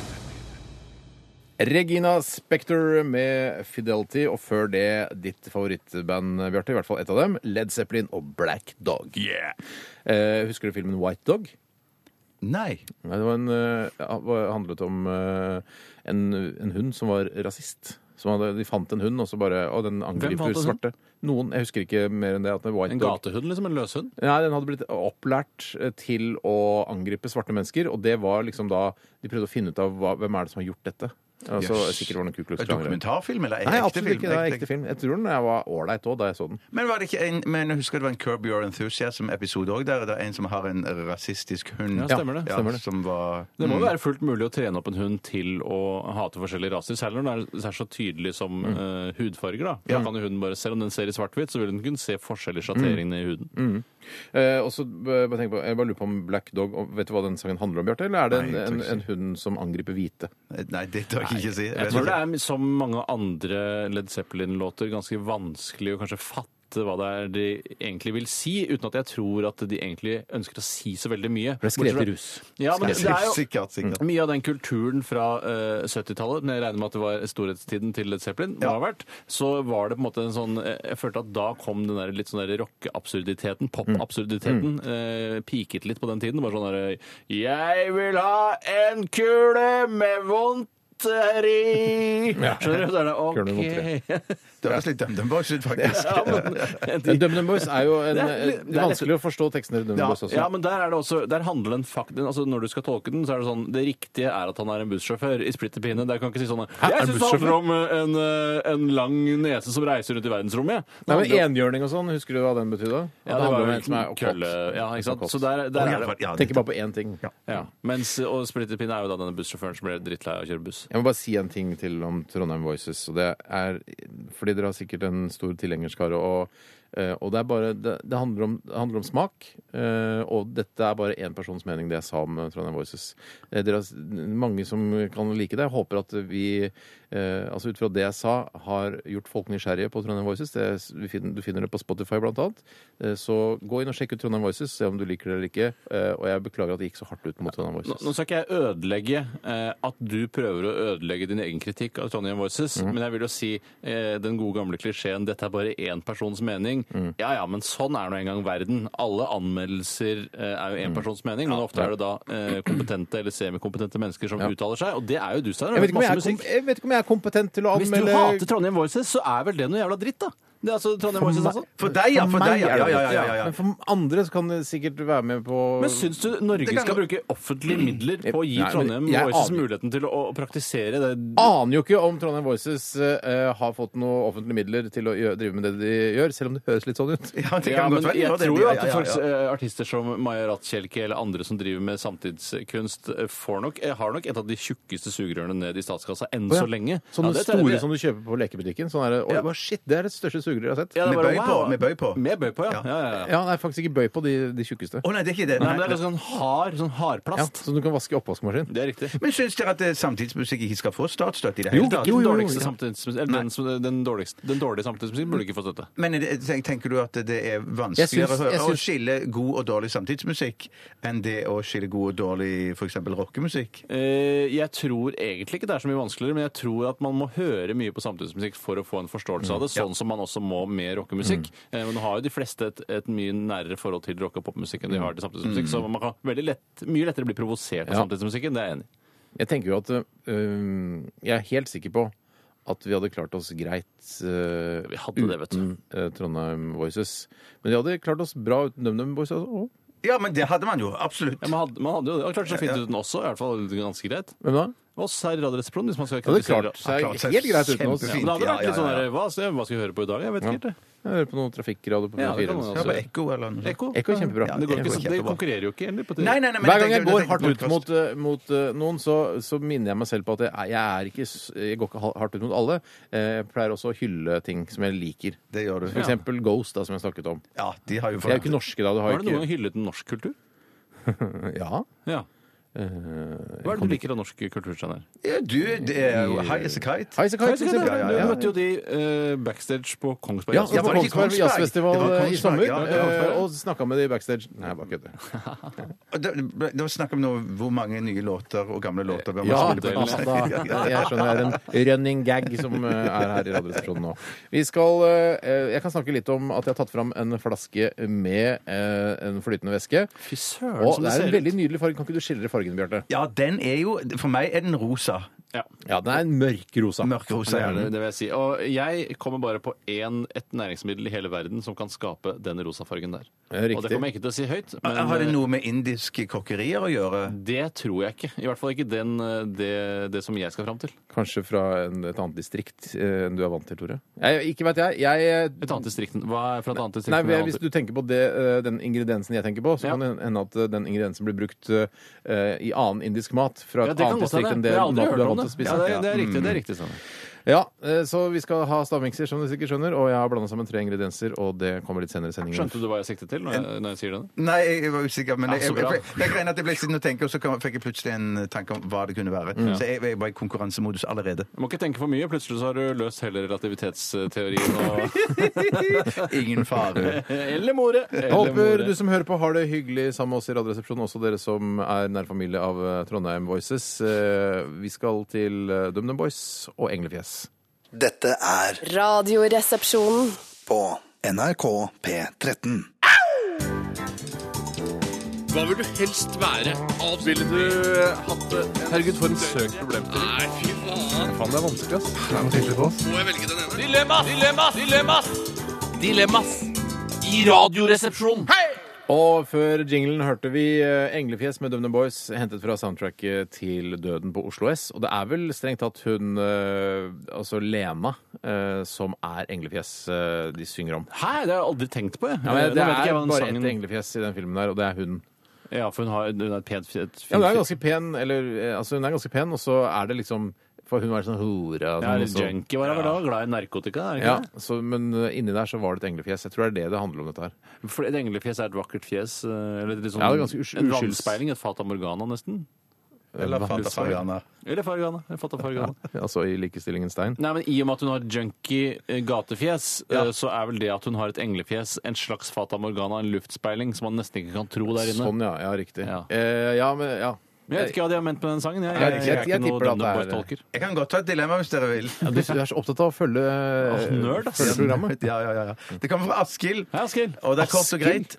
[SPEAKER 3] Regina Spektor med Fidelity, og før det ditt favorittband, Bjarte. I hvert fall ett av dem. Led Zeppelin og Black Dog. Eh, husker du filmen White Dog?
[SPEAKER 4] Nei.
[SPEAKER 3] Nei, det var en, eh, handlet om eh, en, en hund som var rasist. Som hadde, de fant en hund, og så bare Og den
[SPEAKER 5] fant
[SPEAKER 3] angriper
[SPEAKER 5] en hund?
[SPEAKER 3] svarte. Noen, Jeg husker ikke mer enn det. At det var
[SPEAKER 5] En gatehund, liksom? En løshund?
[SPEAKER 3] Nei, Den hadde blitt opplært eh, til å angripe svarte mennesker, og det var liksom da de prøvde å finne ut av hva, hvem er det som har gjort dette. Altså,
[SPEAKER 4] Jøss.
[SPEAKER 3] sikkert var det noen Ku Klux
[SPEAKER 4] Er det
[SPEAKER 3] Klanere.
[SPEAKER 4] Dokumentarfilm eller
[SPEAKER 3] Nei,
[SPEAKER 4] ekte
[SPEAKER 3] absolutt
[SPEAKER 4] film?
[SPEAKER 3] ikke. Det er ekte film. Jeg tror den jeg var ålreit òg da jeg så den.
[SPEAKER 4] Men, var det ikke en, men jeg husker det var en Curb Your Enthusiasm-episode òg, der det er en som har en rasistisk hund.
[SPEAKER 5] Ja, stemmer det,
[SPEAKER 3] stemmer det.
[SPEAKER 4] Som var
[SPEAKER 5] Det
[SPEAKER 3] Mm.
[SPEAKER 5] må jo være fullt mulig å trene opp en hund til å hate forskjellige raser, særlig når den er så tydelig som
[SPEAKER 3] Mm. Mm.
[SPEAKER 5] eh, hudfarger. da. Da kan jo hunden bare, Selv om den ser i svart-hvitt, så vil den kunne se forskjell i sjatteringene i huden.
[SPEAKER 3] Eh, og så eh, bare tenk på, jeg bare lurer på om Black Dog og Vet du hva den sangen handler om, Bjarte? Eller er det en,
[SPEAKER 5] Nei, jeg tør
[SPEAKER 3] en,
[SPEAKER 5] ikke si.
[SPEAKER 3] en hund som angriper hvite?
[SPEAKER 4] Nei, det tør
[SPEAKER 3] jeg ikke si.
[SPEAKER 5] Jeg tror det er som mange andre Led Zeppelin-låter ganske vanskelig å kanskje fatte hva det er de egentlig vil si, uten at jeg tror at de egentlig ønsker å si så veldig mye.
[SPEAKER 3] Ble skrevet i rus.
[SPEAKER 5] Ja, men det er jo Mm.
[SPEAKER 4] Sikkert, sikkert.
[SPEAKER 5] mye av den kulturen fra eh, 70-tallet, når jeg regner med at det var storhetstiden til Led Zeppelin, må ha vært, så var det på en måte en sånn eh, Jeg følte at da kom den der litt sånn der rockeabsurditeten,
[SPEAKER 3] Mm.
[SPEAKER 5] popabsurditeten, eh, piket litt på den tiden. Bare sånn derre Jeg vil ha en kule med vondt i Skjønner du? Så er det
[SPEAKER 3] Kule med vondt i.
[SPEAKER 5] OK.
[SPEAKER 4] Det høres litt DumDum Boys ut, faktisk.
[SPEAKER 5] Ja, men-
[SPEAKER 3] DumDum Boys er jo en,
[SPEAKER 5] Det er litt-
[SPEAKER 3] en-
[SPEAKER 5] det er litt-
[SPEAKER 3] vanskelig å forstå tekstene til DumDum
[SPEAKER 5] Ja,
[SPEAKER 3] Boys også.
[SPEAKER 5] ja, men der er det også Der handler den fakt... den- Altså, når du skal tolke den, så er det sånn Det riktige er at han er en bussjåfør i splitter pine. Der kan ikke si sånn
[SPEAKER 3] er
[SPEAKER 5] Jeg
[SPEAKER 3] han
[SPEAKER 5] syns det handler om eh, en, eh, en lang nese som reiser rundt i verdensrommet, jeg. Det
[SPEAKER 3] Nei, men
[SPEAKER 5] handler om-
[SPEAKER 3] Enhjørning og sånn, husker du hva den betydde? At
[SPEAKER 5] Ja, det
[SPEAKER 3] handler
[SPEAKER 5] var
[SPEAKER 3] om
[SPEAKER 5] jo
[SPEAKER 3] en som er oppkalt.
[SPEAKER 5] kølle Ja, ikke sant?
[SPEAKER 3] Oppkalt.
[SPEAKER 5] Så der, der er det
[SPEAKER 3] Tenker bare på én ting.
[SPEAKER 5] ja. Mens, og splitter pine er jo da denne bussjåføren som ble drittlei av å kjøre buss.
[SPEAKER 3] Jeg må bare si en ting til om Trondheim Voices. Og det er, fordi dere har sikkert en stor tilhengerskare. Og, eh, og det, er bare, det, det, handler om, det handler om smak. eh, Og dette er bare én persons mening, det jeg sa om eh, Trondheim Voices. Eh, Dere har s- mange som kan like det. Jeg håper at vi, eh, altså ut fra det jeg sa, har gjort folk nysgjerrige på Trondheim Voices. Det, er s- vi finner, du finner det på Spotify blant annet. Eh, Så gå inn og sjekk ut Trondheim Voices, se om du liker det eller ikke. Eh, Og jeg beklager at det gikk så hardt ut mot Trondheim
[SPEAKER 5] Nå,
[SPEAKER 3] Voices.
[SPEAKER 5] nå skal ikke jeg ødelegge eh, at du prøver å ødelegge din egen kritikk av Trondheim
[SPEAKER 3] Mm.
[SPEAKER 5] Voices, men jeg vil jo si eh, den gode gamle klisjeen 'dette er bare én persons mening'.
[SPEAKER 3] Mm.
[SPEAKER 5] Ja ja, men sånn er nå engang verden. Alle anmeldelser eh, er jo
[SPEAKER 3] Mm.
[SPEAKER 5] én persons mening, men ofte er det da eh, kompetente eller semikompetente mennesker som uttaler seg, og det er jo du, Steinar.
[SPEAKER 3] Jeg vet, ikke
[SPEAKER 5] Det er
[SPEAKER 3] om jeg
[SPEAKER 5] masse
[SPEAKER 3] er kom,
[SPEAKER 5] musikk.
[SPEAKER 3] jeg vet ikke om jeg er kompetent til å
[SPEAKER 5] Hvis du
[SPEAKER 3] anmelde
[SPEAKER 5] hater Trondheim Voices, så er vel det noe jævla dritt, da. Det er altså Trondheim Voices, altså.
[SPEAKER 4] For deg, ja, for
[SPEAKER 3] meg
[SPEAKER 4] deg, ja,
[SPEAKER 3] er det
[SPEAKER 4] ja, ja,
[SPEAKER 3] godt,
[SPEAKER 4] ja, ja, ja.
[SPEAKER 3] Men for andre så kan det sikkert være med på
[SPEAKER 5] Men syns du
[SPEAKER 3] Det
[SPEAKER 5] Norge
[SPEAKER 3] kan-
[SPEAKER 5] skal bruke offentlige midler på å gi
[SPEAKER 3] Nei, men
[SPEAKER 5] Trondheim
[SPEAKER 3] jeg
[SPEAKER 5] Voices
[SPEAKER 3] aner-
[SPEAKER 5] muligheten til å, å praktisere det
[SPEAKER 3] Aner jo ikke om Trondheim Voices eh, har fått noe offentlige midler til å gjø- drive med det de gjør, selv om det høres litt sånn ut.
[SPEAKER 5] Ja, men jeg
[SPEAKER 3] det-
[SPEAKER 5] tror jo
[SPEAKER 3] ja,
[SPEAKER 5] at
[SPEAKER 3] ja, ja,
[SPEAKER 5] folk,
[SPEAKER 3] ja.
[SPEAKER 5] eh, artister som Maja Ratsjelke eller andre som driver med samtidskunst, eh, får nok, eh, har nok et av de tjukkeste sugerørene ned i statskassa enn
[SPEAKER 3] Å, ja.
[SPEAKER 5] så lenge.
[SPEAKER 3] Sånne
[SPEAKER 5] Ja, det tror jeg
[SPEAKER 3] store
[SPEAKER 5] det.
[SPEAKER 3] som du kjøper på lekebutikken. Sånn er det, Oi, hva shit, det er det største sugerøret jeg har sett.
[SPEAKER 5] Ja, det er
[SPEAKER 3] Med
[SPEAKER 5] bare,
[SPEAKER 3] bøy
[SPEAKER 5] wow.
[SPEAKER 3] på, med
[SPEAKER 4] bøy på.
[SPEAKER 5] Med bøy på, ja. ja, ja, ja.
[SPEAKER 3] Ja, nei, faktisk ikke bøy på de, de tjukkeste.
[SPEAKER 4] Å nei, det er ikke det.
[SPEAKER 5] Nei, men det er ganske sånn hard, sånn
[SPEAKER 3] Ja,
[SPEAKER 5] hardplast.
[SPEAKER 3] som du kan vaske i oppvaskmaskin.
[SPEAKER 5] Det er riktig.
[SPEAKER 4] Men syns dere at eh, samtidsmusikk ikke skal få statsstøtte i det
[SPEAKER 5] Jo,
[SPEAKER 4] hele
[SPEAKER 5] ikke
[SPEAKER 4] tatt?
[SPEAKER 5] den dårligste samtidsmusikken. Eller den, som- den, dårligste, den dårlige samtidsmusikken burde ikke få støtte.
[SPEAKER 4] Men er det- tenk- tenker du at det er
[SPEAKER 3] Jeg
[SPEAKER 4] vanskeligere
[SPEAKER 3] syns-
[SPEAKER 4] å høre-
[SPEAKER 3] jeg
[SPEAKER 4] å
[SPEAKER 3] syns-
[SPEAKER 4] skille god og dårlig samtidsmusikk enn det å skille god og dårlig f.eks. rockemusikk?
[SPEAKER 5] Eh, Jeg tror egentlig ikke det er så mye vanskeligere, men jeg tror at man må høre mye på samtidsmusikk for å få en forståelse av det, sånn som man også må med rockemusikk. Eh, Men nå har jo de fleste et, et mye nærere forhold til rock- og popmusikk enn de har til samtidsmusikk, så man kan veldig lett, mye lettere bli provosert av
[SPEAKER 3] Ja.
[SPEAKER 5] samtidsmusikken, det er jeg enig i.
[SPEAKER 3] Jeg tenker jo at eh, øhm, Jeg er helt sikker på at vi hadde klart oss greit øh,
[SPEAKER 5] Vi hadde det, vet du.
[SPEAKER 3] uten øh, Trondheim Voices. Men de hadde klart oss bra uten DumDum Boys også.
[SPEAKER 4] Ja, men det hadde man jo. Absolutt.
[SPEAKER 5] Ja, man, hadde, man hadde jo det. Og klart så fint uten også, i hvert fall ganske greit.
[SPEAKER 3] Hvem da?
[SPEAKER 5] Oss her i Radioresepsjonen, hvis man skal
[SPEAKER 3] Ja, det er klart. Så er
[SPEAKER 4] Ja, klart, så er
[SPEAKER 3] helt greit uten oss.
[SPEAKER 5] Ja,
[SPEAKER 4] kjempefint.
[SPEAKER 5] men det hadde vært litt
[SPEAKER 4] Ja,
[SPEAKER 5] sånn
[SPEAKER 4] ja, ja.
[SPEAKER 5] der, hva, så- hva skal vi høre på i dag? Jeg vet
[SPEAKER 3] Ja.
[SPEAKER 5] ikke helt det.
[SPEAKER 3] Jeg hører på noe trafikkradio på
[SPEAKER 5] Ja, det kan
[SPEAKER 3] P4.
[SPEAKER 5] man
[SPEAKER 4] Ja,
[SPEAKER 3] så-
[SPEAKER 4] på ekko eller noe sånt.
[SPEAKER 5] Ekko?
[SPEAKER 3] Ekko er kjempebra.
[SPEAKER 5] Men Det, går ikke,
[SPEAKER 4] Ekko er
[SPEAKER 5] så- det
[SPEAKER 4] kjempebra.
[SPEAKER 5] konkurrerer jo ikke heller på
[SPEAKER 4] Nei, nei, nei, men
[SPEAKER 3] Hver gang
[SPEAKER 4] tenker-
[SPEAKER 3] jeg går
[SPEAKER 4] tenker
[SPEAKER 3] hardt
[SPEAKER 4] på
[SPEAKER 3] ut
[SPEAKER 4] podcast.
[SPEAKER 3] mot, eh, mot eh, noen, så, så minner jeg meg selv på at jeg, er- jeg er ikke s- Jeg går ikke ha- hardt ut mot alle. Eh, Jeg pleier også å hylle ting som jeg liker.
[SPEAKER 4] Det gjør du.
[SPEAKER 3] For eksempel Ghost, da, som jeg snakket om.
[SPEAKER 4] Ja, de har jo
[SPEAKER 3] De er jo ikke norske, da. Du har
[SPEAKER 5] Har du
[SPEAKER 3] jo ikke
[SPEAKER 5] noen gang hyllet norsk kultur?
[SPEAKER 3] Ja.
[SPEAKER 5] Ja.
[SPEAKER 3] Eh,
[SPEAKER 5] Hva er det du liker av norsk kultur, Steinar?
[SPEAKER 4] Ja, du, det er jo high as a kite.
[SPEAKER 3] High as a kite, for eksempel.
[SPEAKER 4] Ja, ja, ja.
[SPEAKER 5] Du møtte jo de eh, backstage på Kongsberg.
[SPEAKER 3] Ja,
[SPEAKER 5] Jazzfest.
[SPEAKER 3] jeg var
[SPEAKER 4] det
[SPEAKER 3] på
[SPEAKER 4] ikke
[SPEAKER 3] Kongsberg
[SPEAKER 4] Kongsberg? Det var
[SPEAKER 3] Jazzfestival eh, i
[SPEAKER 4] Kongsberg,
[SPEAKER 3] sommer
[SPEAKER 4] ja, det var
[SPEAKER 3] eh,
[SPEAKER 4] Kongsberg, ja.
[SPEAKER 3] og snakka med de backstage. Nei, jeg bare kødder.
[SPEAKER 4] Og Det det var snakk om noe, hvor mange nye låter og gamle låter bør man
[SPEAKER 3] Ja,
[SPEAKER 4] spille
[SPEAKER 3] da,
[SPEAKER 4] på. en gang. Ja, ja, ja.
[SPEAKER 3] jeg skjønner det er en running gag som eh, er her i Radioresepsjonen nå. Vi skal, eh, Jeg kan snakke litt om at jeg har tatt fram en flaske med eh, en flytende væske.
[SPEAKER 5] Fy søren,
[SPEAKER 3] Og
[SPEAKER 5] som
[SPEAKER 3] sånn det er en
[SPEAKER 5] det ser ut.
[SPEAKER 3] veldig nydelig farge. Kan ikke du skildre fargen, Bjarte?
[SPEAKER 4] Ja, den er jo For meg er den rosa.
[SPEAKER 5] Ja.
[SPEAKER 3] Ja, den er en mørkrosa.
[SPEAKER 4] Mørkrosa.
[SPEAKER 5] Det,
[SPEAKER 4] Ja.
[SPEAKER 5] er det, det vil jeg si. Og jeg kommer bare på én, et næringsmiddel i hele verden som kan skape den rosafargen der.
[SPEAKER 3] Ja, Eh, riktig.
[SPEAKER 5] Og det kommer jeg ikke til å si høyt, men
[SPEAKER 4] Har det noe med indiske kokkerier å gjøre?
[SPEAKER 5] det tror jeg ikke. I hvert fall ikke den, eh, det, det som jeg skal fram til.
[SPEAKER 3] Kanskje fra en, et annet distrikt eh, enn du er vant til, Tore? Jeg, ikke vet jeg. jeg
[SPEAKER 5] Et annet distrikt. Hva er fra et annet distrikt?
[SPEAKER 3] Nei,
[SPEAKER 5] enn et
[SPEAKER 3] Hvis
[SPEAKER 5] annet?
[SPEAKER 3] du tenker på det, eh, den ingrediensen jeg tenker på, så
[SPEAKER 5] Ja.
[SPEAKER 3] kan det hende at eh, den ingrediensen blir brukt eh, i annen indisk mat fra
[SPEAKER 5] ja,
[SPEAKER 3] et
[SPEAKER 5] det kan
[SPEAKER 3] annet
[SPEAKER 5] godt hende.
[SPEAKER 3] distrikt enn
[SPEAKER 5] Men
[SPEAKER 3] det
[SPEAKER 5] jeg har
[SPEAKER 3] maten
[SPEAKER 5] aldri
[SPEAKER 3] du
[SPEAKER 5] hørt
[SPEAKER 3] er
[SPEAKER 5] om
[SPEAKER 3] vant til å
[SPEAKER 5] det. Ja,
[SPEAKER 3] spise. Mm.
[SPEAKER 5] det, det er riktig. det er riktig sånn.
[SPEAKER 3] Ja, eh, så vi skal ha stavmikser, som du sikkert skjønner, og jeg har blanda sammen tre ingredienser, og det kommer litt senere i sendingen.
[SPEAKER 5] Skjønte du hva jeg siktet til når jeg, når jeg sier det?
[SPEAKER 4] Nei, jeg var usikker, men
[SPEAKER 5] Ja,
[SPEAKER 4] jeg,
[SPEAKER 5] så
[SPEAKER 4] jeg,
[SPEAKER 5] bra.
[SPEAKER 4] jeg, jeg, jeg, jeg ble sittende og tenke, og så kom, fikk jeg plutselig en tanke om hva det kunne være.
[SPEAKER 5] Mm.
[SPEAKER 4] Så jeg, jeg var i konkurransemodus allerede.
[SPEAKER 5] Du må ikke tenke for mye. Plutselig så har du løst hele relativitetsteorien og
[SPEAKER 4] Ingen fare.
[SPEAKER 5] Eller more.
[SPEAKER 3] Jeg håper du som hører på har det hyggelig sammen med oss i Radioresepsjonen, også dere som er nær familie av eh, Trondheim Voices. Eh, Vi skal til eh, DumDum Boys og Englefjes.
[SPEAKER 11] Dette er
[SPEAKER 10] Radioresepsjonen.
[SPEAKER 11] på NRK P13.
[SPEAKER 15] Hva vil du helst være? Ville du hatt det?
[SPEAKER 3] Herregud, for en søk problem til.
[SPEAKER 15] Nei, fy faen.
[SPEAKER 3] Faen, det er vanskelig, ass.
[SPEAKER 15] Må jeg velge den ene? Dilemmas! Dilemmas! Dilemmas! Dilemmas i Radioresepsjonen.
[SPEAKER 3] Og før jinglen hørte vi eh, Englefjes med DumDum Boys, hentet fra soundtracket til Døden på Oslo S. Og det er vel strengt tatt hun, eh, altså Lena, eh, som er Englefjes eh, de synger om.
[SPEAKER 5] Hæ, det har jeg aldri tenkt på, jeg.
[SPEAKER 3] Ja, men
[SPEAKER 5] Nå
[SPEAKER 3] det
[SPEAKER 5] vet ikke
[SPEAKER 3] er
[SPEAKER 5] jeg hva den
[SPEAKER 3] bare
[SPEAKER 5] sangen-
[SPEAKER 3] ett englefjes i den filmen der, og det er hun.
[SPEAKER 5] Ja, for hun har hun er et pent fjes.
[SPEAKER 3] Ja, hun er ganske pen, eller eh, altså hun er ganske pen, og så er det liksom For hun var sånn hore. og
[SPEAKER 5] Ja,
[SPEAKER 3] sånn,
[SPEAKER 5] litt
[SPEAKER 3] og så-
[SPEAKER 5] junkie var hun vel da, glad i narkotika. Er det ikke
[SPEAKER 3] Ja, så, men eh, inni der så var det et englefjes. Jeg tror det er det det handler om, dette her.
[SPEAKER 5] det? For et englefjes er et vakkert fjes. eh, Eller litt sånn,
[SPEAKER 3] Ja, det er ganske usky-
[SPEAKER 5] en
[SPEAKER 3] uskylds-
[SPEAKER 5] vannsspeiling, et Fata Morgana nesten.
[SPEAKER 3] Eller Fata
[SPEAKER 5] Vannsspeiling.
[SPEAKER 3] Fargana.
[SPEAKER 5] Eller Fargana. eller Fata Fargana.
[SPEAKER 3] Altså i likestillingens tegn.
[SPEAKER 5] Nei, men I og med at hun har junkie eh, gatefjes, eh, så er vel det at hun har et englefjes en slags Fata Morgana, en luftspeiling, som man nesten ikke kan tro der inne.
[SPEAKER 3] Sånn, ja. Ja, riktig. Eh, ja, men ja.
[SPEAKER 5] Men jeg vet ikke hva de har ment med den sangen. Jeg,
[SPEAKER 3] Jeg vet ikke, jeg- jeg tipper at det er-
[SPEAKER 4] Jeg kan godt ta et dilemma hvis dere vil.
[SPEAKER 3] Du, du er så opptatt av å følge, eh,
[SPEAKER 4] Åh, nerd, ass.
[SPEAKER 3] følge programmet.
[SPEAKER 4] Ja, ja, ja, ja. Det kommer fra Askild. Og det er kort og
[SPEAKER 3] Askild?
[SPEAKER 4] greit.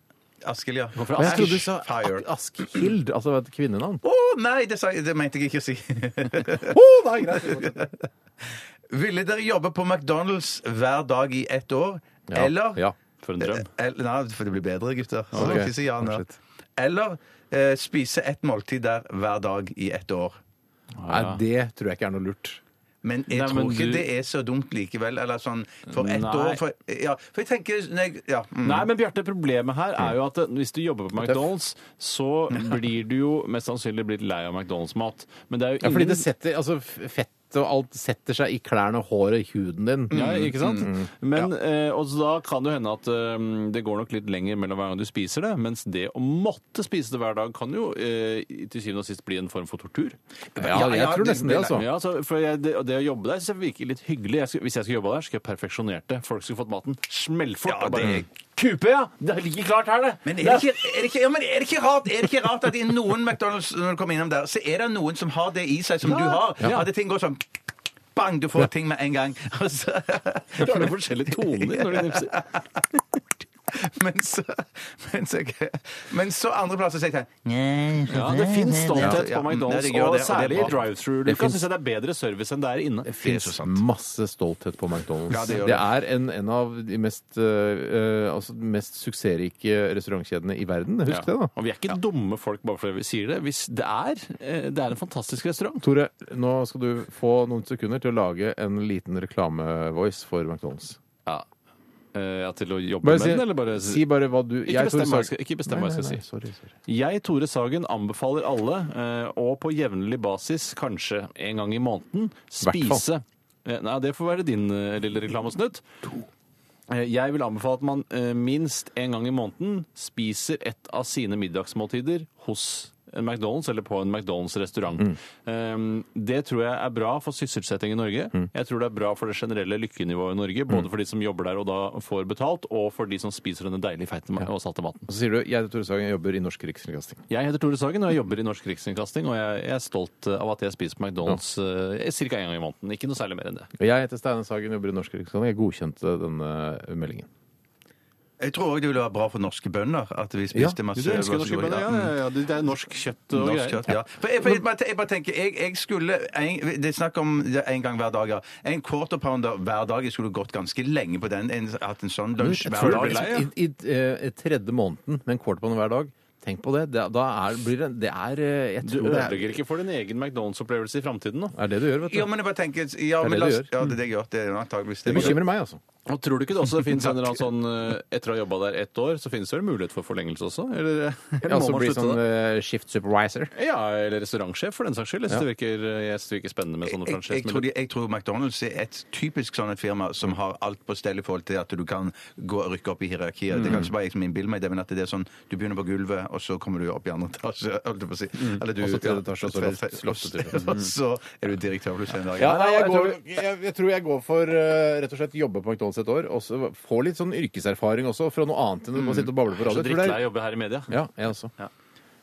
[SPEAKER 4] Askild, ja.
[SPEAKER 3] Men jeg trodde du sa Ak- Askild, altså et kvinnenavn.
[SPEAKER 4] Å nei, det, sa, jeg- det mente jeg ikke å si.
[SPEAKER 3] nei, greit.
[SPEAKER 4] Ville dere jobbe på McDonald's hver dag i ett år?
[SPEAKER 3] Ja,
[SPEAKER 4] Eller
[SPEAKER 3] ja, for en drøm.
[SPEAKER 4] Eh, eller- nei, for det blir bedre, gutter. Så
[SPEAKER 3] Ok, Oh,
[SPEAKER 4] dere ikke si ja nå.
[SPEAKER 3] shit.
[SPEAKER 4] Eller eh, spise ett måltid der hver dag i ett år.
[SPEAKER 3] Nei, det tror jeg ikke er noe lurt.
[SPEAKER 4] Men jeg
[SPEAKER 3] Nei,
[SPEAKER 4] tror
[SPEAKER 3] men
[SPEAKER 4] ikke
[SPEAKER 3] du-
[SPEAKER 4] det er så dumt likevel. Eller sånn for ett
[SPEAKER 5] Nei.
[SPEAKER 4] år for, ja, for jeg tenker når jeg, ja, mm.
[SPEAKER 5] Nei, men Bjarte, problemet her er jo at eh, hvis du jobber på McDonald's, så blir du jo mest sannsynlig blitt lei av McDonald's-mat. Men det er jo
[SPEAKER 3] Ja,
[SPEAKER 5] ingen
[SPEAKER 3] fordi det setter altså, f- fett og alt setter seg i klærne, håret, huden din.
[SPEAKER 5] Ja, ikke sant?
[SPEAKER 3] Mm, mm.
[SPEAKER 5] Men, eh, og så da kan det jo hende at eh, det går nok litt lenger mellom hver gang du spiser det, mens det å måtte spise det hver dag kan jo eh, til syvende og sist bli en form for tortur.
[SPEAKER 3] Ja, jeg tror nesten det, altså.
[SPEAKER 5] Ja, altså, for jeg, det, det å jobbe der synes jeg virker litt hyggelig. Jeg skulle, hvis jeg skulle jobba der, skulle jeg perfeksjonert det. Folk skulle fått maten smellfort. og bare, Kupe, ja! Det ligger klart her, det!
[SPEAKER 4] Men er det, ikke, er, det ikke, ja, men er det ikke rart Er det ikke rart at i noen McDonald's når du kommer innom der, så er det noen som har det i seg som du har?
[SPEAKER 5] Ja.
[SPEAKER 4] At ting går sånn Bang, du får ting med en gang. Og så-
[SPEAKER 5] Du har noen forskjellige toner når du nipser.
[SPEAKER 4] men, så, men, så, men så andre plasser sier jeg sånn,
[SPEAKER 5] Ja, det fins stolthet
[SPEAKER 4] Ja,
[SPEAKER 5] på
[SPEAKER 4] nei,
[SPEAKER 5] McDonald's,
[SPEAKER 4] det gjør det,
[SPEAKER 5] og
[SPEAKER 4] og det er
[SPEAKER 5] særlig i
[SPEAKER 4] bra.
[SPEAKER 5] drive-through.
[SPEAKER 3] Det
[SPEAKER 5] Lukas
[SPEAKER 3] finnes-
[SPEAKER 5] syns jeg det er bedre service enn det er inne.
[SPEAKER 3] Det
[SPEAKER 4] sånn.
[SPEAKER 3] fins masse stolthet på McDonald's.
[SPEAKER 5] Ja, det
[SPEAKER 3] det,
[SPEAKER 5] gjør
[SPEAKER 3] er en, en av de mest, øh, øh, altså, de mest suksessrike restaurantkjedene i verden. Husk det, da.
[SPEAKER 5] Og vi er ikke dumme folk bare fordi vi sier det. Hvis det er, eh, det er en fantastisk restaurant.
[SPEAKER 3] Tore, nå skal du få noen sekunder til å lage en liten reklamevoice for McDonald's.
[SPEAKER 5] Ja. Eh, ja, til å jobbe
[SPEAKER 3] Bare
[SPEAKER 5] med
[SPEAKER 3] si-
[SPEAKER 5] den, eller bare
[SPEAKER 3] si bare hva du-
[SPEAKER 5] Ikke
[SPEAKER 3] jeg, Tore
[SPEAKER 5] bestem hva jeg
[SPEAKER 3] Sagen-
[SPEAKER 5] skal, ikke bestem hva jeg
[SPEAKER 3] Nei,
[SPEAKER 5] skal
[SPEAKER 3] nei, nei,
[SPEAKER 5] si.
[SPEAKER 3] sorry, sorry.
[SPEAKER 5] Jeg, Tore Sagen, anbefaler alle, eh, og på jevnlig basis, kanskje en gang i måneden, spise
[SPEAKER 3] Hvertfall.
[SPEAKER 5] Eh, Nei, det får være din eh, lille reklamesnutt. Eh, Jeg vil anbefale at man eh, minst en gang i måneden spiser et av sine middagsmåltider hos en McDonald's eller på en McDonald's-restaurant. Um, det tror jeg er bra for sysselsetting i Norge. Jeg tror det er bra for det generelle lykkenivået i Norge, både for de som jobber der og da får betalt, og for de som spiser denne deilige, feite ma- og salte maten.
[SPEAKER 3] Og så sier du jeg Tore Sagen, jeg jobber i Norsk Rikskringkasting.
[SPEAKER 5] Jeg heter Tore Sagen, og jeg jobber i Norsk Rikskringkasting, og jeg, jeg er stolt av at jeg spiser på McDonald's ca. en gang i måneden. Ikke noe særlig mer enn det.
[SPEAKER 3] Og jeg heter Steinar Sagen, jobber i Norsk Rikskringkasting. Jeg godkjente denne meldingen.
[SPEAKER 4] Jeg tror òg det ville være bra for norske bønder at vi spiste
[SPEAKER 3] Ja,
[SPEAKER 4] masse
[SPEAKER 3] du elsker norske
[SPEAKER 4] ja.
[SPEAKER 3] bønder, ja,
[SPEAKER 4] Mm.
[SPEAKER 3] ja, ja,
[SPEAKER 5] Det er norsk kjøtt og
[SPEAKER 4] Norsk
[SPEAKER 5] greier.
[SPEAKER 4] kjøtt, ja. For jeg, for jeg, bare, jeg bare tenker, jeg, jeg skulle en, Det er snakk om det en gang hver dag, ja. En quarter pounder hver dag. Jeg skulle gått ganske lenge på den. En, hatt en sånn
[SPEAKER 3] Men
[SPEAKER 4] lunsj
[SPEAKER 3] Mm, jeg
[SPEAKER 4] hver
[SPEAKER 3] tror
[SPEAKER 4] dag.
[SPEAKER 3] det blir liksom, i, i, eh, tredje måneden med en quarterbånd hver dag. Tenk på det. Det, da er, blir det, det er eh, Jeg
[SPEAKER 5] Du
[SPEAKER 3] tror det er,
[SPEAKER 5] ødelegger ikke for din egen McDonald's-opplevelse i framtiden nå.
[SPEAKER 3] er det du gjør, vet du.
[SPEAKER 4] Ja, men jeg bare tenker ja,
[SPEAKER 3] Det er
[SPEAKER 4] men
[SPEAKER 3] det
[SPEAKER 4] la
[SPEAKER 3] du
[SPEAKER 4] oss-
[SPEAKER 3] gjør. Mm.
[SPEAKER 4] Ja, det er det jeg gjør. Det er antageligvis det.
[SPEAKER 3] Det bekymrer meg, altså.
[SPEAKER 5] Og tror du ikke det også finnes en eller annen sånn eh, Etter å ha jobba der ett år, så finnes det vel mulighet for forlengelse også? Eller, eller
[SPEAKER 3] Ja, så
[SPEAKER 5] må man
[SPEAKER 3] blir
[SPEAKER 5] slutte
[SPEAKER 3] sånn
[SPEAKER 5] da?
[SPEAKER 3] eh, shift supervisor.
[SPEAKER 5] Ja, eller restaurantsjef, for den saks skyld. Jeg synes det virker, eh, jeg synes det virker spennende med sånne
[SPEAKER 4] Jeg, jeg, tror
[SPEAKER 5] franchisemuligheter.
[SPEAKER 4] de, jeg tror McDonald's er et typisk sånn et firma som har alt på stell i forhold til at du kan gå og rykke opp i hierarkier. Det er
[SPEAKER 3] Mm.
[SPEAKER 4] kanskje bare jeg som innbiller meg det, men at det er sånn du begynner på gulvet, og så kommer du opp i andre etasje, holdt jeg på å si.
[SPEAKER 3] Mm.
[SPEAKER 4] Eller du-
[SPEAKER 3] Og så tredje
[SPEAKER 4] ja,
[SPEAKER 3] etasje, og så
[SPEAKER 4] tredje
[SPEAKER 3] loft-
[SPEAKER 4] etasje,
[SPEAKER 3] loftet til
[SPEAKER 4] og så- Og så er du direktør plutselig en dag.
[SPEAKER 3] Ja, nei, jeg, går, jeg, jeg tror jeg går for eh, rett og slett jobbe på McDonald's et år. Og så få litt sånn yrkeserfaring også, fra noe annet enn å bare sitte og bable på radio. tror
[SPEAKER 5] Jeg er så
[SPEAKER 3] det er-
[SPEAKER 5] drittlei av å jobbe her i media.
[SPEAKER 3] Ja, jeg også.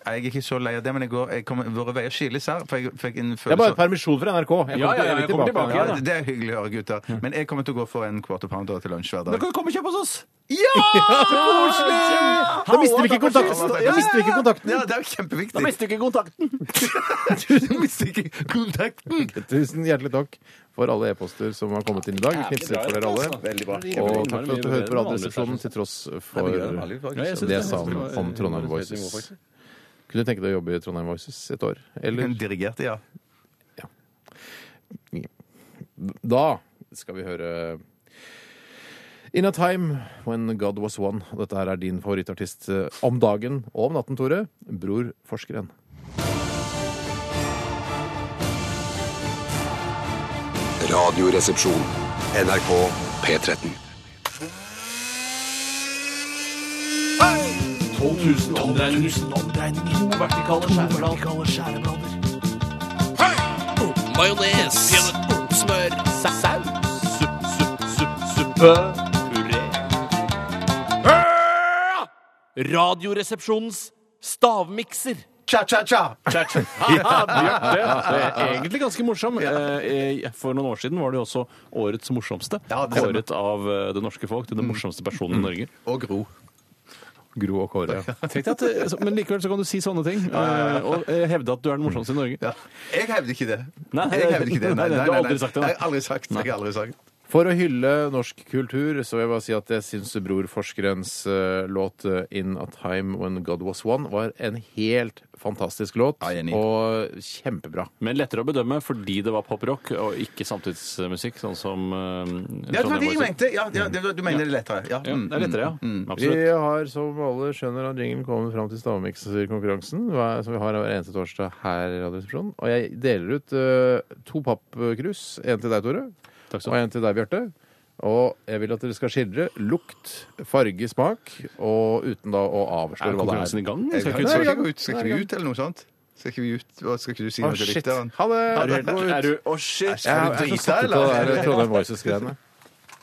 [SPEAKER 4] Jeg er ikke så lei av det, men jeg går, jeg kommer, våre veier skilles her. For jeg fikk en
[SPEAKER 3] Det er bare
[SPEAKER 4] følelse
[SPEAKER 3] permisjon fra NRK. Jeg kommer
[SPEAKER 4] Ja, ja, ja,
[SPEAKER 3] evig
[SPEAKER 4] jeg kommer tilbake
[SPEAKER 3] igjen,
[SPEAKER 4] igjen,
[SPEAKER 3] da.
[SPEAKER 4] da. Det er hyggelig å høre, gutter. Men jeg kommer til å gå for en quarter pounder til lunsj hver dag.
[SPEAKER 5] du komme og kjøpe hos oss!
[SPEAKER 4] Ja!
[SPEAKER 3] så koselig! Da mister vi ikke kontakten. Da mister vi ikke kontakten.
[SPEAKER 4] Ja, det er jo kjempeviktig.
[SPEAKER 5] Da mister du ikke kontakten.
[SPEAKER 4] du mister ikke kontakten.
[SPEAKER 3] Tusen hjertelig takk for alle e-poster som har kommet inn i dag. Vi Knipser for dere alle.
[SPEAKER 4] Veldig bra.
[SPEAKER 3] Og takk for at du hører på Radioresepsjonen til tross for
[SPEAKER 4] Nei, vi gjør det vanlig, faktisk. Ja, jeg synes
[SPEAKER 3] det
[SPEAKER 4] det.
[SPEAKER 3] jeg sa om, om Trondheim Voices. Kunne du tenke deg å jobbe i Trondheim Voices et år? Eller?
[SPEAKER 4] Hun dirigerte, ja.
[SPEAKER 3] Da skal vi høre In a time when God was one. Dette her er din favorittartist eh, om dagen og om natten, Tore. Bror Forskeren.
[SPEAKER 13] Radioresepsjon. NRK P13.
[SPEAKER 15] 12 000 omdreininger. To vertikale skjæreblader. Majones. Smør. Saus. Supp, supp, supp, suppe. Puré. Radioresepsjonens stavmikser.
[SPEAKER 4] Cha-cha-cha!
[SPEAKER 5] Egentlig ganske morsom. Eh, eh, For noen år siden var det jo også årets morsomste.
[SPEAKER 4] det stemmer. Mm.
[SPEAKER 5] Kåret av eh, det norske folk til den morsomste personen i Norge.
[SPEAKER 4] Og Gro.
[SPEAKER 3] Gro og Kåre. ja.
[SPEAKER 5] Tenk deg at, eh, så- men likevel så kan du si sånne ting eh, og eh, hevde at du er den morsomste i Norge.
[SPEAKER 4] Jeg hevder ikke det.
[SPEAKER 5] Nei,
[SPEAKER 4] jeg hevder ikke det. Nei, nei,
[SPEAKER 5] du har
[SPEAKER 4] nei,
[SPEAKER 5] aldri sagt det,
[SPEAKER 4] Nei,
[SPEAKER 5] da.
[SPEAKER 4] Jeg har aldri sagt det. Jeg har aldri sagt det.
[SPEAKER 3] For å hylle norsk kultur så vil jeg bare si at jeg syns Bror Forskerens eh, låt eh, 'In a Time When God Was One' var en helt fantastisk låt. og kjempebra.
[SPEAKER 5] Men lettere å bedømme fordi det var poprock og ikke samtidsmusikk, sånn som eh,
[SPEAKER 4] Ja, sånn det var
[SPEAKER 5] Trondheim
[SPEAKER 4] det jeg
[SPEAKER 5] Voices.
[SPEAKER 4] mente. Ja, ja, det var- du mener det er lettere. Ja,
[SPEAKER 5] Ja,
[SPEAKER 4] mm,
[SPEAKER 5] det er lettere, ja.
[SPEAKER 4] mm, mm.
[SPEAKER 5] Absolutt.
[SPEAKER 3] Vi har, som alle skjønner, av jinglen kommet fram til stavmikserkonkurransen, hva- som vi har hver eneste torsdag her i Radioresepsjonen. Og jeg deler ut eh, to pappkrus. En til deg, Tore, og en til deg, Bjarte. Og jeg vil at dere skal skildre lukt, farge, smak, og uten da å avsløre
[SPEAKER 5] Er
[SPEAKER 3] hva det er.
[SPEAKER 5] konkurransen i gang?
[SPEAKER 4] Jeg,
[SPEAKER 3] Skal
[SPEAKER 4] kan-
[SPEAKER 3] ikke-
[SPEAKER 4] Nei, jeg, kan ut. skal
[SPEAKER 3] Nei,
[SPEAKER 4] ikke
[SPEAKER 3] vi
[SPEAKER 4] vi
[SPEAKER 3] kan-
[SPEAKER 4] ut, eller noe sånt? Skal ikke vi ut? Hva Skal ikke du si
[SPEAKER 3] Å,
[SPEAKER 4] noe til
[SPEAKER 3] shit.
[SPEAKER 4] lytteren?
[SPEAKER 3] Ha det!
[SPEAKER 4] Er du helt-
[SPEAKER 3] Gå ut.
[SPEAKER 4] Er du- å,
[SPEAKER 3] Jeg
[SPEAKER 4] shit.
[SPEAKER 3] er- jeg er så
[SPEAKER 4] Drita,
[SPEAKER 3] satt ut av det
[SPEAKER 4] eller?
[SPEAKER 3] der Trondheim Voices-greiene.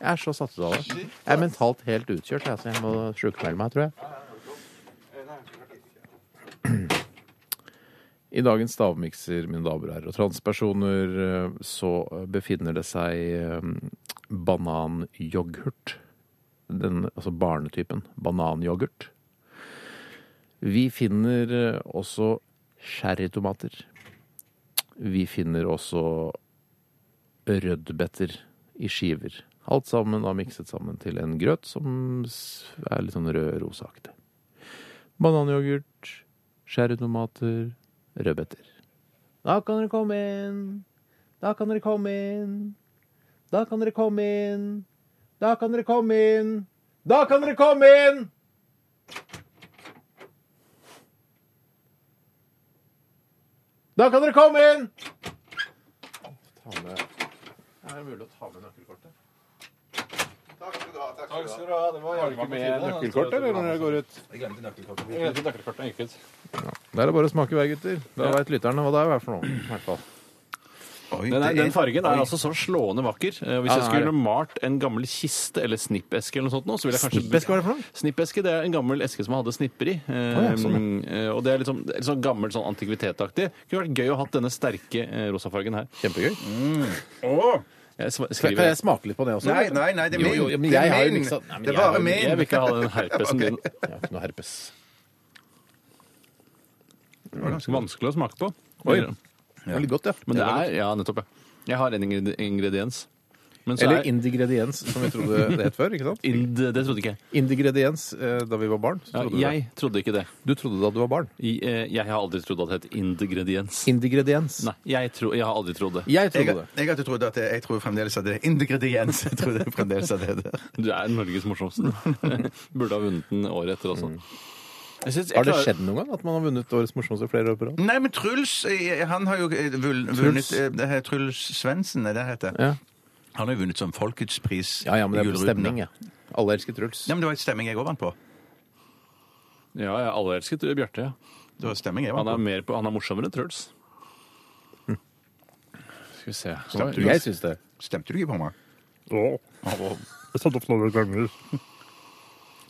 [SPEAKER 3] Jeg er så satt ut av det. Jeg er mentalt helt utkjørt, jeg, så jeg må sjukmelde meg, tror jeg. I dagens stavmikser, mine damer og herrer, og transpersoner, eh, så befinner det seg eh, bananyoghurt. Den, altså barnetypen. Bananyoghurt. Vi finner eh, også sherrytomater. Vi finner også rødbeter i skiver. Alt sammen da mikset sammen til en grøt som s- er litt sånn rød-rosaaktig. Bananyoghurt, sherrytomater, rødbeter. Da kan dere komme inn. Da kan dere komme inn. Da kan dere komme inn. Da kan dere komme inn. Da kan dere komme inn! Da kan dere komme inn! Ta med. Er det mulig å ta med nøkkelkortet?
[SPEAKER 5] Takk skal du ha. Det var jaggu
[SPEAKER 3] med nøkkelkort, eller, når jeg går
[SPEAKER 5] ut? Jeg glemte nøkkelkortet. Jeg glemte nøkkelkortet, jeg gikk ut.
[SPEAKER 3] Da er det bare å smake i vei, gutter. Da
[SPEAKER 5] Ja.
[SPEAKER 3] vet veit lytterne hva det er for noe. i hvert fall.
[SPEAKER 5] Den, er, den fargen er altså så slående vakker. Eh,
[SPEAKER 3] Ja,
[SPEAKER 5] Hvis jeg
[SPEAKER 3] den er
[SPEAKER 5] skulle
[SPEAKER 3] det.
[SPEAKER 5] malt en gammel kiste eller snippeske eller noe sånt nå, så ville jeg kanskje
[SPEAKER 3] Snippeske, hva er det for noe?
[SPEAKER 5] Snippeske, det er en gammel eske som hadde snipper i. Eh,
[SPEAKER 3] Å, ja, sånn,
[SPEAKER 5] eh, Og det er litt sånn, det er litt sånn gammel sånn antikvitetaktig. Det Kunne vært gøy å ha hatt denne sterke eh, rosafargen her.
[SPEAKER 3] Kjempegøy.
[SPEAKER 5] Jeg sm-
[SPEAKER 3] Kan
[SPEAKER 5] skriver
[SPEAKER 3] kan jeg smake litt på det også?
[SPEAKER 4] Nei, nei, nei, det er
[SPEAKER 3] Jo,
[SPEAKER 4] min.
[SPEAKER 3] jo, men
[SPEAKER 4] Det er
[SPEAKER 3] jeg har jo
[SPEAKER 4] min.
[SPEAKER 3] miksa Nei, men
[SPEAKER 4] Det er
[SPEAKER 3] jeg har
[SPEAKER 4] bare
[SPEAKER 3] jo-
[SPEAKER 4] min.
[SPEAKER 5] Jeg vil ikke ha den herpesen din.
[SPEAKER 3] Jeg har ikke noe herpes.
[SPEAKER 5] Det var ganske vanskelig å smake på.
[SPEAKER 3] Oi. Det var litt godt, ja.
[SPEAKER 5] Men det er, ja, nettopp, ja. Jeg har en ingred- ingrediens. Men så
[SPEAKER 3] Eller
[SPEAKER 5] er-
[SPEAKER 3] indigrediens, som vi trodde det het før. ikke sant?
[SPEAKER 5] Ind, det trodde ikke jeg.
[SPEAKER 3] Indigrediens eh, da vi var barn. Så
[SPEAKER 5] Ja,
[SPEAKER 3] trodde
[SPEAKER 5] jeg trodde ikke det.
[SPEAKER 3] Du trodde da du var barn?
[SPEAKER 5] I, eh, jeg har aldri trodd at det het ingrediens.
[SPEAKER 3] Indigrediens.
[SPEAKER 5] Nei, jeg, tro, jeg har aldri trodd det.
[SPEAKER 4] jeg, jeg hadde trodd at det, jeg tror fremdeles at det er ingrediens. Jeg tror det er fremdeles at det er det.
[SPEAKER 5] Du er Norges morsomste. Burde ha vunnet den året etter også. Jeg synes jeg
[SPEAKER 3] Har det
[SPEAKER 5] klarer-
[SPEAKER 3] skjedd noen gang at man har vunnet Årets morsomste flere år på rad?
[SPEAKER 4] Nei, men Truls eh, han har jo eh, vul- vunnet
[SPEAKER 3] Truls?
[SPEAKER 4] eh, det her, Truls Svendsen, er det det heter?
[SPEAKER 3] Ja.
[SPEAKER 4] Han har jo vunnet som Folkets pris.
[SPEAKER 3] Ja, ja, men det
[SPEAKER 4] i
[SPEAKER 3] er på
[SPEAKER 4] Gullruten, da.
[SPEAKER 3] stemning, ja. Alle elsker Truls.
[SPEAKER 4] Ja, men det var et stemming jeg òg vant på.
[SPEAKER 5] Ja, jeg alle elsket Bjarte. ja.
[SPEAKER 4] Det var stemming jeg
[SPEAKER 5] Han
[SPEAKER 4] vant
[SPEAKER 5] er,
[SPEAKER 4] på.
[SPEAKER 5] mer på, han er morsommere enn Truls. Mm. Skal vi se
[SPEAKER 4] Stemte du-
[SPEAKER 3] Jeg syns det.
[SPEAKER 4] Stemte du ikke på meg?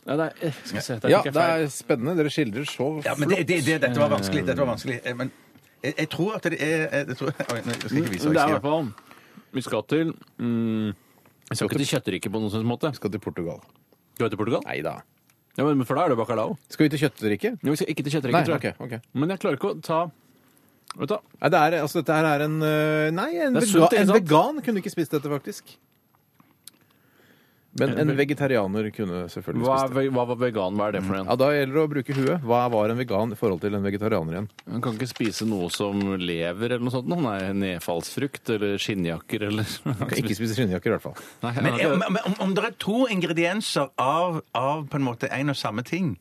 [SPEAKER 5] Nei, nei, eh, skal vi se. Der
[SPEAKER 3] Ja,
[SPEAKER 5] fikk jeg
[SPEAKER 3] det
[SPEAKER 5] feil.
[SPEAKER 3] er spennende. Dere skildrer så flott.
[SPEAKER 4] Ja, men det, det, det, dette var vanskelig. Dette var vanskelig. Eh, Men jeg, jeg tror at det er jeg, jeg tror, Oi, nå skal jeg ikke vise hva
[SPEAKER 5] Men det er i
[SPEAKER 4] jeg skriver.
[SPEAKER 5] hvert fall Vi skal til mm, Vi skal ikke til kjøtteriket på noen slags måte.
[SPEAKER 3] Skal til Portugal.
[SPEAKER 5] Skal vi til Portugal?
[SPEAKER 3] Nei da.
[SPEAKER 5] Ja, men for da er det bacalao.
[SPEAKER 3] Skal vi til kjøttdrikke?
[SPEAKER 5] Ja, vi skal ikke til
[SPEAKER 3] Nei,
[SPEAKER 5] kjøtteriket, tror jeg.
[SPEAKER 3] ok, ok.
[SPEAKER 5] Men jeg klarer ikke å ta Vet du, hva?
[SPEAKER 3] Nei, det er, altså, dette her er en øh, Nei, en,
[SPEAKER 5] Det
[SPEAKER 3] vega,
[SPEAKER 5] er sunt, ikke
[SPEAKER 3] en
[SPEAKER 5] sant?
[SPEAKER 3] vegan kunne ikke spist dette, faktisk. Men en
[SPEAKER 5] En ve-
[SPEAKER 3] vegetarianer kunne selvfølgelig
[SPEAKER 5] hva,
[SPEAKER 3] spist det.
[SPEAKER 5] er, ve- hva var vegan? Hva er det for en?
[SPEAKER 3] Ja, Da gjelder det å bruke huet. Hva var en vegan i forhold til en vegetarianer igjen?
[SPEAKER 5] Man kan ikke spise noe som lever eller noe sånt. nå. Nei, nedfallsfrukt eller skinnjakker eller
[SPEAKER 3] Kan ikke spise skinnjakker, i hvert fall.
[SPEAKER 5] Nei,
[SPEAKER 4] Men,
[SPEAKER 5] jeg-
[SPEAKER 4] er- men om, om det er to ingredienser av, av på en måte en og samme ting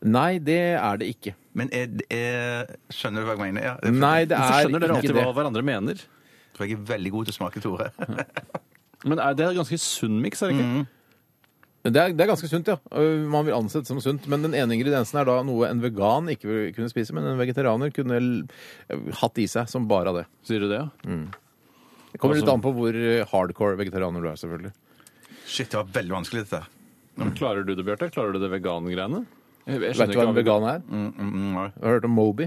[SPEAKER 3] Nei, det er det ikke.
[SPEAKER 4] Men er, er, skjønner du hva jeg mener? Ja, det er-
[SPEAKER 3] Nei, det
[SPEAKER 5] Hvorfor
[SPEAKER 3] er
[SPEAKER 5] skjønner dere
[SPEAKER 3] ikke
[SPEAKER 5] alltid
[SPEAKER 3] det.
[SPEAKER 5] hva hverandre mener?
[SPEAKER 4] Jeg tror jeg er veldig god til å smake, Tore.
[SPEAKER 5] Men er det er ganske sunn miks, er det ikke?
[SPEAKER 3] Det er, det er ganske sunt, ja. Øh, Man vil ansette som sunt. Men den ene ingrediensen er da noe en vegan ikke vil kunne spise, men en vegetarianer kunne l- hatt i seg som bare av det.
[SPEAKER 5] Sier du det, ja?
[SPEAKER 3] Det kommer
[SPEAKER 5] Altså-
[SPEAKER 3] litt an på hvor øh, hardcore vegetarianer du er, selvfølgelig.
[SPEAKER 4] Shit, det var veldig vanskelig, dette.
[SPEAKER 5] Men Klarer du det, Bjarte? Klarer du det vegangreiene? Jeg- jeg skjønner
[SPEAKER 3] Vet du hva
[SPEAKER 5] ikke
[SPEAKER 3] en vegan er?
[SPEAKER 4] Mm, mm, mm, nei.
[SPEAKER 3] Har du hørt om Moby?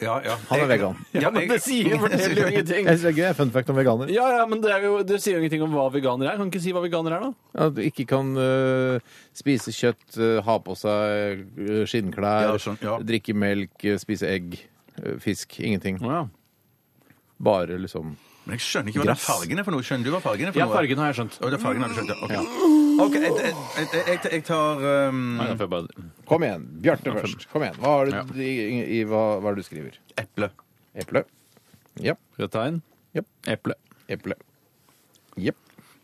[SPEAKER 4] ja, ja.
[SPEAKER 3] Han er vegan.
[SPEAKER 4] Ja, men jeg-
[SPEAKER 5] forteller jo ingenting.
[SPEAKER 3] Jeg synes det er gøy. Fun fact om veganer.
[SPEAKER 5] Ja, ja, men det, er jo, det sier jo ingenting om hva veganer er. Kan ikke si hva veganer er, da?
[SPEAKER 3] At du ikke kan øh, spise kjøtt, øh, ha på seg øh, skinnklær,
[SPEAKER 4] Ja, sånn, ja.
[SPEAKER 3] drikke melk, øh, spise egg, øh, fisk. Ingenting.
[SPEAKER 5] Å, ja.
[SPEAKER 3] Bare liksom
[SPEAKER 4] Men jeg skjønner ikke hva det er
[SPEAKER 3] Gress.
[SPEAKER 4] fargene for noe. Skjønner du hva fargene er for
[SPEAKER 5] ja,
[SPEAKER 4] noe?
[SPEAKER 5] fargen har jeg skjønt.
[SPEAKER 4] Å, det er fargen har du skjønt, ja. Ok, Ok, jeg, jeg, jeg, jeg, jeg tar um,
[SPEAKER 5] Nei, da får jeg bare...
[SPEAKER 3] Kom igjen, Bjarte først. Kom igjen. Hva er det,
[SPEAKER 5] Ja.
[SPEAKER 3] i, i, hva, hva er det du skriver?
[SPEAKER 4] eple.
[SPEAKER 3] Eple. Ja.
[SPEAKER 5] Rødt tegn.
[SPEAKER 3] Japp.
[SPEAKER 5] Eple.
[SPEAKER 3] Eple. Jepp.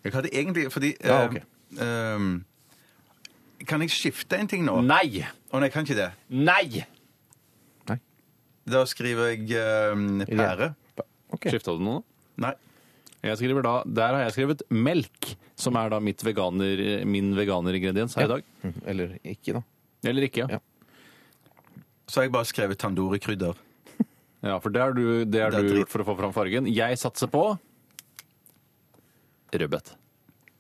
[SPEAKER 4] Jeg hadde egentlig fordi
[SPEAKER 3] Ja, ok.
[SPEAKER 4] eh, um, Kan jeg skifte en ting nå?
[SPEAKER 5] Nei!
[SPEAKER 4] Å nei, jeg kan ikke det.
[SPEAKER 5] Nei!
[SPEAKER 4] Da skriver jeg um, pære.
[SPEAKER 3] Ok.
[SPEAKER 5] Skifta du noe?
[SPEAKER 4] Nei.
[SPEAKER 5] Jeg skriver da, Der har jeg skrevet melk, som er da mitt veganer, min veganeringrediens her i dag.
[SPEAKER 3] Eller ikke, da.
[SPEAKER 5] Eller ikke,
[SPEAKER 3] Ja.
[SPEAKER 5] ja.
[SPEAKER 4] Så har jeg bare skrevet tandoori-krydder.
[SPEAKER 5] ja for det har du, det har
[SPEAKER 4] Det er
[SPEAKER 5] du
[SPEAKER 4] dritt.
[SPEAKER 5] gjort for å få fram fargen. Jeg satser på rødbet.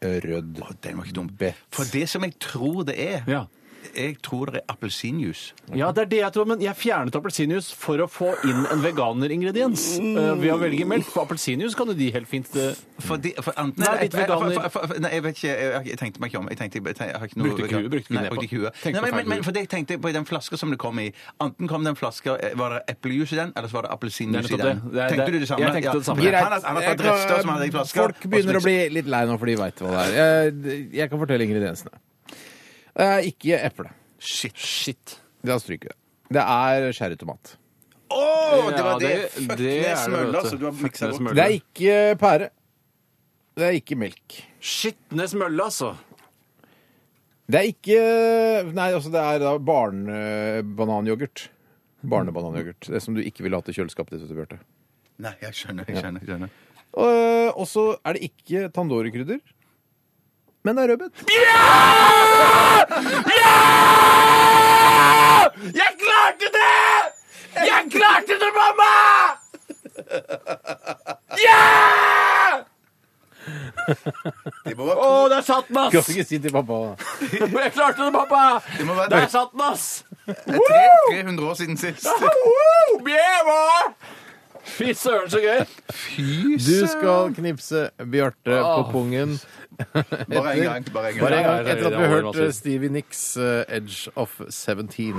[SPEAKER 3] Rød.
[SPEAKER 4] Å, den var ikke dum.
[SPEAKER 3] Bet.
[SPEAKER 4] For det som jeg tror det er
[SPEAKER 5] Ja.
[SPEAKER 4] Jeg tror det er appelsinjuice.
[SPEAKER 5] ja, det er det jeg tror, men jeg fjernet appelsinjuice for å få inn en veganeringrediens eh, ved å velge melk. For appelsinjuice kan jo de helt fint eh,
[SPEAKER 4] Fordi, for enten
[SPEAKER 5] Nei,
[SPEAKER 4] Nei, jeg,
[SPEAKER 5] litt
[SPEAKER 4] jeg,
[SPEAKER 5] veganer.
[SPEAKER 4] for- for- for- nei, jeg vet ikke. Jeg, jeg tenkte meg ikke om. Jeg, tenkte, jeg, jeg har ikke noe
[SPEAKER 5] Brukte ikke huet, brukte ikke
[SPEAKER 4] Nei,
[SPEAKER 5] nepa.
[SPEAKER 4] brukte ikke huet.
[SPEAKER 5] Tenkte
[SPEAKER 4] Nei, men,
[SPEAKER 5] feil
[SPEAKER 4] men, men
[SPEAKER 5] hue.
[SPEAKER 4] for det jeg tenkte på i den flaska som det kom i. Enten kom den flaska eh, Var det eplejus i den, eller så var det appelsinjuice i
[SPEAKER 5] Det er
[SPEAKER 4] den?
[SPEAKER 5] nettopp det. Det er-
[SPEAKER 4] tenkte
[SPEAKER 5] det-
[SPEAKER 4] du det samme?
[SPEAKER 5] jeg tenkte det samme.
[SPEAKER 4] Ja. Han har- han har tatt rester som hadde i flaska.
[SPEAKER 3] Folk begynner å bli litt lei nå, for de veit hva det er. Jeg, jeg kan fortelle ingrediensene. Det er ikke eple.
[SPEAKER 4] Shit.
[SPEAKER 5] Shit.
[SPEAKER 3] Da stryker vi det. Det er sherrytomat.
[SPEAKER 4] Å, det var det!
[SPEAKER 5] Ja,
[SPEAKER 4] Fuck, det
[SPEAKER 5] det er det, vet
[SPEAKER 4] smøller,
[SPEAKER 5] du.
[SPEAKER 4] altså. Du har miksa
[SPEAKER 5] Fuck,
[SPEAKER 4] det
[SPEAKER 5] det
[SPEAKER 4] opp.
[SPEAKER 3] Det er ikke pære. Det er ikke melk.
[SPEAKER 5] Skitnes mølle, altså!
[SPEAKER 3] Det er ikke Nei, altså, det er da barnebananyoghurt. Barnebananyoghurt. Det som du ikke ville hatt i kjøleskapet ditt, vet du, Bjarte.
[SPEAKER 4] Nei, jeg skjønner. jeg skjønner, jeg skjønner.
[SPEAKER 3] Og og så er det ikke tandorikrydder. Men det er rødbet.
[SPEAKER 5] Jeg klarte det! Jeg klarte det, mamma! Ja!
[SPEAKER 4] Det må være
[SPEAKER 5] Å, der satt den,
[SPEAKER 3] Kan
[SPEAKER 5] ass!
[SPEAKER 3] ikke si til pappa
[SPEAKER 5] Jeg klarte det, pappa!
[SPEAKER 4] må være-
[SPEAKER 5] Der satt den, ass!
[SPEAKER 4] tre- 300 år siden sist.
[SPEAKER 5] Woo! Bjeva! Fy søren, så gøy!
[SPEAKER 3] Du skal knipse Bjarte på pungen.
[SPEAKER 4] Bare en gang. Bare
[SPEAKER 3] Bare
[SPEAKER 4] en gang.
[SPEAKER 3] en gang etter at vi har hørt
[SPEAKER 5] Ja, ja, ja.
[SPEAKER 3] Stevie Nicks eh, 'Edge of 17'.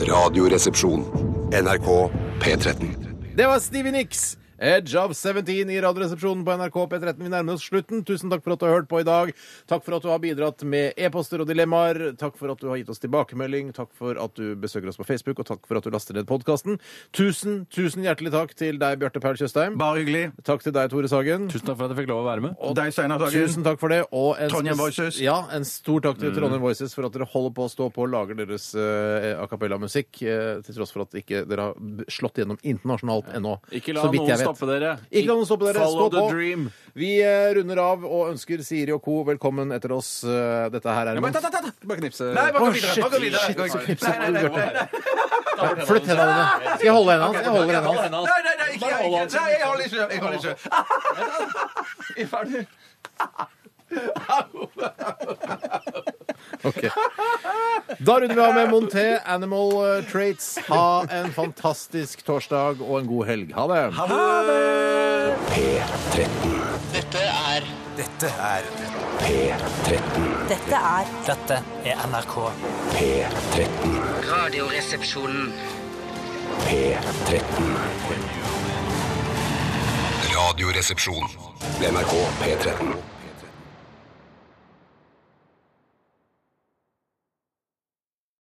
[SPEAKER 13] Radioresepsjon. NRK P13.
[SPEAKER 3] Det var Stevie Nicks Edge of 17 i Radioresepsjonen på NRK P13. Vi nærmer oss slutten. Tusen takk for at du har hørt på i dag. Takk for at du har bidratt med e-poster og dilemmaer. Takk for at du har gitt oss tilbakemelding. Takk for at du besøker oss på Facebook, og takk for at du laster ned podkasten. Tusen, tusen hjertelig takk til deg, Bjarte Paul Tjøstheim.
[SPEAKER 4] Bare hyggelig.
[SPEAKER 3] Takk til deg, Tore Sagen.
[SPEAKER 5] Tusen takk for at jeg fikk lov å være med.
[SPEAKER 4] Og deg, Steinar Sagen.
[SPEAKER 3] Tusen takk for det. Og en
[SPEAKER 4] Trondheim
[SPEAKER 3] spes-
[SPEAKER 4] Voices.
[SPEAKER 3] Ja, en stor takk til
[SPEAKER 4] Mm.
[SPEAKER 3] Trondheim Voices for at dere holder på å stå på og lager deres eh, a cappella-musikk, eh, til tross for at ikke dere har b- slått gjennom internasjonalt ennå.
[SPEAKER 5] Ikke la
[SPEAKER 3] så vidt
[SPEAKER 5] noen
[SPEAKER 3] jeg vet.
[SPEAKER 5] stoppe dere.
[SPEAKER 3] Ikke la noen stoppe dere.
[SPEAKER 5] Follow
[SPEAKER 3] Stå
[SPEAKER 5] the
[SPEAKER 3] på.
[SPEAKER 5] dream.
[SPEAKER 3] Vi eh, runder av og ønsker Siri og co. velkommen etter oss. Eh, Dette her er
[SPEAKER 5] Ja, men ta, ta, ta, ta. Bare knipse.
[SPEAKER 3] Nei, bare gå
[SPEAKER 5] Å,
[SPEAKER 3] videre,
[SPEAKER 5] shit,
[SPEAKER 3] bare gå videre.
[SPEAKER 5] shit,
[SPEAKER 3] Bare knipse.
[SPEAKER 5] Nei, nei, nei, nei, nei.
[SPEAKER 3] Flytt hendene dine. Skal jeg holde hendene hans? Jeg holder
[SPEAKER 5] Ok,
[SPEAKER 3] hendene
[SPEAKER 5] hold
[SPEAKER 3] hans.
[SPEAKER 4] Nei, nei, nei, ikke, jeg, ikke, nei, jeg holder ikke. Jeg holder ikke.
[SPEAKER 15] Vi er ferdig.
[SPEAKER 3] Ok. Da runder vi av med Monté Animal eh, Traits. Ha en fantastisk torsdag og en god helg. Ha det.
[SPEAKER 6] P13.
[SPEAKER 14] Dette er
[SPEAKER 6] Dette er P13.
[SPEAKER 14] Dette er
[SPEAKER 6] Dette er NRK P13.
[SPEAKER 14] Radioresepsjonen.
[SPEAKER 13] P13. Radioresepsjon. NRK P13.